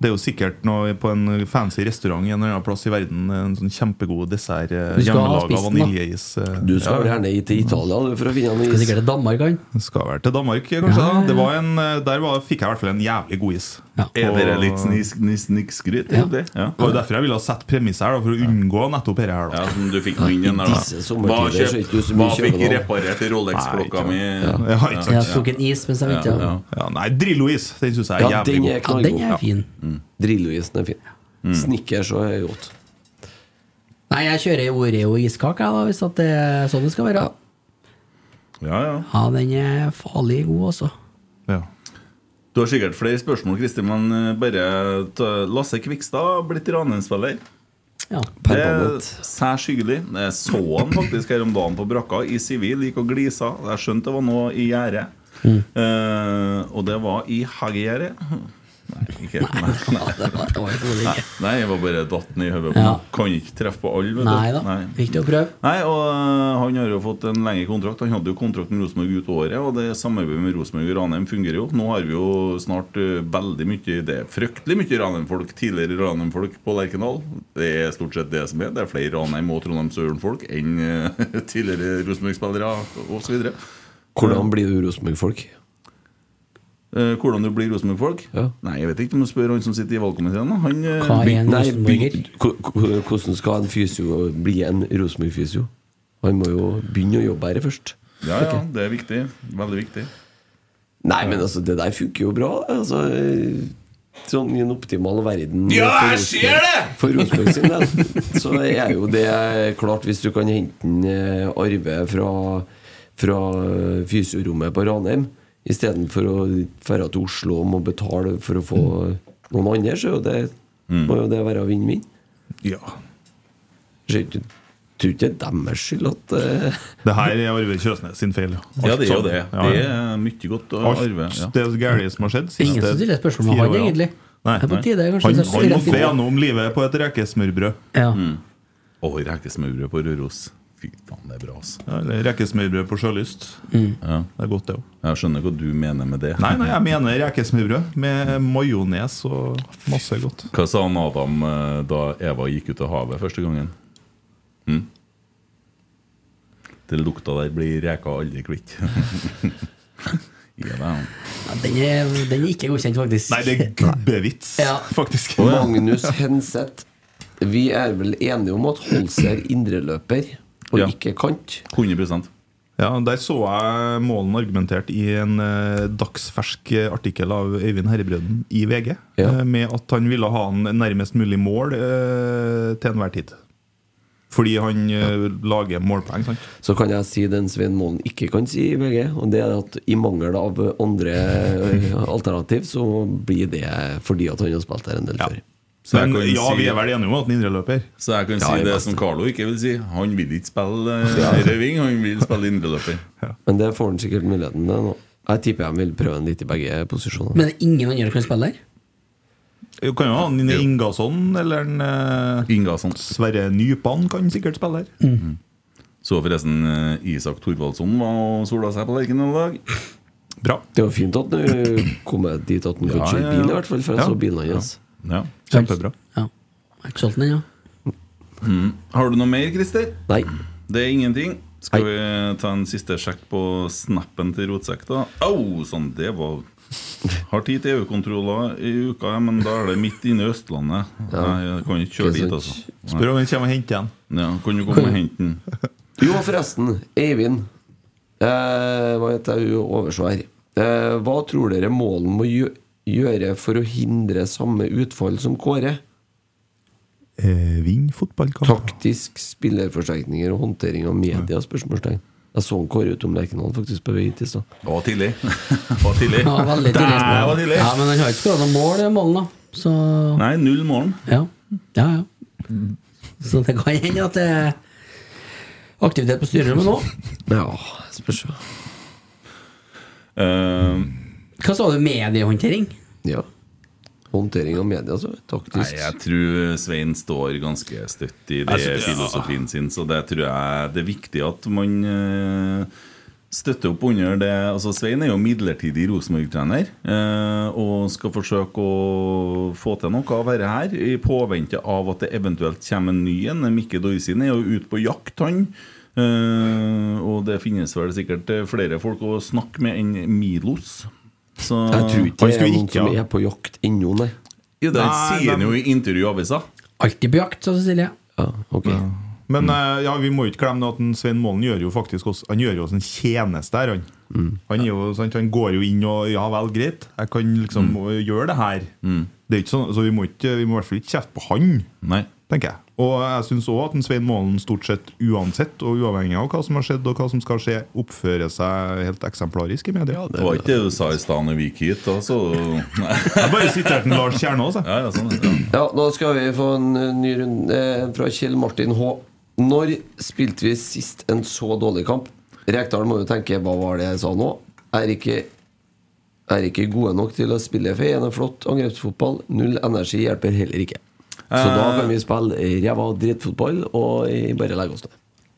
S4: Det er jo sikkert noe på en fancy restaurant en eller annen plass i verden. En sånn kjempegod dessert. eh,
S3: Du skal ha
S4: Hjemmelaga
S3: spist den, da.
S4: vaniljeis. eh,
S6: Du skal vel gjerne til Italia du, for å finne en
S3: Det er
S6: is.
S3: sikkert det Danmark han.
S4: Skal vel til Danmark, kanskje. da Det var en, eh, der var, fikk jeg i hvert fall en jævlig god is.
S3: Ja.
S2: Er det litt snis- nis- snikskryt?
S3: Ja.
S2: Er det? Ja.
S4: Det var jo derfor jeg ville ha sett premisset her, da, for å unngå nettopp dette her.
S2: Ja,
S4: Da.
S2: som du fikk med inn den der,
S6: disse
S2: da. Hva,
S6: sommertider så er ikke
S2: kjøpt,
S6: du så mye
S2: hva fikk
S6: kjøpevalg.
S2: reparert
S4: Nei,
S2: Rolex-klokka
S4: ikke
S2: mi?
S4: Ja, ikke sant?
S3: Jeg tok en is mens jeg venta.
S2: Ja.
S4: Ja, nei, Drillo-is, den syns jeg er
S6: Ja,
S4: jævlig god.
S6: den er
S3: Ja, den er
S6: knallgod.
S3: fin.
S2: Mm.
S6: Drillo-isen er fin. Snickers òg er godt.
S3: Nei, jeg kjører Oreo iskake, jeg, da, hvis at det er sånn det skal være.
S2: Ja, ja.
S3: Ja, den er farlig god, altså.
S4: Ja.
S2: Du har sikkert flere spørsmål, Kristin, men eh, bare ta- Lasse Kvikstad blitt Ranheim-spiller.
S3: Ja.
S2: Det er
S6: Permanent.
S2: særs hyggelig. Jeg så han faktisk her om dagen på brakka i sivil, gikk og glisa. Jeg skjønte det var noe i gjerdet.
S4: Mm.
S2: Eh, og det var i hagegjerdet. Nei, ikke Nei, nei,
S3: Det var- det var ikke
S2: nei,
S3: dårlig.
S2: nei jeg var bare datt ned i hodet. på
S3: Ja.
S2: meg. Kan ikke treffe på alle. vet du.
S3: Nei da.
S2: Nei.
S3: Viktig å prøve.
S2: Nei, og øh, Han har jo fått en lengre kontrakt. Han hadde jo kontrakt med Rosenborg ut året, og det samarbeidet med Rosenborg og Ranheim fungerer jo. Nå har vi jo snart øh, veldig mye Det er fryktelig mye Ranheim-folk, tidligere Ranheim-folk på Lerkendal. Det er stort sett det som er. Det er flere Ranheim- og Trondheim-Søren-folk enn øh, tidligere Rosenborg-spillere osv.
S6: Hvordan blir du Rosenborg-folk?
S2: Uh, hvordan du blir Rosenborg-folk?
S6: Ja.
S2: Nei, jeg vet ikke. Du må spørre han som sitter i valgkomiteen. da. Han øh,
S3: Hva er en
S6: Nei,
S3: rosenborger?
S6: begyn- ko- ko- Hvordan skal en fysio bli en Rosenborg-fysio? Han må jo begynne å jobbe her først.
S2: Ja, ja, det er viktig. Veldig viktig.
S6: Nei, men altså, det der funker jo bra. Altså, eh, sånn i en optimal verden for Rosenborg-
S2: det!
S6: For Rosenborg sin del så er jo det klart hvis du kan hente en eh, Arve fra, fra eh, fysiorommet på Ranheim istedenfor å dra til Oslo og må betale for å få noen andre, så er jo det, må jo det være vinn-vinn.
S4: ja.
S6: Så jeg Tror ikke det er deres skyld at eh,
S4: Det her er Arve Kjøsnes sin feil. Alt
S2: Ja, det er jo
S4: sammen.
S2: det.
S4: Ja,
S2: Det
S4: ja.
S2: er mye godt å
S4: Alt
S2: arve. Ja.
S4: det gærne som har skjedd siste
S3: Ingen som stiller spørsmål om
S4: fire
S3: han,
S4: årene.
S3: egentlig.
S4: Nei,
S3: Det er på
S4: nei.
S3: tide, kanskje,
S4: Han,
S3: så-
S4: han
S3: rett
S4: måtte
S3: inn.
S4: gjennom livet på et rekesmørbrød.
S3: Ja.
S2: Og Mm. rekesmørbrød på Røros. Fy faen, det er bra, altså.
S4: Ja, Eller rekesmørbrød på sjølyst.
S2: Ja.
S4: Det er godt, det òg.
S2: Jeg skjønner hva du mener med det.
S4: Nei, nei, jeg mener rekesmørbrød med majones og masse godt.
S2: Hva sa han Adam eh, da Eva gikk ut av havet første gangen? Hm? Det lukta der blir reka aldri kvitt. Ja, da.
S3: Ja, den, er, den er ikke godkjent, faktisk.
S4: Nei, det er gubbevits,
S3: Ja.
S4: faktisk.
S6: Magnus Henseth Vi er vel enige om at Holse er indreløper. og ikke kant.
S2: 100
S4: Ja, Der så jeg Målen argumentert i en eh, dagsfersk artikkel av Øyvind Herrebrøden i VG. eh, med at han ville ha han nærmest mulig mål eh, til enhver tid. Fordi han eh, lager målpoeng. sant?
S6: Så kan jeg si den Svein Målen ikke kan si i VG, og det er at i mangel av andre eh, alternativ, så blir det fordi at han har spilt der en del før.
S2: Så jeg kan si-
S4: enige om at han indreløper.
S2: Så jeg kan
S6: Ja,
S2: si
S6: i
S2: det
S6: beste.
S2: som Carlo ikke vil si. Han vil ikke spille eh,
S6: Ja.
S2: høyre ving, han vil spille indreløper.
S6: Men det får han sikkert muligheten til nå. Jeg tipper han vil prøve han litt i begge posisjoner.
S3: Men det er ingen andre som kan spille der?
S4: Du kan jo ha en Ingasson eller en eh, Sverre Nypan kan sikkert spille
S6: Mm.
S4: her.
S2: Mm. Så forresten, eh, Isak Thorvaldsson var og sola seg på Lerkendal i dag.
S4: Bra.
S6: Det var fint at han eh, kom dit at han kunne kjøre bil, i hvert fall, for jeg så bilen hans.
S2: Ja.
S4: Kjempebra.
S3: Ja. Jeg har ikke solgt den ennå.
S2: Mm. Har du noe mer, Christer?
S6: Nei.
S2: Det er ingenting. Skal vi ta en siste sjekk på snappen til Rotsekk, da? Au, sånn, det var Har tid til EU-kontroller i uka, men da er det midt inne i Østlandet. Nei, jeg kan ikke kjøre
S6: Ikke
S2: dit,
S6: sant.
S2: altså.
S4: Spør om han kommer og henter den.
S2: Ja, kan du komme og hente den?
S6: Jo, forresten. Eivind. Eh, hva heter hun oversvær? Eh, hva tror dere målen må gjø- gjøre for å hindre samme utfall som Kåre?
S4: Eh, Vinn fotballkamp.
S6: Taktisk spillerforsterkninger og håndtering av media? Spørsmålstegn. Jeg så en Kåre utom Lerkendal faktisk på vei hit i stad.
S2: Det var tidlig. Det var tidlig.
S3: Ja, veldig tidlig.
S2: Det var tidlig.
S3: Ja, men han har ikke skåret noen mål, den målen, da. Så
S2: Nei, null mål.
S3: Ja, ja. ja. Så det kan hende at det er aktivitet på styrerommet nå.
S6: Ja, spørs jo.
S2: Eh,
S3: Hva sa du? Mediehåndtering?
S6: Ja. Håndtering av media, altså. Taktisk.
S2: Nei, jeg tror Svein står ganske støtt i det
S6: Jeg synes-
S2: filosofien sin, så det tror jeg det er viktig at man eh, støtter opp under det. Altså, Svein er jo midlertidig Rosenborg-trener eh, og skal forsøke å få til noe av dette her i påvente av at det eventuelt kommer en ny en. Mikke Dorsin er jo ute på jakt, han. Eh, og det finnes vel sikkert eh, flere folk å snakke med enn Milos. Så
S6: Jeg tror ikke det er noen som er på jakt ennå, nei.
S2: Jo, det
S4: Nei,
S2: sier han
S4: men-
S2: jo i intervju i avisa.
S3: Alltid på jakt, sa Cecilie.
S4: Men eh, ja, vi må jo ikke glemme det at en Svein Målen gjør jo faktisk oss Han gjør jo oss en tjeneste her. Han, han, er jo, sant, han går jo inn og Ja vel, greit, jeg kan liksom eh, gjøre det her. Det er ikke sånn, så vi må, ikke, vi må i hvert fall ikke kjefte på han, tenker jeg. Og jeg syns òg at en Svein Målen stort sett uansett og uavhengig av hva som har skjedd, og hva som skal skje, oppfører seg helt eksemplarisk i media.
S2: Det var ikke det du sa i stad når vi gikk hit. Altså.
S4: Jeg bare siterte Lars Kjernås, jeg.
S2: Ja, ja, sånn, ja.
S6: Ja, nå skal vi få en eh, ny runde eh, fra Kjell Martin H. Når spilte vi sist en så dårlig kamp? Rekdal må jo tenke hva var det jeg sa nå? Er ikke, er ikke gode nok til å spille for en flott angrepsfotball. Null energi hjelper heller ikke. Så da
S2: Eh.
S6: kan vi spille ræva drittfotball og eh, bare legge oss ned.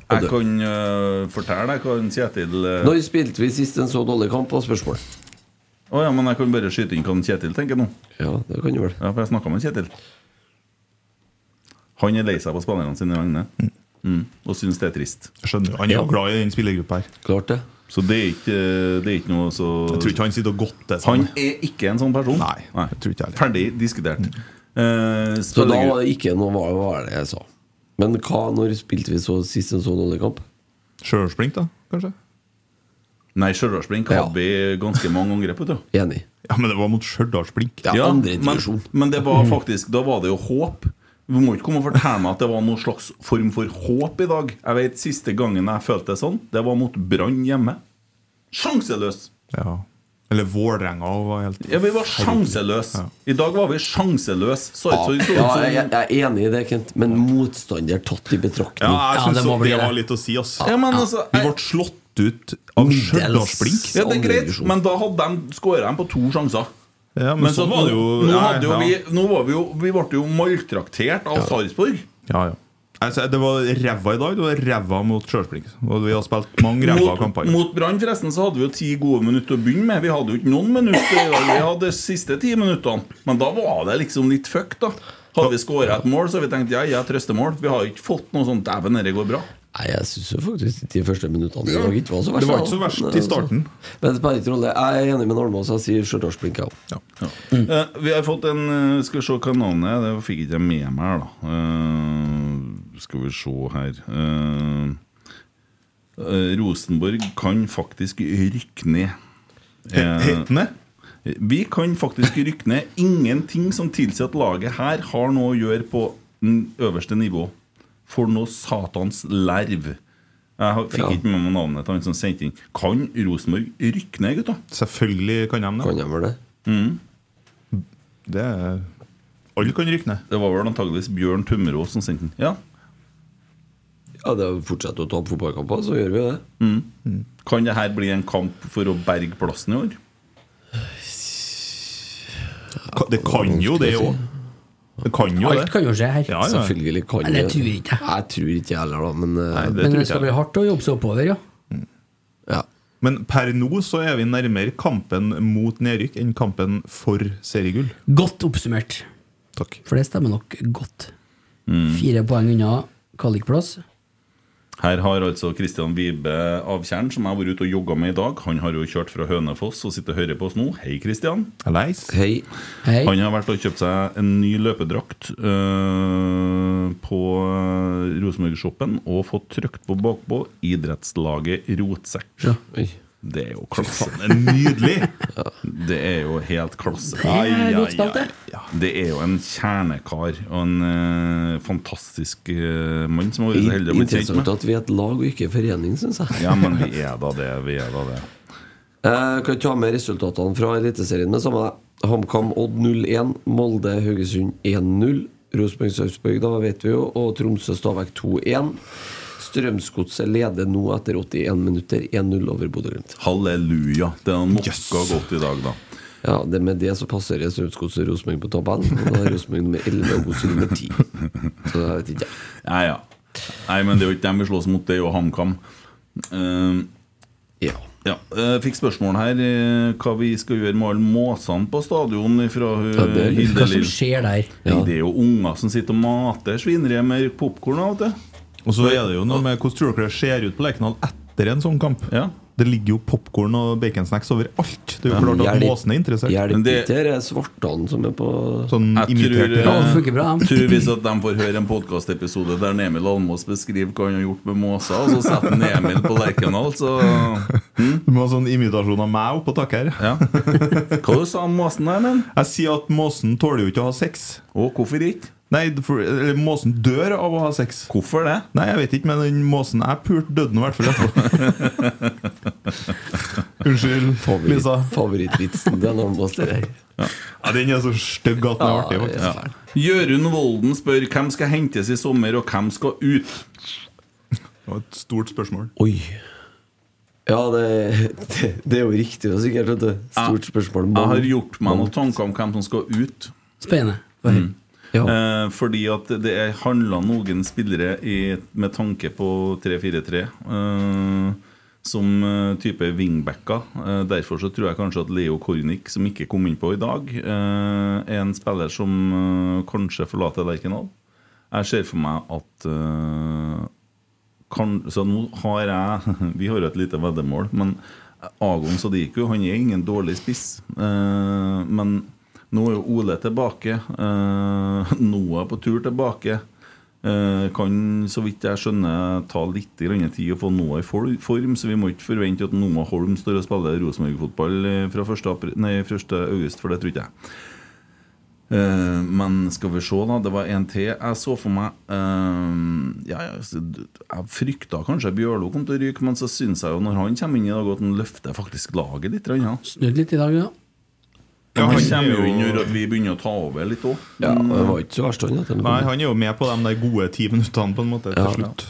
S6: Og
S2: Jeg
S6: dø.
S2: kan eh, fortelle deg hva en Kjetil eh,
S6: Når spilte vi sist en så dårlig kamp? Var spørsmålet.
S2: Å ja, men jeg kan bare skyte inn hva en Kjetil tenker nå.
S6: Ja, det kan du vel.
S2: Ja, For jeg snakka med en Kjetil. Han er lei seg på spillerne sine vegne mm. og syns det er trist.
S4: Skjønner, Han er jo glad i den spillergruppa her.
S6: Klart det.
S2: Så det er ikke, det er ikke noe så
S4: Jeg tror ikke han sitter og godter seg.
S2: Han er ikke en sånn person.
S4: Nei, jeg tror ikke jeg heller.
S2: Ferdig diskutert. Eh,
S6: Mm. Så da
S2: spillergru-
S6: var det ikke noe hva hva var det jeg sa. Men hva, når spilte vi så sist en så dårlig kamp?
S4: Sjølsprink, da, kanskje?
S2: Nei, Stjørdalsblink hadde vi ganske mange ganger, vet du.
S6: Enig.
S4: Ja, men det var mot Stjørdalsblink. Mm.
S2: Ja, men, men det
S6: Mm.
S2: var faktisk Da var det jo håp. Du må ikke komme og fortelle meg at det var noen slags form for håp i dag. Jeg vet Siste gangen jeg følte det sånn, det var mot Brann hjemme. Sjanseløs!
S4: Ja. Eller Vålerenga og var helt
S2: Ja, vi var sjanseløs I dag var vi sjanseløs Så ut
S6: Ja,
S2: som vi så
S6: ja, jeg,
S2: ut som
S6: jeg er enig i det, Kent, men motstander tatt i betraktning.
S4: Ja, jeg synes det, var litt å si, ass.
S2: Ja, men altså,
S4: vi ble slått ut
S6: Mm.
S4: av Stjørdalsblink.
S2: Ja, det er greit, men da hadde de skåra dem på to sjanser.
S4: Ja, men sånn
S2: så
S4: var det jo-
S2: Nå,
S4: Nei,
S2: hadde jo
S4: ja.
S2: vi, nå var vi jo Vi ble jo maltraktert av Sarpsborg.
S4: Ja, ja. Altså, det var ræva i dag. Det var ræva mot Stjørdalsblink. Og vi har spilt mange ræva
S2: Mot,
S4: kamper.
S2: mot Brann forresten så hadde vi jo ti gode minutter å begynne med. Vi hadde jo ikke noen minutter. i dag. Vi hadde de siste ti minuttene. Men da var det liksom litt fucked, da. Hadde vi skåra et mål, så hadde vi tenkt ja, ja, trøstemål. Vi har jo ikke fått noe sånt Dæven, dette går bra.
S6: Nei, jeg syns faktisk de første minuttene i
S2: Ja.
S6: dag ikke var så verst.
S2: Det var ikke
S6: da.
S2: så verst i
S6: Men, altså,
S2: starten.
S6: Men det spiller ikke rolle. Jeg er enig med Almås, jeg sier Stjørdalsblink, jeg òg.
S2: Eh, vi har fått en eh, Skal vi se hva navnet er. Det fikk ikke jeg med meg her, da. Eh, skal vi se her eh, eh, Rosenborg kan faktisk rykke ned. Eh,
S4: He- helt ned?
S2: Vi kan faktisk rykke ned. Ingenting som tilsier at laget her har noe å gjøre på n- øverste nivå. For noe satans lerv. Jeg har- fikk
S4: Ja.
S2: ikke med meg navnet til han som sendte inn. Kan Rosenborg rykke ned, gutta?
S4: Selvfølgelig kan de det.
S6: Kan de det?
S2: Mm.
S4: Det er Alle kan rykke ned.
S2: Det var vel antageligvis Bjørn Tømmerås som sendte den. Ja.
S6: Ja, det fortsetter å tape fotballkamper, så gjør vi det.
S2: Mm. Kan det her bli en kamp for å berge plassen i år?
S4: Ka- Det kan jo det òg. Det kan jo det.
S3: Alt kan jo skje her.
S6: Selvfølgelig kan
S3: Nei, det tror jeg ikke.
S6: Jeg tror ikke jeg heller, da, men eh,
S3: Men det skal bli hardt å jobbe seg oppover, ja.
S4: Men per nå så er vi nærmere kampen mot nedrykk enn kampen for seriegull.
S3: Godt oppsummert.
S4: Takk.
S3: For det stemmer nok godt. Fire poeng unna kvalikplass.
S2: Her har altså Kristian Vibe Avtjern, som jeg har vært ute og jogga med i dag. Han har jo kjørt fra Hønefoss og sitter og hører på oss nå. Hei, Kristian.
S6: Hei.
S3: Hei.
S2: Han har vært og kjøpt seg en ny løpedrakt øh, på eh, Rosenborg-shoppen og fått trykt på bakpå 'Idrettslaget Rotsekk'.
S3: Ja.
S2: Det er jo klasse. Nydelig! Det er jo helt klasse.
S3: Ai, ai, godt spilt, det.
S2: Det er jo en kjernekar og en øh, fantastisk øh, mann som har vært så heldig å bli kjent
S6: Interessant
S2: med.
S6: at vi er et lag og ikke en forening, syns jeg.
S2: Ja, men vi er da det. Vi er da det.
S6: Jeg Eh, kan ta med resultatene fra Eliteserien med samme deg. HamKam Odd 0-1, Molde Haugesund 1-0. Rosenborg Sarpsborg, da vet vi jo. Og Tromsø Stabæk 2-1. Strømsgodset leder nå etter 81 minutter 1-0 over Bodø-Glimt.
S2: Halleluja. Det er noe godt i dag, da.
S6: Ja, det med det så passerer Strømsgodset Rosenborg på tabellen. Og da er Rosenborg nummer 11 og Godset nummer 10. Så det vet ikke jeg.
S2: Nei, ja. Nei, men det er jo ikke dem vi slåss mot, det er jo HamKam. Eh,
S6: ja.
S2: eh, fikk spørsmål her eh, hva vi skal gjøre med alle måsene på stadion fra eh,
S3: Ja, det er litt-
S2: Hilde
S3: Hva som
S2: Lill.
S3: skjer der?
S2: Nei, Det er jo unger som sitter og mater svineriet med popkorn.
S4: Og så er det jo noe med hvordan tror dere det ser ut på Lerkendal etter en sånn kamp? Det ligger jo popkorn og baconsnacks overalt. Det er jo klart at måsen er interessert.
S6: det er svartene som er på
S4: Sånn imitert
S2: jeg eh,
S4: funker
S2: tror, tror hvis at de får høre en podkastepisode der Emil Almås beskriver hva han har gjort med måser, og så setter han Emil på Lerkendal, så
S4: Du må ha sånn imitasjon av meg oppå taket her.
S2: Mm. Hva du sa om måsen der, men?
S4: Jeg sier at måsen tåler jo ikke å ha sex.
S2: Og hvorfor ikke?
S4: Nei, for, eller, Måsen dør av å ha sex.
S2: Hvorfor det?
S4: Nei, Jeg vet ikke, men den måsen jeg pulte, døde nå i hvert fall etterpå. Unnskyld, Lisa.
S6: Favorittvitsen det er når man står her.
S4: Ja, Den er så stygg at den er artig, faktisk.
S2: Ja. Jørund Volden spør hvem skal hentes i sommer, og hvem skal ut?
S4: Det var et stort spørsmål.
S6: Oi. Ja, det, det, det er jo riktig og sikkert. Vet du. Stort spørsmål.
S2: Jeg har gjort meg noen tanker om hvem som skal ut.
S3: Spennende.
S2: Mm.
S6: Ja.
S2: Eh, fordi at det er handla noen spillere i, med tanke på 3-4-3 eh, som eh, type wingbacker. Eh, derfor så tror jeg kanskje at Leo Kornic, som ikke kom innpå i dag, eh, er en spiller som eh, kanskje forlater Lerkendal. Jeg ser for meg at eh, kan, Så nå har jeg Vi har jo et lite veddemål, men Agon Sadiku han er ingen dårlig spiss. Eh, men nå er jo Ole tilbake. Eh, Noah er på tur tilbake. Eh, kan, så vidt jeg skjønner, ta litt grann tid å få Noah i for- form, så vi må ikke forvente at Noah Holm står og spiller Rosenborg-fotball eh, fra 1. apr- nei, 1. august, for det tror ikke jeg. Eh, men skal vi se, da. Det var en til jeg så for meg. eh, ja, ja, så d- jeg frykta kanskje Bjørlo kom til å ryke, men så syns jeg jo når han kommer inn i dag, at han løfter faktisk laget litt. Ja.
S3: Snudd litt i dag, ja.
S2: Ja, han
S4: han
S2: kommer jo
S4: er jo-
S2: inn og Mm. gjør at vi begynner å ta over litt òg.
S6: Ja, det var ikke så verst, han. at
S4: Nei, han er jo med på de der gode ti minuttene, på en måte, til
S2: Ja.
S4: slutt.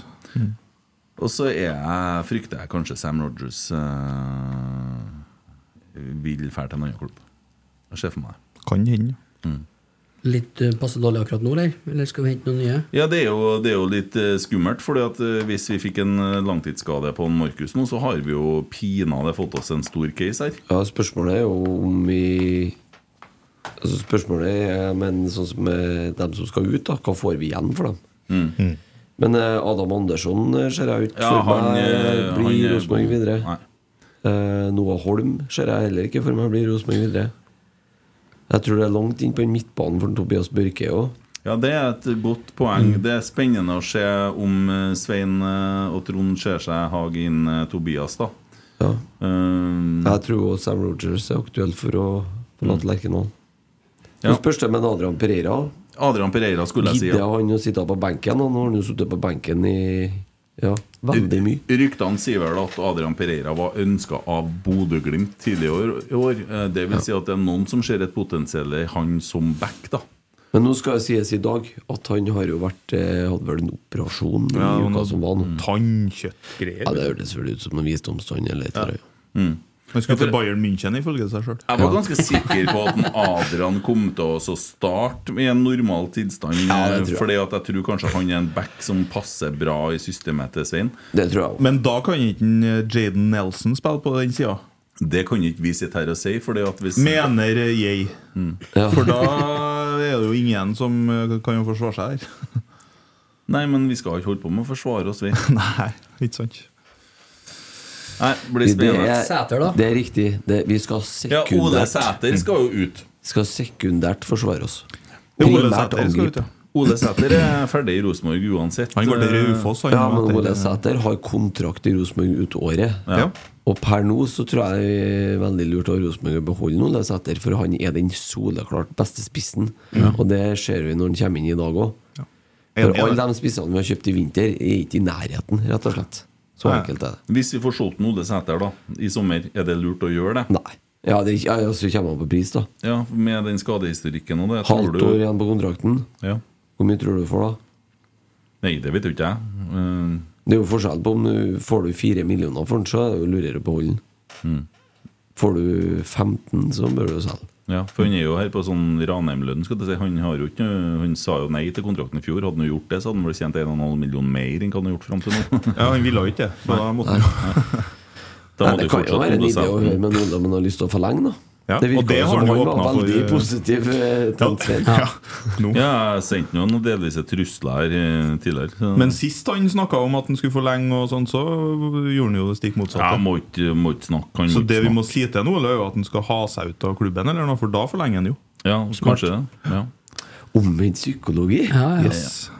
S2: Og så er jeg, frykter jeg kanskje Sam Rogers eh, vil dra til en annen klubb. Jeg ser for meg det.
S4: Kan hende.
S2: Mm.
S3: Litt eh, passe dårlig akkurat nå, eller? Eller skal vi hente noen nye?
S2: Ja, det er jo, det er jo litt eh, skummelt, for hvis vi fikk en eh, langtidsskade på en Markus nå, så har vi jo pinadø fått oss en stor case her.
S6: Ja, spørsmålet er jo om vi altså Spørsmålet er Men sånn som eh, dem som skal ut, da. Hva får vi igjen for dem? Men eh, Adam Andersson eh, ser jeg ut
S2: Ja,
S6: for
S2: han,
S6: meg
S2: eh,
S6: eh, blir
S2: han er
S6: Rosenborg
S2: god.
S6: videre.
S2: Nei.
S6: Eh, Noah Holm ser jeg heller ikke for meg blir Rosenborg videre. Jeg tror det er langt inn på midtbanen for Tobias Børke òg.
S2: Ja, det er et godt poeng.
S6: Mm.
S2: Det er spennende å se om eh, Svein eh, og Trond ser seg hage inn eh, Tobias, da.
S6: Ja.
S2: Um,
S6: Jeg tror også Sam Rogers er aktuell for å
S2: Mm.
S6: forlate Lerkendal. Nå
S2: Ja.
S6: spørs det med Adrian Pereira.
S2: Adrian Pereira skulle jeg si, ja.
S6: Gidder han å sitte på benken? og Nå har han jo sittet på benken i ja, veldig mye.
S2: Ryktene sier vel at Adrian Pereira var ønska av Bodø-Glimt tidligere i år. Eh, Det vil si at det er noen som ser et potensial i han som back, da.
S6: Men nå skal det sies i dag at han har jo vært eh, hadde vel en operasjon i
S2: Ja, Mm.
S6: uka
S2: noe
S6: som var nå.
S4: Tannkjøttgreier.
S6: Ja, det hørtes vel ut som en visdomstann eller et eller annet.
S2: Mm.
S4: Han skulle til Bayern München ifølge seg sjøl.
S2: Jeg var ganske sikker på at en Adrian kom til å så starte i en normal tilstand.
S4: Ja, det tror jeg.
S2: fordi at jeg tror kanskje han er en back som passer bra i systemet til Svein.
S6: Det tror jeg
S4: Men da kan ikke en, eh, Jaden Nelson spille på den sida.
S2: Det kan ikke vi sitte her og si. Fordi at hvis
S4: Mener jeg.
S2: Ja.
S4: For da er det jo ingen som eh, kan jo forsvare seg der.
S2: Nei, men vi skal ikke holde på med å forsvare oss, vi.
S4: Nei, ikke sant.
S2: Nei, det blir spennende.
S6: Det er riktig. Det, vi skal
S2: Ja,
S6: sekundært
S2: Ole Sæter skal jo ut.
S6: Skal sekundært forsvare oss.
S2: Ja, Ole
S6: Primært
S2: Sæter skal
S6: angripe.
S2: ut, ja. Ole Sæter er ferdig i Rosenborg uansett. eh,
S6: Han går til
S4: Raufoss, han,
S6: Eh, Ja,
S4: nå,
S6: men
S4: etter-
S6: Ole Sæter har kontrakt i Rosenborg ut året.
S2: Ja.
S6: Og per nå så tror jeg det er veldig lurt av Rosenborg å beholde Ole Sæter, for han er den soleklart beste spissen. Og det ser vi når han kommer inn i dag òg.
S2: Enig i
S6: For alle
S2: det.
S6: de spissene vi har kjøpt i vinter, er ikke i nærheten, rett og slett. Så
S2: Nei.
S6: enkelt er det.
S2: Hvis vi får solgt en Ole Sæter da, i sommer, er det lurt å gjøre det?
S6: Nei. Ja, det ja, altså- ja, så kommer han på pris, da.
S2: Ja, Med den skadehistorikken og det tror
S6: Halvt
S2: du-
S6: år igjen på kontrakten.
S2: Ja.
S6: Hvor mye tror du du får da?
S2: Nei, det vet jo ikke jeg.
S6: Det er jo forskjell på om du får du fire millioner for den, så er det jo lurere å beholde den. Får du 15, så bør du selge.
S2: Ja, for Han er jo her på sånn Ranheim-lønn. skal du si Han, har jo ikke, noe- han sa jo nei til kontrakten i fjor. Hadde han jo gjort det, så hadde han vel tjent 1,5 million mer enn hva han har gjort fram til nå.
S4: Ja, han ville jo ikke det, så da måtte han jo
S2: Da
S6: Nei,
S2: måtte
S6: det
S2: jo
S6: kan jo
S2: fortsatt
S6: være en
S2: Ole
S6: idé å
S2: Sæter.
S6: høre med noen om han har lyst til å forlenge, da.
S2: Ja,
S6: det
S2: og det
S6: virker jo
S2: har
S6: som
S2: han jo
S6: han var
S2: åpnet for,
S6: veldig
S2: eh,
S6: positiv eh, til Svein.
S2: Ja, jeg sendte noen delvise trusler her eh, tidligere. så-
S4: Men sist han snakka om at han skulle forlenge, og sånn, så gjorde han jo det stikk motsatte.
S2: Jeg må ikke, må ikke snakke. Han
S4: så
S2: må ikke
S4: det vi
S2: snakke.
S4: må si til nå, er jo at han skal ha seg ut av klubben, eller noe, for da forlenger han jo.
S2: Ja,
S4: Smart.
S2: kanskje det. Ja.
S6: Omvendt psykologi?
S4: Ja, ja.
S6: Yes.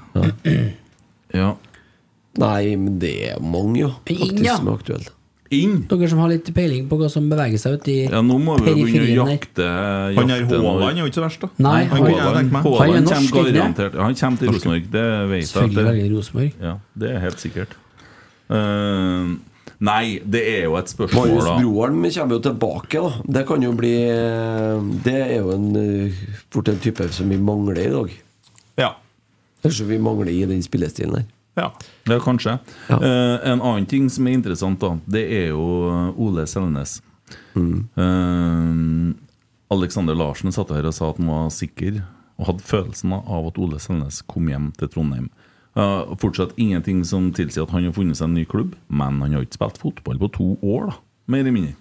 S6: Nei, men det er mange, ja. Faktisk,
S3: Inn, ja.
S6: som er aktuelle.
S3: Dere som har litt peiling på hva som beveger seg ute i
S2: Ja, nå må vi jo begynne å
S3: periferien der.
S2: jakte, jakte
S4: Han her
S2: noe.
S4: Haaland er jo ikke så verst, da.
S3: Nei,
S4: han kunne jeg
S2: Haaland-
S4: tenke meg.
S3: Han er
S2: Haaland
S3: norsk,
S2: kommer
S3: ikke det?
S2: garantert. Han kommer til Rosenborg, det vet jeg.
S3: Selvfølgelig velger han Rosenborg.
S2: Ja, det er helt sikkert. Eh, nei, det er jo et spørsmål,
S6: Marius
S2: da.
S6: Broholm kommer jo tilbake, da. Det kan jo bli Det er jo en, eh, fort en type som vi mangler i dag.
S4: Ja.
S6: Kanskje vi mangler i den spillestilen der.
S4: Ja,
S2: ja kanskje. Eh, en annen ting som er interessant, da, det er jo eh, Ole Selnes.
S3: Mm.
S2: Eh, Alexander Larsen satt her og sa at han var sikker, og hadde følelsen av at Ole Selnes kom hjem til Trondheim. Eh, og fortsatt ingenting som tilsier at han har funnet seg en ny klubb, men han har ikke spilt fotball på to år, da, mer eller mindre.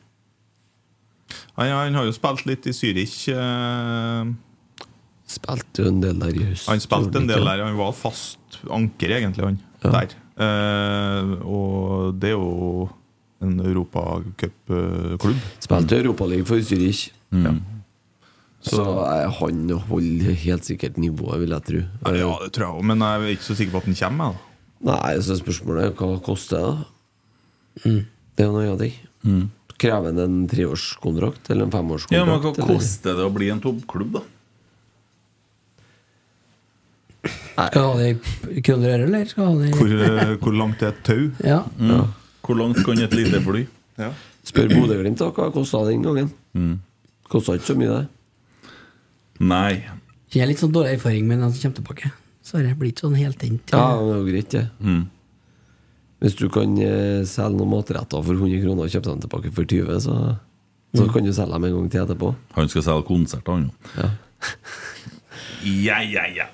S4: Han, han har jo spilt litt i Zürich. eh,
S6: Spilte jo en del der i høst.
S4: Han
S6: gjorde
S4: spilte
S6: han
S4: en del
S6: ikke?
S4: der. Han var fast anker, egentlig, han. Der. Eh, og det er jo en europacupklubb.
S6: Spilte Europaligaen for Zürich.
S4: Ja.
S2: Mm.
S6: Så, eh, han holder helt sikkert nivået, vil jeg tro.
S4: ja, det tror jeg òg, men jeg er ikke så sikker på at han kommer. Jeg,
S6: Nei, så spørsmålet er hva koster det, da?
S3: Mm.
S6: Det er jo noe av det.
S2: Mm.
S6: Krever han en treårskontrakt eller en femårskontrakt?
S2: Ja, men Hva
S6: eller?
S2: koster det å bli en toppklubb, da?
S3: Skal han ha det i kroner og øre, eller? Skal han ha det i-
S2: eh,
S4: Hvor, hvor langt er et tau?
S3: Ja.
S2: Mm. Hvor langt kan et lite fly?
S6: Spør Bodø-Glimt da, hva kosta den gangen?
S2: Mm.
S6: Kosta ikke så mye, det.
S2: Nei.
S3: Kjenner jeg litt sånn dårlig erfaring med den som kommer tilbake. Så det blir ikke sånn helt inn til
S6: Ja, men det er jo greit, det.
S2: Mm.
S6: Hvis du kan eh, selge noen matretter for 100 kroner og kjøpe dem tilbake for 20, så, så
S2: Mm.
S6: kan du selge dem en gang til etterpå.
S2: Han skal selge konserter, han jo. Ja, ja, ja.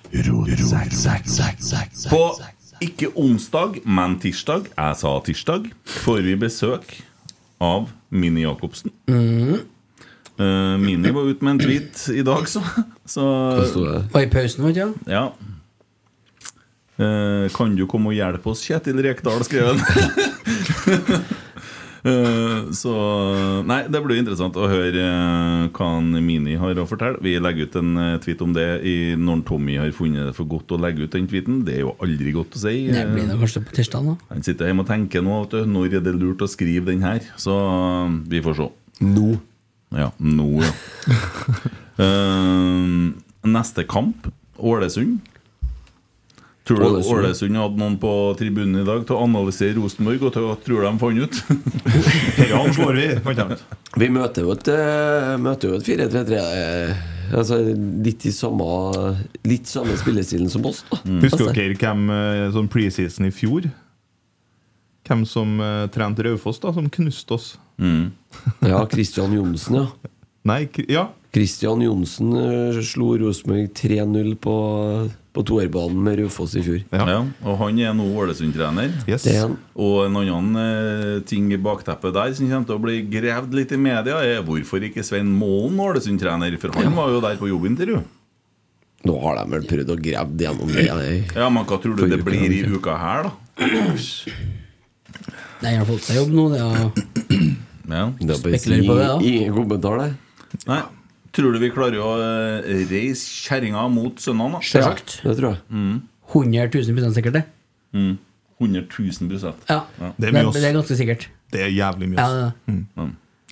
S2: På ikke onsdag, men tirsdag, jeg sa tirsdag, får vi besøk av Mini Jacobsen. Eh, Mini var ute med en tweet i dag, så, så
S3: Var i pausen, var det ikke?
S2: Ja. Eh, kan du komme og hjelpe oss, Kjetil Rekdal, skrev han. Eh, Så Nei, det blir interessant å høre eh, hva han Mini har å fortelle. Vi legger ut en eh, tweet om det i når Tommy har funnet det for godt å legge ut den tweeten. Det er jo aldri godt å si.
S3: Det
S2: Eh,
S3: blir det kanskje på tirsdag, da.
S2: Han sitter hjemme og tenker nå vet du, når er det lurt å skrive den her. Så eh, vi får se.
S3: Nå.
S2: Ja, nå, ja. Eh, neste kamp, Ålesund. Tror du
S6: Ålesund.
S2: Ålesund hadde noen på tribunen i dag til å analysere Rosenborg, og til å tror de fant ut? Dette slår vi, fant de ut.
S6: Vi møter jo et, eh, møter jo et 4-3-3 eh, Altså litt i samme Litt samme spillestilen som oss, da.
S4: Husker
S6: Altså,
S4: dere hvem eh, sånn preseason i fjor? Hvem som eh, trente Raufoss, da, som knuste oss?
S6: Ja, Christian Johnsen, ja.
S4: Nei, ja.
S6: Christian Johnsen eh, slo Rosenborg 3-0 på, på toerbanen med Raufoss i fjor.
S2: Ja. og han er nå Ålesund-trener.
S6: Det er han.
S2: Og en annen eh, ting i bakteppet der som kommer til å bli grevd litt i media, er hvorfor ikke Svein Målen Ålesund-trener? For han var jo der på jobbintervju.
S6: Nå har de vel prøvd å grave det gjennom det. eh. jeg-
S2: Ja, men hva tror du
S6: For
S2: det
S6: uka,
S2: blir i
S6: ikke?
S2: uka her, da?
S3: Nei, jeg har fått seg jobb nå. Det er
S2: Ja.
S6: Det er bare
S3: Spekulerer på det, da.
S6: Ingen kommentar der.
S2: Nei. Tror du vi klarer å eh, reise kjerringa mot sønnene? da?
S3: Selvsagt.
S6: Det tror jeg.
S2: Mm.
S3: 100 000 sikkert, det.
S2: Mm. 100 000
S3: Ja.
S2: Det
S3: Det
S2: er mye
S3: er, det,
S2: oss.
S3: er ganske sikkert.
S4: Det er jævlig mye.
S3: Ja,
S4: ass.
S3: det er det.
S2: Mm.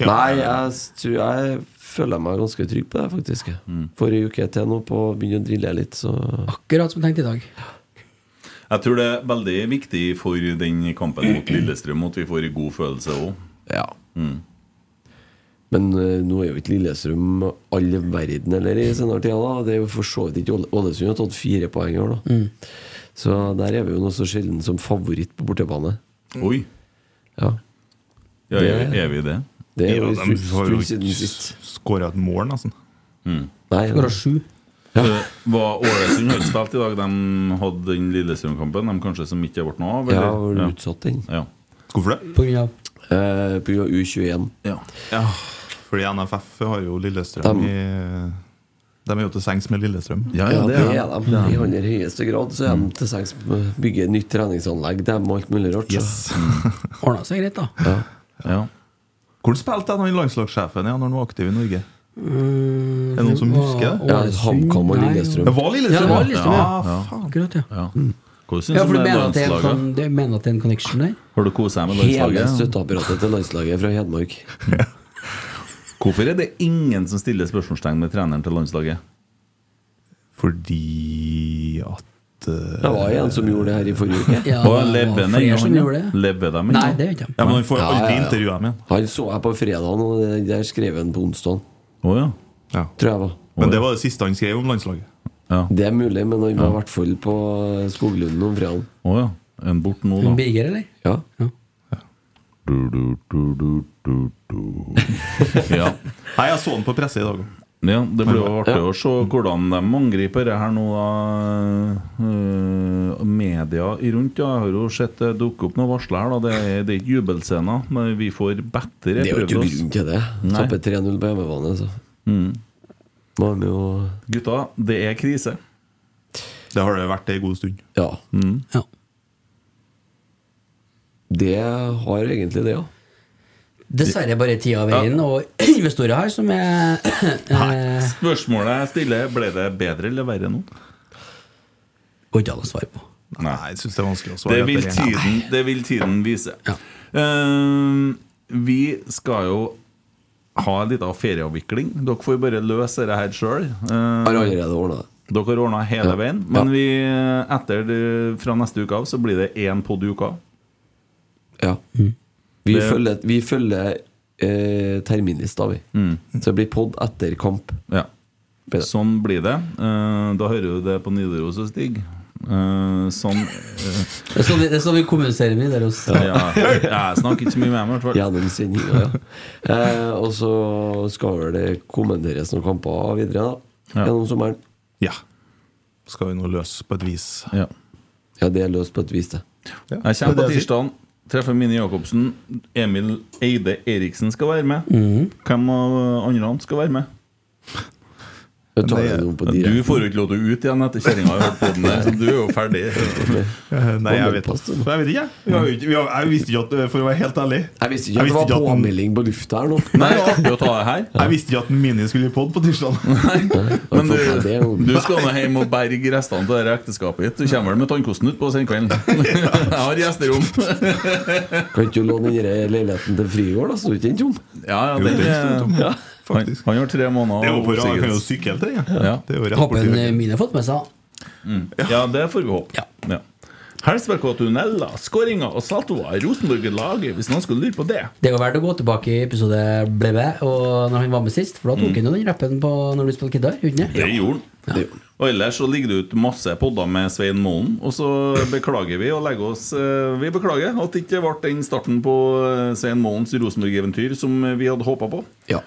S6: Nei, jeg, s- tror jeg føler meg ganske trygg på det, faktisk. Forrige uke til nå på å begynne å drille litt, så
S3: Akkurat som jeg tenkte i dag.
S2: Jeg tror det er veldig viktig for den kampen mot Lillestrøm at vi får en god følelse òg.
S6: Ja.
S2: Mm.
S6: Men eh, nå er jo ikke Lillestrøm all verden eller i senere tida. da. Det er jo for så vidt ikke Åle- Ålesund har tatt fire poeng i år, da.
S3: Mm.
S6: Så der er vi jo noe så sjelden som favoritt på bortebane.
S2: Oi!
S6: Ja.
S2: Ja, er vi- er vi det?
S6: Det er
S4: Ja,
S6: jo
S4: de
S6: en
S4: har jo
S6: stund siden
S4: ikke
S6: sist. Mm.
S4: skåret et mål, nesten.
S6: Nei,
S3: Skåra sju.
S2: Eh, Var Ålesund har ikke spilt i dag. De hadde den Lillestrøm-kampen de kanskje som ikke ble noe av?
S6: Ja,
S2: eller?
S6: var utsatt den.
S2: Ja.
S4: Hvorfor det?
S3: På grunn av
S6: Eh, På grunn av U21.
S2: Ja.
S4: Fordi NFF har jo Lillestrøm
S6: Dem.
S4: i De er jo til sengs med Lillestrøm.
S2: Ja,
S6: Ja, det er Mm.
S4: dem.
S6: de. I aller høyeste grad så er de til sengs på å bygge nytt treningsanlegg. Dem og alt mulig rart. så-
S4: Yes.
S3: Ordna seg greit, da.
S6: Ja.
S4: Hvordan spilte han landslagssjefen ja, når han var aktiv i Norge?
S3: Mm,
S4: Er det noen som
S3: var
S4: husker det?
S6: Ja,
S3: Ålesund,
S6: HamKam og
S3: nei,
S6: Lillestrøm.
S4: Det var Lillestrøm,
S3: Ja, det var
S4: ja.
S3: Lillestrøm, ja.
S4: Ja,
S3: Akkurat, ja.
S2: Ja.
S6: Mm.
S2: Hva syns
S3: Ja,
S2: du
S3: for
S2: om
S3: du
S2: det
S3: mener at det er en
S2: landslaget?
S3: sånn- du mener at det er en connection der?
S2: Har du kost deg med
S6: Hele
S2: landslaget?
S6: støtteapparatet til landslaget fra Hedmark.
S2: Hvorfor er det ingen som stiller spørsmålstegn med treneren til landslaget?
S4: Fordi at eh,
S6: Det var en som gjorde det her i forrige uke.
S3: Ja,
S2: Og
S3: det
S2: lever
S3: var
S2: den
S3: flere
S2: ennå,
S3: som
S2: han, ja?
S3: gjorde det.
S2: Lever de
S3: Nei, det vet jeg ikke.
S4: Ja, men han får alltid
S6: Ja, ja, ja.
S4: intervjue ham igjen.
S6: Han så jeg på fredagen, og det der skrev han på onsdag.
S2: Å ja.
S4: Ja.
S6: Tror jeg var.
S4: Men det var det siste han skrev om landslaget.
S6: Det er mulig, men han var i hvert fall på Skoglunden om fredagen.
S2: Å ja. En bort nå,
S3: Hun
S2: da.
S3: Birger, eller?
S6: Ja.
S2: Du, du, du, du, du, du. Ja.
S4: Nei, jeg så han på presse i dag òg.
S2: ja, det blir jo artig å se hvordan de angriper det her nå, da. Eh, media i rundt, ja. Jeg har jo sett det dukke opp noen varsler her, da. Det er, det er ikke jubelscener, men vi får bedre
S6: Det er jo ikke
S2: prøvd oss.
S6: grunn til det.
S2: Nei.
S6: Tapper 3-0 på hjemmebane, så
S2: Mm.
S6: må de jo
S2: Gutta, det er krise.
S4: Det har det vært ei god stund.
S6: Ja.
S2: Mm.
S3: Ja.
S6: Det har egentlig det, ja.
S3: Dessverre bare tida og veien og investorer her som er eh,
S2: Spørsmålet jeg stiller, ble det bedre eller verre nå?
S3: Går ikke an å svare på.
S4: Nei, jeg syns det er vanskelig å svare.
S2: Det vil
S4: etter det.
S2: tiden, det vil tiden vise.
S3: Ja.
S2: Ehm, vi skal jo ha en liten ferieavvikling. Dere får jo bare løse dette her sjøl. eh,
S6: Har allerede ordna det.
S2: dere har ordna hele
S6: Ja.
S2: veien. Men vi, etter det, fra neste uke av så blir det én pod i uka.
S6: Ja.
S4: Mm.
S6: Vi
S2: Det-
S6: følger, vi følger eh, terminlista, vi.
S4: mm.
S6: Så det blir pod etter kamp.
S2: Mm. Ja.
S6: Blir det.
S2: Sånn blir det. Ehm, da hører du det på Nidaros og Stig. Ehm, sånn eh,
S3: Det er sånn vi, det er sånn vi kommuniserer med Nidaros.
S2: ja, Jeg snakker ikke så mye med meg, i hvert fall.
S6: Gjennom sendinga, ja. Eh, og så skal vel det kommenteres noen kamper videre, da.
S2: Ja.
S6: Gjennom sommeren.
S4: Ja. Skal vi nå løs på et vis.
S2: Ja.
S6: Ja, det er løst på et vis, det.
S2: Jeg kommer
S4: Det
S2: på
S4: er det jeg sier.
S2: tirsdagen, treffer Mini Jacobsen. Emil
S6: Mhm.
S2: Eide Eriksen skal være med. Hvem av andre skal være med?
S6: Jeg tar det nå på
S2: Men
S6: direkten.
S2: Du får jo ikke lov til å ut igjen etter kjerringa har hørt på den der, så du er jo ferdig.
S4: Nei, jeg vet, jeg vet ikke. jeg. Vi har jo ikke- vi har- Jeg visste ikke at eh, For å være helt ærlig
S6: Jeg visste ikke at det var påmelding på lufta her nå.
S4: Nei,
S2: å ta det her
S4: Jeg visste ikke at Mini skulle i pod på tirsdag.
S2: Men du, du skal nå hjem og berge restene av det ekteskapet ditt. Du kommer vel med tannkosten utpå senkvelden. Jeg har gjesterom.
S6: Kan ikke du låne den der leiligheten til Frigård, da? Så du ikke den tom?
S2: Ja, ja, den er- Ja. Han, han har tre måneder
S4: Det er jo på rad,
S2: oppsigelse.
S4: han kan jo sykle til, ja.
S2: ja.
S4: Det er jo rett borti
S3: Håper
S4: veggen.
S3: mine har fått med seg.
S2: Mm. Ja, det får vi håpe. Ja. Helsberg, tunneler, skåringer og saltoer. Rosenborg-laget, hvis noen skulle lure på det.
S3: Det er jo verdt å gå tilbake i episode blebe, og når han var med sist, for da tok
S2: Mm.
S3: han jo den rappen på når du spilte gitar, gjorde han
S2: Det gjorde han. Og ellers så ligger det ut masse podder med Svein Målen. Og så beklager vi og legger oss eh, Vi beklager at det ikke ble den starten på eh, Svein Målens Rosenborg-eventyr som eh, vi hadde håpa på. Eh,
S6: Ja.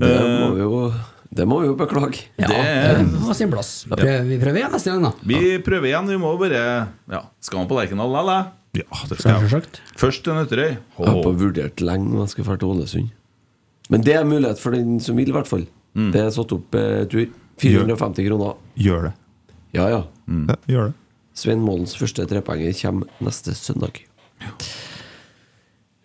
S6: Det må vi jo, det må vi jo beklage.
S2: det,
S3: det var sin plass. Da prøver- Vi prøver igjen neste gang, da.
S2: Vi prøver igjen. Vi må bare ja, Skal man på Lerkendal, eller? Ja, det skal jeg. Først til Nøtterøy.
S6: Jeg har på vurdert lenge om jeg skal dra til Ålesund. Men det er mulighet for den som vil, i hvert fall.
S2: Mm.
S6: Det er satt opp eh, tur. 450 kroner.
S4: Gjør det.
S6: Ja, ja.
S4: Ja, gjør det.
S6: Svein Målens første trepoenger kommer neste søndag.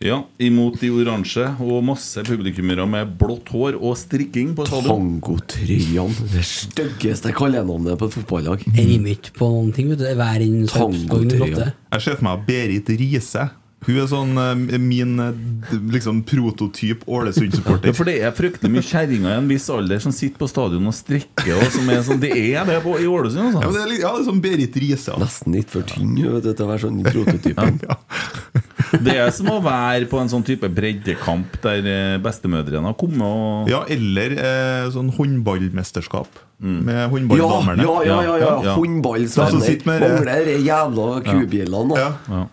S2: Ja, imot de oransje og masse publikummere med blått hår og strikking på stadion.
S6: Tangotrøyene. Det styggeste kallenavnet på et fotballag.
S3: Jeg rimer ikke på noen ting, vet du. Hver inn Sarpsborg 08.
S4: Jeg ser for meg Berit Riise. Hun er sånn eh, min eh, d- liksom prototyp
S2: Ja,
S4: Ålesund-supporter.
S2: for det er fryktelig mye kjerringer i en viss alder som sitter på stadion og strikker. Og som er sånn, det er det på, i Ålesund, altså.
S4: Ja, men det er litt- ja, det er sånn Berit Riise. altså.
S6: Nesten litt for tynn vet du, til å være sånn prototypen.
S2: Det er som å være på en sånn type breddekamp der eh, bestemødrene har kommet og
S4: Ja, eller eh, sånn håndballmesterskap
S2: Mm.
S4: med
S6: Ja,
S4: håndballdamerne.
S6: ja, ja, ja, ja. håndball,
S4: De som sitter med eh,
S6: Mangler de jævla kubjellene, da.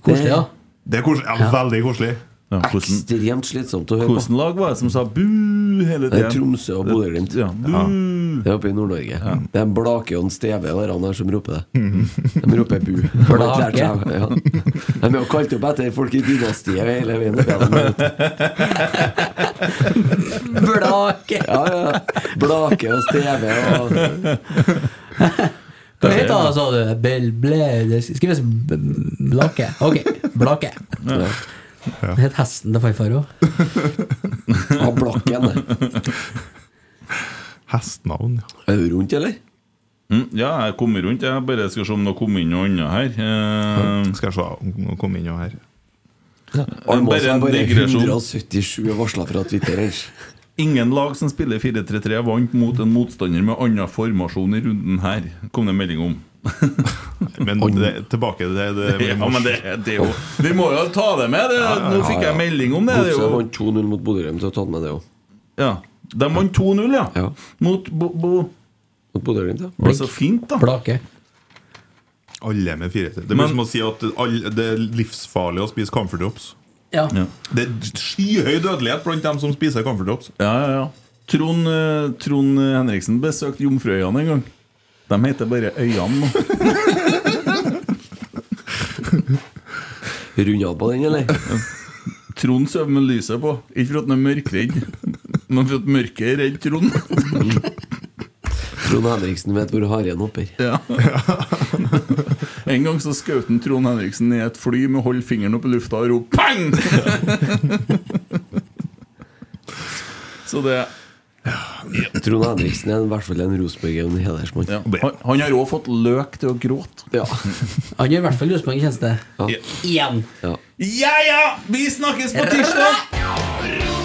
S4: Koselig, ja. Det er koselig. Ja, veldig koselig.
S6: Ekstremt slitsomt å høre på.
S2: Hvilket lag var det som sa bu hele
S6: Det
S2: tiden?
S6: er Tromsø og Bodø-Glimt.
S2: Ja, bu.
S6: Det er oppe i Nord-Norge. Det er Blake og en Steve og de der som roper det.
S4: Mhm.
S6: De roper bu.
S1: Blake.
S6: De er jo kalt opp etter folk i dynastiet hele veien. opp gjennom.
S3: Blake!
S6: Ja, ja. Blake og Steve og
S3: Hva heter det, sa du? Bel, ble, det skrives b- Blake. Ok, Blake.
S6: Ja.
S3: Det het hesten til farfar òg.
S6: Ja, Blakken. det.
S4: Hestnavn, ja.
S6: Er du rundt, eller?
S2: Mm, ja, jeg kommer rundt. Jeg bare skal se om det kommer inn noe annet her. Eh,
S4: Skal jeg se om det kommer inn noe her.
S6: Almås
S2: Bare
S6: er
S2: en
S6: bare
S2: digresjon.
S6: 177 varsla fra Twitter. ellers.
S2: Ingen lag som spiller 4-3-3 vant mot en motstander med annen formasjon i runden her, kom det melding om.
S4: Men eh, det, tilbake til det, det
S2: Ja, men det, det er jo Vi må jo ta det med! Det. Nå fikk jeg melding om det. det er
S6: Godset
S2: jo,
S6: vant 2-0 mot Bodø-Glimt. Jeg har tatt med det òg.
S2: ja. De vant 2-0, ja. Mot Bo... bo
S6: Mot Bodø-Glimt, ja.
S2: Det var så fint, da.
S3: Blake.
S4: Alle med fire til. Det blir som å si at alle, det er livsfarlig å spise comfort drops.
S3: Ja.
S4: Det er skyhøy dødelighet blant dem som spiser comfort drops.
S2: Ja, ja, ja. Trond, eh, Trond Henriksen besøkte Jomfruøyene en gang. De heter bare Øyene nå.
S6: Runda på den, eller?
S2: Trond sover med lyset på. Ikke for at han er mørkredd, men for at mørket er redd Trond.
S6: Trond Henriksen vet hvor haren hopper.
S2: Ja. En gang så skjøt han Trond Henriksen i et fly med å holde fingeren opp i lufta og rope pang! Så det
S6: Trond Henriksen er i hvert fall en Rosenborg og en hedersmann.
S2: Ja. Han, han har òg fått løk til å gråte.
S6: Ja.
S3: Han gjør i hvert fall Rosenborg en tjeneste. Igjen.
S6: Ja.
S2: Ja ja! Vi snakkes på tirsdag!